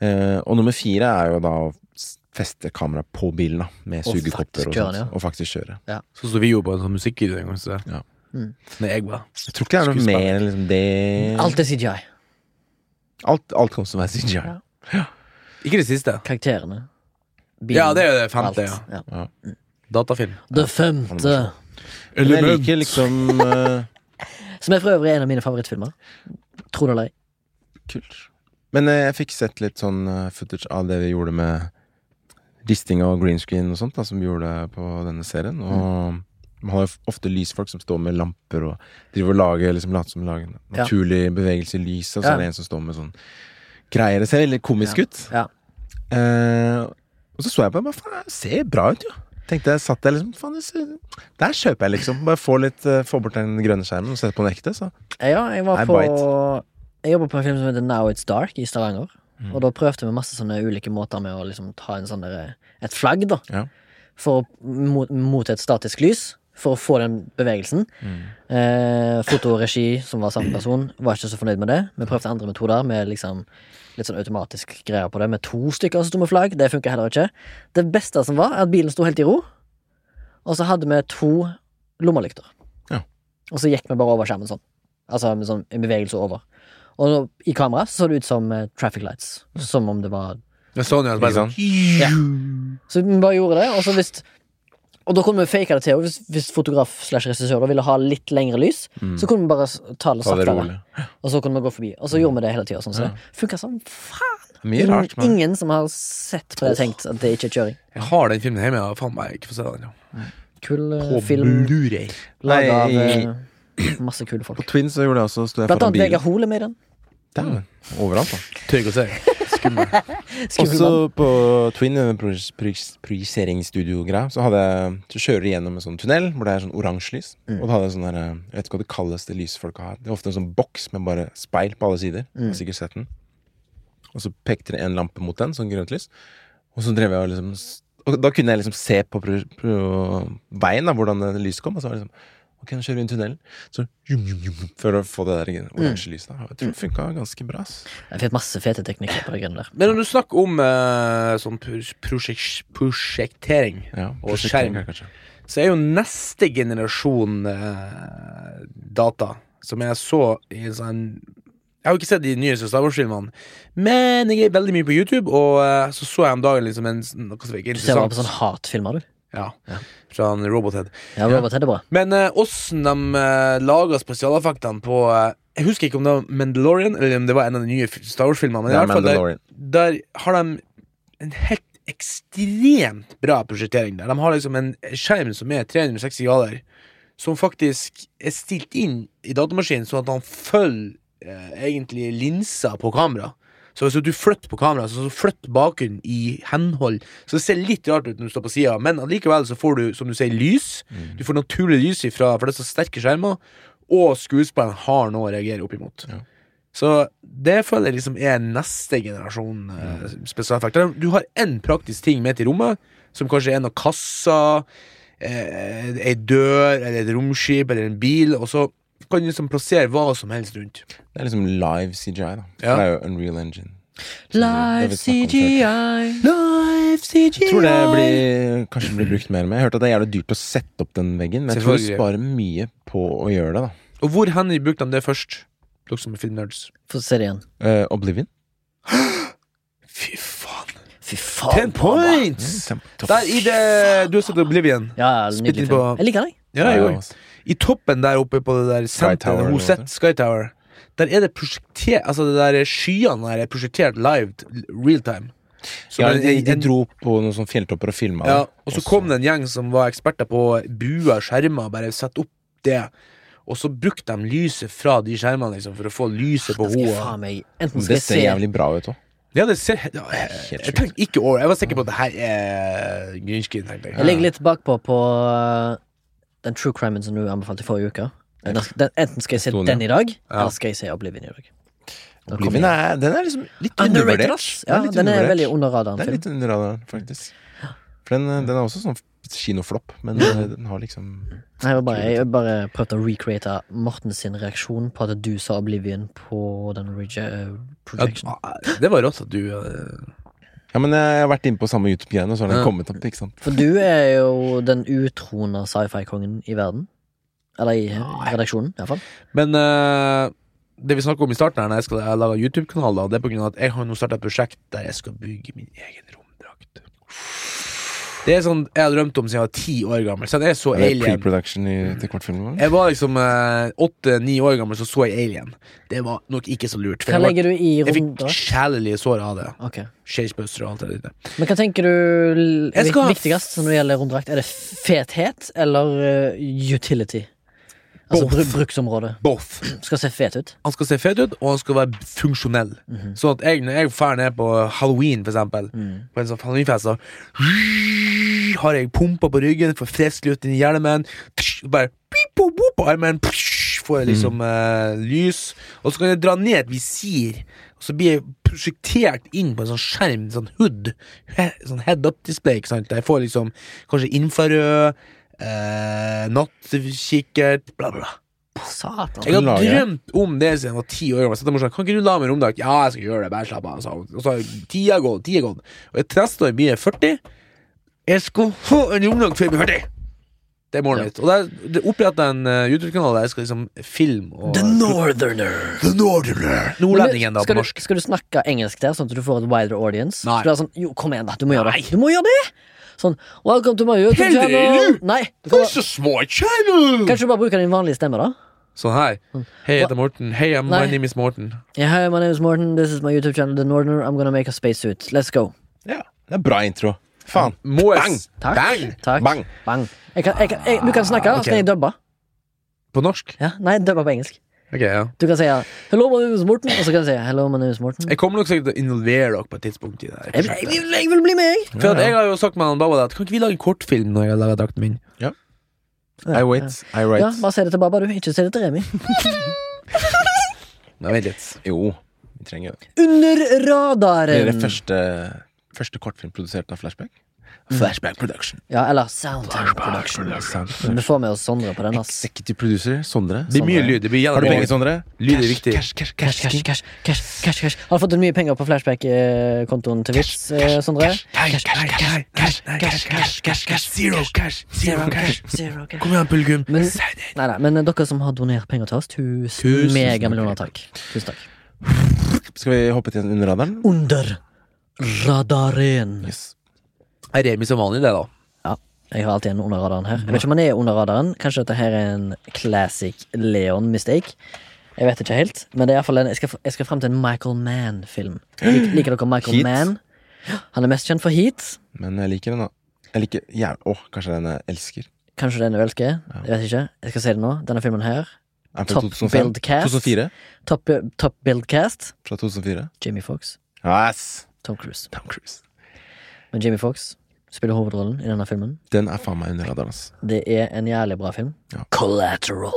[SPEAKER 1] Eh, og nummer fire er jo da å s- feste kamera på bilen, da, med
[SPEAKER 2] Og
[SPEAKER 1] sugekopper
[SPEAKER 2] faktisk
[SPEAKER 1] og
[SPEAKER 2] kjøre
[SPEAKER 1] sånt.
[SPEAKER 2] den, ja.
[SPEAKER 1] Og faktisk kjøre.
[SPEAKER 3] Sånn som vi gjorde på en sånn musikkvideo en gang. Så.
[SPEAKER 1] Ja.
[SPEAKER 2] Mm.
[SPEAKER 3] Når jeg var
[SPEAKER 1] Jeg tror ikke det er noe
[SPEAKER 3] Skuespiller.
[SPEAKER 1] mer enn liksom det
[SPEAKER 2] Alt er CGI.
[SPEAKER 1] Alt, alt kan også være CGI.
[SPEAKER 2] Ja.
[SPEAKER 3] Ikke det siste.
[SPEAKER 2] Karakterene.
[SPEAKER 3] Ja, det er jo det femte, ja.
[SPEAKER 2] alt. ja.
[SPEAKER 3] Datafilm.
[SPEAKER 2] Det femte,
[SPEAKER 1] Men jeg liker liksom eh,
[SPEAKER 2] som er for øvrig en av mine favorittfilmer. Tro det eller ei.
[SPEAKER 1] Kult. Men eh, jeg fikk sett litt sånn eh, footage av det vi gjorde med risting og green screen og sånt, da, som vi gjorde på denne serien. Og man har jo f- ofte lysfolk som står med lamper og driver og lager liksom, later som de lager
[SPEAKER 2] Ja.
[SPEAKER 1] naturlig bevegelse i lyset, og så
[SPEAKER 2] Ja.
[SPEAKER 1] er det en som står med sånn greier. Det ser veldig komisk ut.
[SPEAKER 2] Ja.
[SPEAKER 1] Eh, og så så jeg på det, bare faen, det ser bra ut, jo. Tenkte jeg, satt jeg liksom, faen, det ser, Der kjøper jeg, liksom. Bare få, litt, eh, få bort den grønne skjermen og sette på den ekte, så
[SPEAKER 2] Ja, jeg var
[SPEAKER 1] I
[SPEAKER 2] på
[SPEAKER 1] bite. Mm.
[SPEAKER 2] Jeg jobba på en film som heter Now It's Dark i Stavanger. Og da prøvde vi masse sånne ulike måter med å liksom ta en sånn derre- et flagg, da.
[SPEAKER 1] Ja.
[SPEAKER 2] For å, mot, mot et statisk lys. For å få den bevegelsen.
[SPEAKER 1] Mm.
[SPEAKER 2] Eh, fotoregi, som var samme person, var ikke så fornøyd med det. Vi prøvde andre metoder med liksom litt sånn automatisk greier på det, med to stykker som sto med flagg. Det funka heller ikke. Det beste som var, er at bilen sto helt i ro, og så hadde vi to lommelykter.
[SPEAKER 1] Ja.
[SPEAKER 2] Og så gikk vi bare over skjermen sånn. Altså med sånn en bevegelse over. Og så, i kamera så så det ut som eh, traffic lights. Som om det var
[SPEAKER 3] Med Sonja
[SPEAKER 1] Ikke
[SPEAKER 3] bare sånn.
[SPEAKER 1] sant?
[SPEAKER 2] Så vi bare gjorde det, og så hvis Og da kunne vi fake det til, og hvis, hvis fotograf slash regissør da ville ha litt lengre lys, så kunne vi bare s- ta
[SPEAKER 1] Mm.
[SPEAKER 2] det
[SPEAKER 1] Ta det
[SPEAKER 2] saktere.
[SPEAKER 1] rolig.
[SPEAKER 2] Og så kunne vi gå forbi. Og så gjorde vi det hele tida. Sånn, så det funka som faen!
[SPEAKER 1] Mye
[SPEAKER 2] Ingen-
[SPEAKER 1] rart, men
[SPEAKER 2] Ingen som har sett på det, tenkt at det ikke er kjøring.
[SPEAKER 3] Jeg har den filmen hjemme. Jeg har faen meg ikke fått se den. Ja.
[SPEAKER 2] Kul eh,
[SPEAKER 3] På
[SPEAKER 2] film
[SPEAKER 3] Blu-ray.
[SPEAKER 1] Nei,
[SPEAKER 2] laga av
[SPEAKER 1] i-
[SPEAKER 2] eh, masse kule folk.
[SPEAKER 1] Twins så gjorde jeg også, sto jeg
[SPEAKER 2] Blant
[SPEAKER 1] foran
[SPEAKER 2] annet
[SPEAKER 1] bilen.
[SPEAKER 2] Vegard Hole med i den.
[SPEAKER 1] Dæven. Overalt, da.
[SPEAKER 3] Tør ikke å se. Skummel.
[SPEAKER 2] Skummel mann.
[SPEAKER 1] Også på Twin, denne projis- projis- projiseringsstudio-greia, så, hadde jeg- så kjører du gjennom en sånn tunnel hvor det er sånn oransje lys. Og da hadde jeg sånn der, eh, jeg vet ikke hva det kalles det lysfolka har. Det er ofte en sånn boks med bare speil på alle sider. Du har Sikkert sett den. Og så pekte det en lampe mot den, sånn grønt lys. Og så drev jeg og liksom s- Og da kunne jeg liksom se på, pro, pro, veien, da, hvordan det lyset kom. Og så var det liksom Ok, nå kjører vi inn tunnelen. Så jum, jum, jum, jum, For å få det der oransje lyset. da. Jeg tror det funka ganske bra. ass.
[SPEAKER 2] Jeg fikk masse fete teknikker på det greiene der.
[SPEAKER 3] Men når du snakker om eh, sånn pros- prosjek- prosjektering,
[SPEAKER 1] Ja,
[SPEAKER 3] Og
[SPEAKER 1] prosjektering,
[SPEAKER 3] skjerm.
[SPEAKER 1] kanskje.
[SPEAKER 3] så er jo neste generasjon eh, data, som jeg så i en sånn Jeg har jo ikke sett de nyeste Star Wars-filmene, men jeg er veldig mye på YouTube, og eh, så så jeg om dagen liksom en, noe som ikke er
[SPEAKER 2] Du ser bare
[SPEAKER 3] interessant.
[SPEAKER 2] på sånn- sånne hatfilmer, du.
[SPEAKER 3] ja, fra en Robothead.
[SPEAKER 2] Ja, Robert Hedde bra.
[SPEAKER 3] Men åssen de uh, laga spesialeffektene på eh, Jeg husker ikke om det var Mandalorian, eller om det var en av de nye Star Wars-filmene, men
[SPEAKER 1] Det
[SPEAKER 3] i
[SPEAKER 1] er
[SPEAKER 3] hvert fall der,
[SPEAKER 1] Mandalorian.
[SPEAKER 3] der har de en helt ekstremt bra prosjektering der. De har liksom en skjerm som er 360 grader, som faktisk er stilt inn i datamaskinen sånn at han følger eh, egentlig linsa på kamera. Så hvis du flytter på kameraet, så så flytt bakgrunnen i henhold. Så det ser litt rart ut når du står på sida, men allikevel så får du, som du sier, lys. Du får naturlig lys ifra, for det er så sterke skjermer, og skuespilleren har noe å reagere opp imot.
[SPEAKER 1] Ja.
[SPEAKER 3] Så det føler jeg liksom er neste generasjon eh, spesialeffekter. Du har én praktisk ting med til rommet, som kanskje er noen kasser, eh, ei dør, eller et romskip, eller en bil, og så kan du liksom plassere hva som helst rundt.
[SPEAKER 1] Det er liksom live CGI, da.
[SPEAKER 3] Ja.
[SPEAKER 1] Det er jo Unreal Engine. Det har
[SPEAKER 2] Live
[SPEAKER 1] vi snakket om før.
[SPEAKER 2] CGI.
[SPEAKER 1] Jeg tror det blir, kanskje blir brukt mer og mer. Jeg hørte at det er jævlig dyrt å sette opp den veggen, men jeg tror du
[SPEAKER 3] Selvfølgelig.
[SPEAKER 1] sparer mye på å gjøre det, da.
[SPEAKER 3] Og hvor hen brukte de det først? Dere som er filmnerds.
[SPEAKER 2] Få se det igjen.
[SPEAKER 1] Eh, Oblivion.
[SPEAKER 3] Fy faen.
[SPEAKER 2] Fy faen.
[SPEAKER 3] Ten points!
[SPEAKER 1] Mm.
[SPEAKER 3] Der i det Du har sett Oblivion.
[SPEAKER 2] Ja, ja, nydelig
[SPEAKER 3] Spytt litt
[SPEAKER 2] film.
[SPEAKER 3] på-
[SPEAKER 2] Jeg liker den.
[SPEAKER 1] altså.
[SPEAKER 3] Ja, jeg gjorde. I toppen der oppe på det der senteret
[SPEAKER 1] Tower,
[SPEAKER 3] hun
[SPEAKER 1] eller hva
[SPEAKER 3] sitter, Sky Tower, Der er det prosjektert Altså, det der skyene der er prosjektert live, real time. Så
[SPEAKER 1] Ja,
[SPEAKER 3] det-
[SPEAKER 1] de, de
[SPEAKER 3] en-
[SPEAKER 1] dro på noen sånne fjelltopper og filma
[SPEAKER 3] ja, og så kom det en gjeng som var eksperter på buer, skjermer, bare sette opp det. Og så brukte de lyset fra de skjermene liksom, for å få lyset på
[SPEAKER 2] Da skal jeg
[SPEAKER 3] henne.
[SPEAKER 2] faen meg Enten
[SPEAKER 1] Det
[SPEAKER 2] skal
[SPEAKER 1] ser
[SPEAKER 2] jeg se
[SPEAKER 1] jævlig bra ut òg.
[SPEAKER 3] Ja, det ser ja, jeg, jeg,
[SPEAKER 1] sjukt.
[SPEAKER 3] tenkte ikke over Jeg var sikker på at det her er Grünskid, tenkte jeg.
[SPEAKER 2] Jeg ligger litt bakpå på eh, den true crimen som du anbefalte i forrige uke. Den, den, enten skal jeg se
[SPEAKER 1] Estonia.
[SPEAKER 2] den i dag, eller skal jeg se Oblivion i dag. Da kommer
[SPEAKER 1] Oblivion
[SPEAKER 2] jeg-
[SPEAKER 1] er, den er liksom litt
[SPEAKER 2] Underrated,
[SPEAKER 1] undervurdert.
[SPEAKER 2] ass. Ja, den er veldig under radaren.
[SPEAKER 1] Den er
[SPEAKER 2] film.
[SPEAKER 1] litt under radaren, faktisk. For den, den er også sånn kinoflopp, men eh, den har liksom
[SPEAKER 2] Nei, Jeg har bare, jeg bare prøvd å recreate Morten sin reaksjon på at du sa Oblivion på den rege, eh,
[SPEAKER 3] Ja,
[SPEAKER 2] projection.
[SPEAKER 3] det var rått at du eh,
[SPEAKER 1] Ja, men jeg har vært inne på samme YouTube-greiene, og så har den
[SPEAKER 3] Ja.
[SPEAKER 1] kommet opp, ikke sant.
[SPEAKER 2] For du er jo den utroende sci-fi-kongen i verden. Eller i redaksjonen, iallfall.
[SPEAKER 3] Men eh, det vi snakket om i starten her Når jeg skal jeg lage YouTube-kanal, da, det er på grunn av at jeg har nå startet et prosjekt der jeg skal bygge min egen romdrakt. Det er sånn jeg har drømt om siden jeg var ti år gammel. Så jeg så
[SPEAKER 1] Er det
[SPEAKER 3] Alien.
[SPEAKER 1] pre-production i, til kvartfilmen?
[SPEAKER 3] Jeg var liksom åtte-ni år gammel, så så jeg Alien. Det var nok ikke så lurt.
[SPEAKER 2] Hva
[SPEAKER 3] jeg, var-
[SPEAKER 2] legger du i
[SPEAKER 3] jeg fikk
[SPEAKER 2] runde?
[SPEAKER 3] sjelelige sår av det.
[SPEAKER 2] Ok.
[SPEAKER 3] Skeivspøster og alt det der.
[SPEAKER 2] Men hva tenker du l-
[SPEAKER 3] Jeg skal ha-
[SPEAKER 2] viktigst når det gjelder romdrakt? Er det fethet eller eh, utility? Altså
[SPEAKER 3] Both.
[SPEAKER 2] bru bruksområde.
[SPEAKER 3] Both.
[SPEAKER 2] Skal se fet ut.
[SPEAKER 3] Han skal se fet ut, og han skal være funksjonell. Sånn at jeg, når jeg drar ned på halloween, for eksempel, på en sånn halloweenfest, så har jeg pumpa på ryggen, får frisk luft inn i hjelmen, tsk, bare pip, pop, pop, på armen, psh, får jeg liksom eh, lys, og så kan jeg dra ned et visir, og så blir jeg prosjektert inn på en sånn skjerm, sånn hood, he, sånn head up display, ikke sant, der jeg får liksom kanskje infrarød, eh, nattkikkert, bla, bla, bla.
[SPEAKER 2] Satan.
[SPEAKER 3] Jeg har
[SPEAKER 1] Lager.
[SPEAKER 3] drømt om det siden jeg var ti år gammel. Så da må jeg si, sånn, kan ikke du la meg romdag? Ja, jeg skal gjøre det. Bare slapp av. sa hun. Og så har tida gått, tida gått. Og jeg neste år blir jeg 40. Jeg skal få en romdag før jeg blir 40! Det er målet mitt. Og der, det oppretter en eh, YouTube-kanal der jeg skal liksom filme og
[SPEAKER 2] The Northerner.
[SPEAKER 3] The Northerner. Nordlendingen, da,
[SPEAKER 2] skal,
[SPEAKER 3] på
[SPEAKER 2] du,
[SPEAKER 3] norsk.
[SPEAKER 2] skal du snakke engelsk der, sånn at du får et wider audience?
[SPEAKER 3] Nei.
[SPEAKER 2] Skal du være sånn, jo, kom igjen, da. Du må gjøre det. Du må gjøre det! Sånn, welcome to my YouTube
[SPEAKER 3] Helvete,
[SPEAKER 2] channel.
[SPEAKER 3] du!
[SPEAKER 2] Nei, du kan, bare-
[SPEAKER 3] så smart channel!
[SPEAKER 2] kanskje du bare bruker din vanlige stemme, da?
[SPEAKER 3] Sånn her. Hei, jeg heter Morten. Hei, I'm- my
[SPEAKER 2] Nei.
[SPEAKER 3] name is Morten.
[SPEAKER 2] Yeah, hi, my name is Morten. This is my YouTube channel, The Northerner. I'm gonna make a spacesuit. Let's go.
[SPEAKER 1] Ja, det er bra intro. Faen.
[SPEAKER 3] Må jeg
[SPEAKER 1] Bang!
[SPEAKER 3] s-
[SPEAKER 2] Takk.
[SPEAKER 3] Bang!
[SPEAKER 2] Takk.
[SPEAKER 1] Bang!
[SPEAKER 2] Bang. Jeg kan, jeg kan, jeg, du kan snakke,
[SPEAKER 3] Ah,
[SPEAKER 2] så kan
[SPEAKER 3] ok.
[SPEAKER 2] jeg dubbe.
[SPEAKER 3] På norsk?
[SPEAKER 2] Ja, nei, dubbe på engelsk.
[SPEAKER 3] Ok, ja.
[SPEAKER 2] Du kan si ja, 'Hello, my name is Morten', og så kan jeg si 'Hello, my name is Morten'. Jeg,
[SPEAKER 3] Jeg kommer nok sikkert til å involvere dere på et tidspunkt i det. her
[SPEAKER 2] jeg,
[SPEAKER 3] prosjektet.
[SPEAKER 2] vil- jeg vil bli med, jeg.
[SPEAKER 3] For at jeg har jo sagt med han Baba at Kan ikke vi lage en kortfilm når jeg lager drakten min?
[SPEAKER 1] I wait, I
[SPEAKER 2] Ja,
[SPEAKER 1] write.
[SPEAKER 2] bare si det til Baba, du. Ikke si det til Remi.
[SPEAKER 3] Nei, vent litt
[SPEAKER 1] Jo, vi trenger det.
[SPEAKER 2] Under
[SPEAKER 1] Det er det
[SPEAKER 2] radaren.
[SPEAKER 1] første, første kortfilm produsert av Flashback. Flashback Production.
[SPEAKER 2] Ja, eller Soundtime Production. Men du får med oss Sondre på den, ass.
[SPEAKER 1] Executive producer Sondre.
[SPEAKER 3] Det blir mye lyd. Det blir
[SPEAKER 1] Har du penger,
[SPEAKER 3] gjennom
[SPEAKER 1] Sondre?
[SPEAKER 3] Lyd er
[SPEAKER 1] Cash,
[SPEAKER 3] viktig.
[SPEAKER 1] Cash, cash,
[SPEAKER 2] Cash,
[SPEAKER 1] cash,
[SPEAKER 2] cash, cash, cash, cash, cash. Har du fått mye penger på flashback-kontoen til Vits, eh, Sondre?
[SPEAKER 3] Nei, nei, nei, cash, nei, cash, cash, cash, cash, zero cash, zero cash.
[SPEAKER 2] Zero cash.
[SPEAKER 3] Kom igjen, publikum.
[SPEAKER 2] Men-
[SPEAKER 3] Si det.
[SPEAKER 2] Nei, nei, men eh, dere som har donert penger til oss, tusen,
[SPEAKER 3] Tusen
[SPEAKER 2] megamillioner takk. Tusen takk.
[SPEAKER 1] Skal vi hoppe til under radaren?
[SPEAKER 2] Under radaren.
[SPEAKER 1] Yes.
[SPEAKER 3] Er Remi som vanlig, det, da?
[SPEAKER 2] Ja, jeg har alltid en under radaren her. Jeg vet ikke om han er under radaren. Kanskje dette her er en classic Leon mistake. Jeg vet ikke helt, men det er i hvert fall en, jeg, skal, jeg skal frem til en Michael Mann-film. Lik, liker dere Michael
[SPEAKER 1] Heat?
[SPEAKER 2] Mann? Han er mest kjent for Heat.
[SPEAKER 1] Men jeg liker den, da. Jeg liker jævlig Åh, kanskje den jeg elsker.
[SPEAKER 2] Kanskje den er velske. Jeg vet ikke. Jeg skal si det nå. Denne filmen her.
[SPEAKER 1] Er fra
[SPEAKER 2] Top
[SPEAKER 1] 2005.
[SPEAKER 2] build cast.
[SPEAKER 1] 2004.
[SPEAKER 2] Top, top build cast.
[SPEAKER 1] Fra 2004.
[SPEAKER 2] Jamie Foxx.
[SPEAKER 1] Yes.
[SPEAKER 2] Tom Cruise.
[SPEAKER 1] Tom Cruise.
[SPEAKER 2] Men Jamie Foxx spiller hovedrollen i denne filmen.
[SPEAKER 1] Den er faen meg under radaren, ass.
[SPEAKER 2] Det er en jævlig bra film.
[SPEAKER 1] Ja.
[SPEAKER 2] Collateral.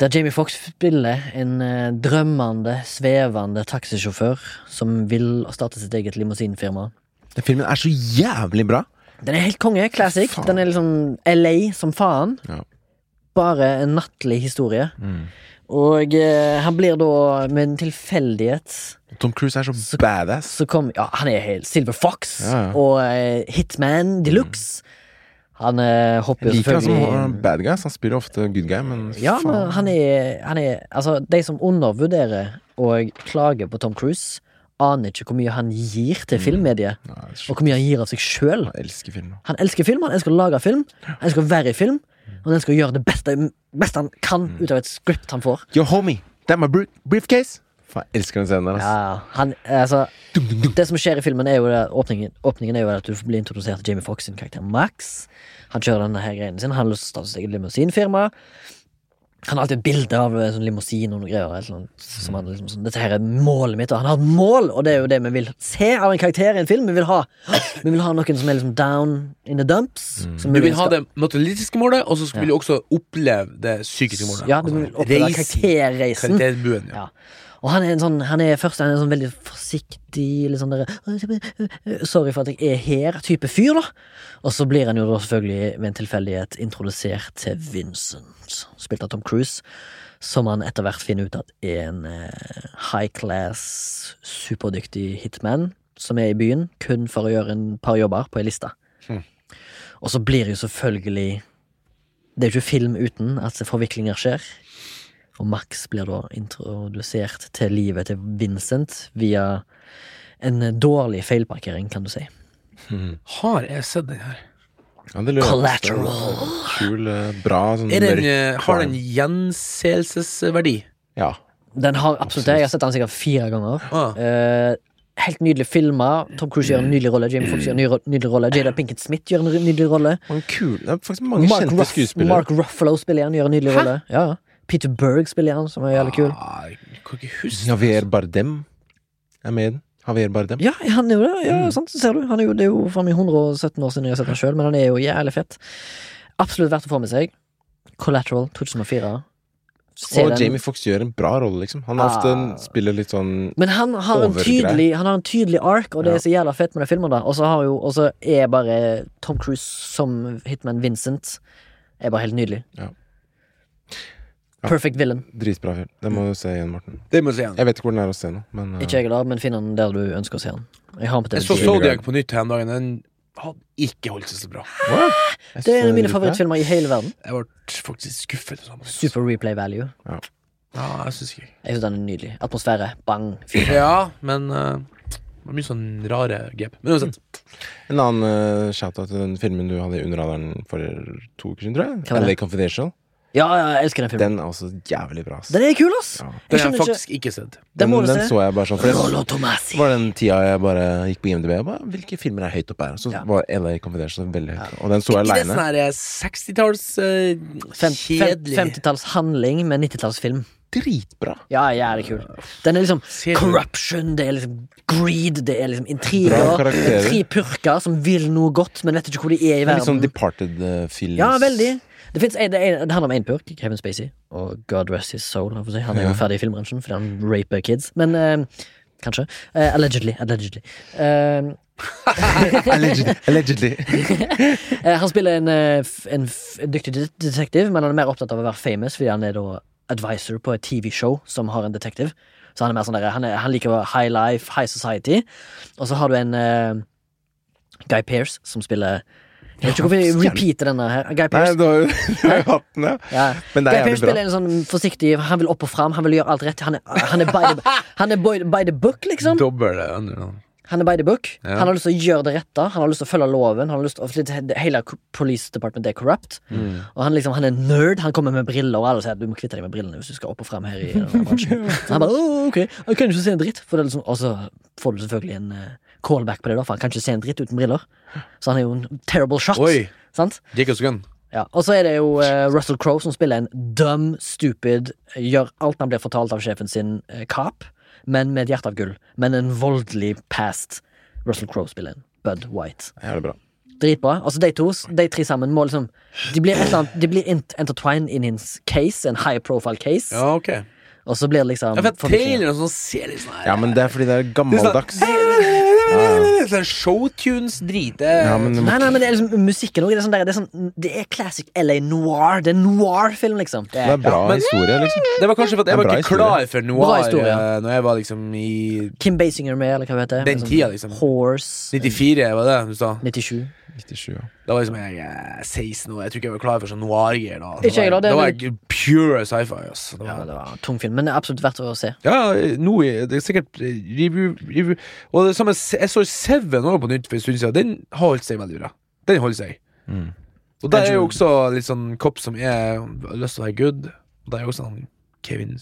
[SPEAKER 2] Der Jamie Fox spiller en eh, drømmende, svevende taxisjåfør som vil starte sitt eget limousinfirma.
[SPEAKER 1] Den filmen er så jævlig bra!
[SPEAKER 2] Den er helt konge. Classic.
[SPEAKER 1] Faen.
[SPEAKER 2] Den er liksom LA som faen.
[SPEAKER 1] Ja.
[SPEAKER 2] Bare en nattlig historie. Og eh, han blir da, med en tilfeldighet
[SPEAKER 1] Tom Cruise er så, badass.
[SPEAKER 2] så kom Ja, han er helt Silver Fox
[SPEAKER 1] Ja, ja. Mm.
[SPEAKER 2] og eh, Hitman Deluxe. Han eh, hopper jo
[SPEAKER 1] Jeg liker han som
[SPEAKER 2] selvfølgelig
[SPEAKER 1] uh, bad guy. så Han spiller ofte good guy, men
[SPEAKER 2] Ja,
[SPEAKER 1] faen.
[SPEAKER 2] men han er, han er Altså, de som undervurderer og klager på Tom Cruise, aner ikke hvor mye han gir til filmmediet,
[SPEAKER 1] Nei, det er
[SPEAKER 2] og
[SPEAKER 1] så-
[SPEAKER 2] hvor mye han gir av seg sjøl.
[SPEAKER 1] Jeg elsker film. da.
[SPEAKER 2] Han elsker film, han elsker å lage film, han elsker å være i film, Og den skal gjøre det beste, beste han kan ut av et script han får.
[SPEAKER 1] Yo, homie, that my bru- briefcase! Faen, jeg elsker den scenen der, altså.
[SPEAKER 2] Ja, han, altså, det som skjer i filmen, er jo det, åpningen, åpningen er jo at du blir introdusert til Jamie Foxx sin karakter Max. Han kjører denne her greien sin. Han har lyst til å starte sitt eget limousinfirma. Han har alltid et bilde av eh, sånn limousin og noen greier. Eller noe, som han liksom, sånn, Dette her er målet mitt, og han har et mål, og det er jo det vi vil se av en karakter i en film. Vi vil ha, vi vil ha noen som er liksom down in the dumps. Som
[SPEAKER 3] Du vil ha
[SPEAKER 2] skal-
[SPEAKER 3] det materialistiske målet, og så vil du også oppleve det psykiske målet.
[SPEAKER 2] Ja, du vil oppleve karakterreisen.
[SPEAKER 3] Karakterbuen, ja.
[SPEAKER 2] Ja. Og han er en sånn Han er først en sånn veldig forsiktig litt sånn derre Sorry for at jeg er her-type fyr, da. Og så blir han jo da selvfølgelig ved en tilfeldighet introdusert til Vincent, spilt av Tom Cruise, som han etter hvert finner ut at er en eh, high class, superdyktig hitman som er i byen kun for å gjøre en par jobber på ei liste. Og så blir jo selvfølgelig Det er jo ikke film uten at forviklinger skjer. Og Max blir da introdusert til livet til Vincent via en dårlig feilparkering, kan du si.
[SPEAKER 3] Har jeg sett den her?
[SPEAKER 1] Ja, det lurer jeg på.
[SPEAKER 2] Collateral.
[SPEAKER 1] Kul, eh, bra, sånn
[SPEAKER 3] Er den,
[SPEAKER 1] mørk
[SPEAKER 3] eh, har den
[SPEAKER 1] crime.
[SPEAKER 3] gjenseelsesverdi?
[SPEAKER 1] Ja.
[SPEAKER 2] Den har absolutt det. Jeg har sett den sikkert fire ganger.
[SPEAKER 3] Ah.
[SPEAKER 2] Eh, helt nydelig filma. Tom Cruise gjør en nydelig rolle. Jamie Foxx gjør en ny ro- nydelig rolle. Jada Pinkett Smith gjør en nydelig rolle.
[SPEAKER 1] Mange kule Det er faktisk mange
[SPEAKER 2] Mark,
[SPEAKER 1] kjente
[SPEAKER 2] Ruff,
[SPEAKER 1] skuespillere.
[SPEAKER 2] Mark Ruffalo spiller han, gjør en nydelig rolle. Ja. ja. Peter Berg spiller han, som er jævlig kul.
[SPEAKER 3] Ah, jeg kan ikke huske
[SPEAKER 1] Javier Bardem er med i den. Javier Bardem.
[SPEAKER 2] Ja, han er jo det. Ja,
[SPEAKER 1] Mm.
[SPEAKER 2] sant, ser du. Han er jo, det er jo fra meg 117 år siden jeg har sett han sjøl, men han er jo jævlig fett. Absolutt verdt å få med seg. Collateral 2004. Se
[SPEAKER 1] Og
[SPEAKER 2] den.
[SPEAKER 1] Jamie Foxx gjør en bra rolle, liksom. Han er ofte en,
[SPEAKER 2] Ah.
[SPEAKER 1] spiller litt sånn
[SPEAKER 2] Men han har, en
[SPEAKER 1] Overgrei.
[SPEAKER 2] tydelig, han har en tydelig ark, og det
[SPEAKER 1] Ja.
[SPEAKER 2] er så jævla fett med den filmen. da Og så har jo- og så er bare Tom Cruise som hitman Vincent Er bare helt nydelig.
[SPEAKER 1] Ja. Ja.
[SPEAKER 2] Perfect villain.
[SPEAKER 1] dritbra film. Den må du se igjen, Morten.
[SPEAKER 3] Det må jeg si igjen.
[SPEAKER 1] Jeg vet ikke hvor den er å se nå, men eh,
[SPEAKER 2] Ikke jeg, da, men finn han der du ønsker å se han. Jeg har han på
[SPEAKER 3] Jeg så
[SPEAKER 2] DVD.
[SPEAKER 3] Zodiac på nytt her om dagen. Den hadde ikke holdt seg så bra.
[SPEAKER 1] what? Jeg
[SPEAKER 2] Det er en av
[SPEAKER 1] synes
[SPEAKER 2] mine
[SPEAKER 1] den dritbra.
[SPEAKER 2] favorittfilmer i hele verden.
[SPEAKER 3] Jeg ble faktisk skuffet. Sammen.
[SPEAKER 2] Super replay value.
[SPEAKER 3] Ja, jeg synes ikke
[SPEAKER 2] Jeg synes den er nydelig. Atmosfære. Bang.
[SPEAKER 3] Ja, men eh, det var mye sånn rare grep. Men uansett.
[SPEAKER 1] En annen eh, shout-out til den filmen du hadde i Under radaren for to uker siden, tror jeg.
[SPEAKER 2] Hva var det?
[SPEAKER 1] LA Confidential.
[SPEAKER 2] Ja, ja, jeg elsker den filmen.
[SPEAKER 1] Den er også jævlig bra. ass.
[SPEAKER 2] Den er kul, ass!
[SPEAKER 1] Ja.
[SPEAKER 2] Jeg
[SPEAKER 3] Den har jeg
[SPEAKER 2] skjønner ikke
[SPEAKER 3] faktisk ikke sett.
[SPEAKER 2] Den må du
[SPEAKER 1] den
[SPEAKER 2] se.
[SPEAKER 1] så jeg bare sånn. For
[SPEAKER 2] Rollo
[SPEAKER 1] det
[SPEAKER 2] Tomasi.
[SPEAKER 1] var den tida jeg bare gikk på IMDb og bare Hvilke filmer er høyt oppe her? Så
[SPEAKER 2] Ja.
[SPEAKER 1] var LA Confidential veldig høyt. Og den så jeg
[SPEAKER 3] Ikke det sånn
[SPEAKER 1] aleine.
[SPEAKER 3] her eh, 60-talls eh,
[SPEAKER 2] Fem- fem-
[SPEAKER 3] kjedelig
[SPEAKER 2] 50-talls handling med 90-talls film.
[SPEAKER 1] Dritbra.
[SPEAKER 2] Ja, jævlig kul. Den er liksom
[SPEAKER 3] Ser du-
[SPEAKER 2] corruption, det er liksom greed, det er liksom
[SPEAKER 1] Bra
[SPEAKER 2] intriger.
[SPEAKER 1] karakterer.
[SPEAKER 2] Det er Tre purker som vil noe godt, men vet ikke hvor de er i
[SPEAKER 1] Det er litt sånn
[SPEAKER 2] verden.
[SPEAKER 1] Departed-films.
[SPEAKER 2] Ja, veldig. Det, finnes en, det, er en, det handler om én purk, Kevin Spacey, og God rest his soul. jeg får Si. Han er jo
[SPEAKER 1] Ja.
[SPEAKER 2] ferdig i filmbransjen fordi han raper kids, men eh, kanskje. Eh, allegedly. Allegedly. Eh,
[SPEAKER 1] Allegedly. Allegedly.
[SPEAKER 2] Eh, Han spiller en, eh, f- en, f- en dyktig det- detektiv, men han er mer opptatt av å være famous, fordi han er da advisor på et TV-show som har en detektiv. Så han er mer sånn der, han, er, han liker å high life, high society. Og så har du en eh, Guy Pearce som spiller Jeg vet ikke hvorfor jeg repeater denne her. Guy
[SPEAKER 1] Nei,
[SPEAKER 2] Pearce.
[SPEAKER 1] du har jo du har jo hatt den, ja.
[SPEAKER 2] Ja.
[SPEAKER 1] Men det
[SPEAKER 2] Guy
[SPEAKER 1] er
[SPEAKER 2] Pearce
[SPEAKER 1] jævlig bra.
[SPEAKER 2] spiller en sånn forsiktig Han vil opp og fram, han vil gjøre alt rett. Han er, han er, by, the, han er boy, by the book, liksom.
[SPEAKER 3] Dobbel eh, under navn.
[SPEAKER 2] Han er by the book.
[SPEAKER 3] Ja.
[SPEAKER 2] Han har lyst til å gjøre det rette. Han har lyst til å følge loven. Han har lyst til å, fordi hele police department er corrupt.
[SPEAKER 3] Mm.
[SPEAKER 2] Og han, liksom, han er nerd. Han kommer med briller, og alle sier at du må kvitte deg med brillene hvis du skal opp og frem her. i denne bransjen. Så han bare, «Åh, ok, jeg kan ikke se en dritt. For det er liksom, og så får du selvfølgelig en eh, callback på det, da, for han kan ikke se en dritt uten briller. Så han er jo en terrible shot.
[SPEAKER 3] Oi.
[SPEAKER 2] Sant?
[SPEAKER 3] Jacobs Gun.
[SPEAKER 2] Ja. Og så er det jo eh, Russell Crowe som spiller en dum, stupid, gjør alt han blir fortalt av sjefen sin, eh, cop, men med et hjerte av gull. Men en voldelig past. Russell Crowe spiller en Bud White.
[SPEAKER 1] Jævlig bra.
[SPEAKER 2] Dritbra. Altså De to, de tre sammen må liksom De blir, et eller annet, de blir ent intertwined in his case, en high profile case,
[SPEAKER 3] Ja, ok.
[SPEAKER 2] og så blir det liksom
[SPEAKER 3] Jeg vet
[SPEAKER 2] forviklinger.
[SPEAKER 3] traileren som ser litt sånn her
[SPEAKER 1] Mm. Ja, men det er fordi det er
[SPEAKER 3] Det er sånn-
[SPEAKER 1] gammeldags.
[SPEAKER 3] Sånn eh. Showtunes-drit. det-
[SPEAKER 1] Ja, men
[SPEAKER 2] Nei, nei, men det er liksom musikken òg. Det, er sånn der- det, er sånn, det er classic LA noir. Det er noir-film, liksom. Det
[SPEAKER 1] det er
[SPEAKER 2] er
[SPEAKER 1] bra historie, liksom.
[SPEAKER 3] Det var kanskje for at jeg
[SPEAKER 1] Det er
[SPEAKER 3] var
[SPEAKER 1] bra
[SPEAKER 3] ikke klar for
[SPEAKER 2] Bra
[SPEAKER 3] noir
[SPEAKER 2] historie.
[SPEAKER 3] eh, Når jeg var liksom i
[SPEAKER 2] Kim Basinger med, eller hva det heter.
[SPEAKER 3] Den
[SPEAKER 2] Liksom,
[SPEAKER 3] tida, liksom.
[SPEAKER 2] Horse.
[SPEAKER 3] 94, var det du sa?
[SPEAKER 2] 97.
[SPEAKER 1] 97, ja.
[SPEAKER 3] Da var liksom jeg eh, 16 år. Jeg tror ikke jeg var klar for sånn noir-greier da. Da
[SPEAKER 2] Ikke jeg da,
[SPEAKER 3] var-
[SPEAKER 2] det er
[SPEAKER 3] Da var
[SPEAKER 2] vel-
[SPEAKER 3] jeg pure sci-fi. ass. Da var-
[SPEAKER 2] Ja, det var en tung film, men det er absolutt verdt å se.
[SPEAKER 3] Ja, nå i- det er sikkert eh, review, review. Og det
[SPEAKER 1] Mm.
[SPEAKER 3] samme, jeg så Seven også på nytt for en stund siden. Den har holdt seg veldig bra. Den holder seg. Og der er jo også litt sånn kopp som er har lyst til å være good. Og der er jo også han Kevin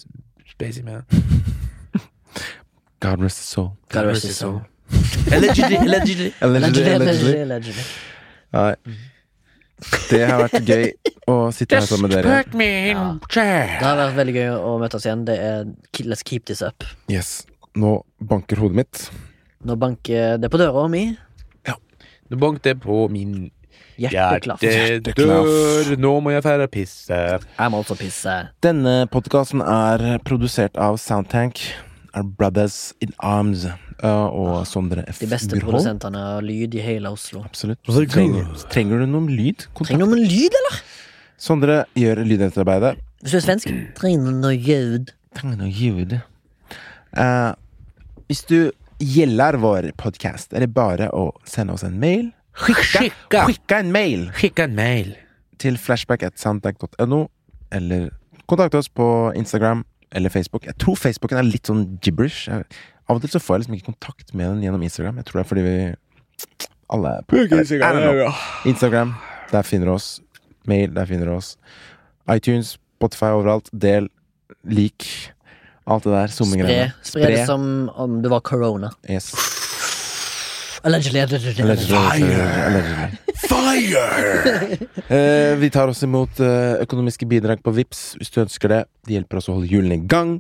[SPEAKER 3] Spacey med.
[SPEAKER 1] God rest his soul.
[SPEAKER 2] God rest his soul.
[SPEAKER 3] Allegedly, allegedly.
[SPEAKER 2] Allegedly, allegedly, allegedly.
[SPEAKER 1] Nei. Det har vært gøy å sitte her sammen med dere.
[SPEAKER 3] me in chair.
[SPEAKER 2] Det har vært veldig gøy å møtes igjen. Det er ke- Let's keep this up.
[SPEAKER 1] Yes. Nå banker hodet mitt.
[SPEAKER 2] Nå banker det på døra mi.
[SPEAKER 3] Nå bank det på min
[SPEAKER 2] Hjerteklaff.
[SPEAKER 1] Hjerteklaff.
[SPEAKER 3] hjertedør. Nå må jeg fære pisse.
[SPEAKER 2] Jeg må også pisse.
[SPEAKER 1] Denne podkasten er produsert av Soundtank, Our Brothers In Arms eh, og Sondre F.
[SPEAKER 2] De beste
[SPEAKER 1] Gurholm.
[SPEAKER 2] produsentene av lyd i hele Oslo.
[SPEAKER 1] Absolutt. Trenger, trenger du noen lyd?
[SPEAKER 2] Trenger du noe lyd, eller?
[SPEAKER 1] Sondre gjør lydetterarbeidet.
[SPEAKER 2] Hvis du er svensk,
[SPEAKER 1] Mm.
[SPEAKER 2] trenger du noe ljud.
[SPEAKER 1] Trenger noe ljud. Eh, hvis du gjelder vår podkast, er det bare å sende oss en mail.
[SPEAKER 3] Skikka.
[SPEAKER 1] Skicka en mail
[SPEAKER 3] Skikka en mail.
[SPEAKER 1] til flashback.soundtank.no, eller kontakt oss på Instagram eller Facebook. Jeg tror Facebooken er litt sånn gibberish. Jeg, av og til så får jeg liksom ikke kontakt med den gjennom Instagram. Jeg tror det er fordi vi alle er på I don't know. Instagram, der finner du oss. Mail, der finner du oss. iTunes, Spotify overalt. Del, lik, alt det der.
[SPEAKER 2] Spre,
[SPEAKER 1] Summegreiene.
[SPEAKER 2] spre det som om det var corona.
[SPEAKER 1] Yes.
[SPEAKER 2] Allegedly. allegedly, allegedly.
[SPEAKER 1] Allegedly. Allegedly. Eh, vi tar også imot eh, økonomiske bidrag på VIPS hvis du ønsker det. Det hjelper oss å holde hjulene i gang.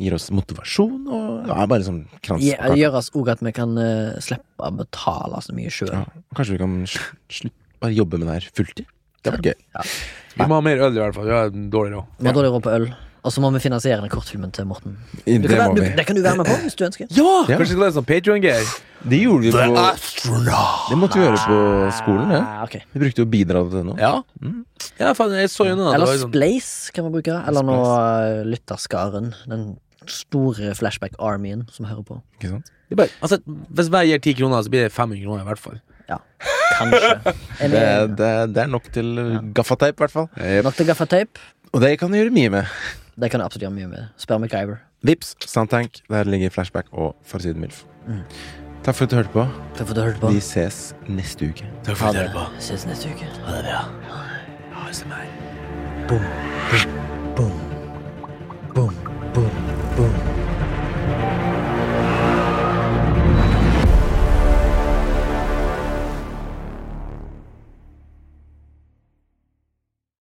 [SPEAKER 1] Gir oss motivasjon og ja, bare liksom krans.
[SPEAKER 2] Ja,
[SPEAKER 1] på
[SPEAKER 2] Det
[SPEAKER 1] kaka.
[SPEAKER 2] gjør oss òg at vi kan eh, slippe å betale så mye sjøl.
[SPEAKER 1] Ja, kanskje vi kan sl- sl- bare jobbe med det her fulltid. Det var gøy.
[SPEAKER 3] Vi må ha mer øl, i hvert fall. Vi har dårlig råd.
[SPEAKER 2] Vi har dårlig råd på øl. Og så må vi finansiere den kortfilmen til Morten. Du
[SPEAKER 1] Det
[SPEAKER 2] kan
[SPEAKER 1] må
[SPEAKER 2] være, du,
[SPEAKER 1] vi.
[SPEAKER 2] det kan du være med på hvis du ønsker.
[SPEAKER 1] Ja.
[SPEAKER 3] Kanskje det er sånn Patreon-greier.
[SPEAKER 1] Det gjorde vi på Det måtte vi gjøre på skolen, det.
[SPEAKER 2] Ah, ok.
[SPEAKER 1] Vi brukte jo bidrag til det nå.
[SPEAKER 3] Ja. Mm. ja, faen, jeg så gjennom det. det.
[SPEAKER 2] Eller
[SPEAKER 3] var jo sånn-
[SPEAKER 2] Splace kan vi bruke. Eller nå eh, Lytterskaren. Den store Flashback Armyen som hører på.
[SPEAKER 1] Ikke sant?
[SPEAKER 3] Det er bare, altså, hvis hver gir 10 kroner, så blir det 500 kroner i hvert fall.
[SPEAKER 2] Ja, kanskje.
[SPEAKER 1] Det,
[SPEAKER 2] Eller
[SPEAKER 1] det, det er nok til gaffateip, i hvert fall.
[SPEAKER 2] nok til gaffateip.
[SPEAKER 1] Og det kan du gjøre mye med.
[SPEAKER 2] Det kan du absolutt gjøre mye med. Spør MacGyver.
[SPEAKER 1] Vips, Soundtank, der ligger flashback og Farsiden Milf.
[SPEAKER 2] Mm.
[SPEAKER 1] Takk for at du hørte på.
[SPEAKER 2] Takk for at du hørte på.
[SPEAKER 1] Vi ses neste uke.
[SPEAKER 3] Takk
[SPEAKER 2] Ha det. Ses neste uke.
[SPEAKER 3] Ha det bra. Ha det meg.
[SPEAKER 2] Boom.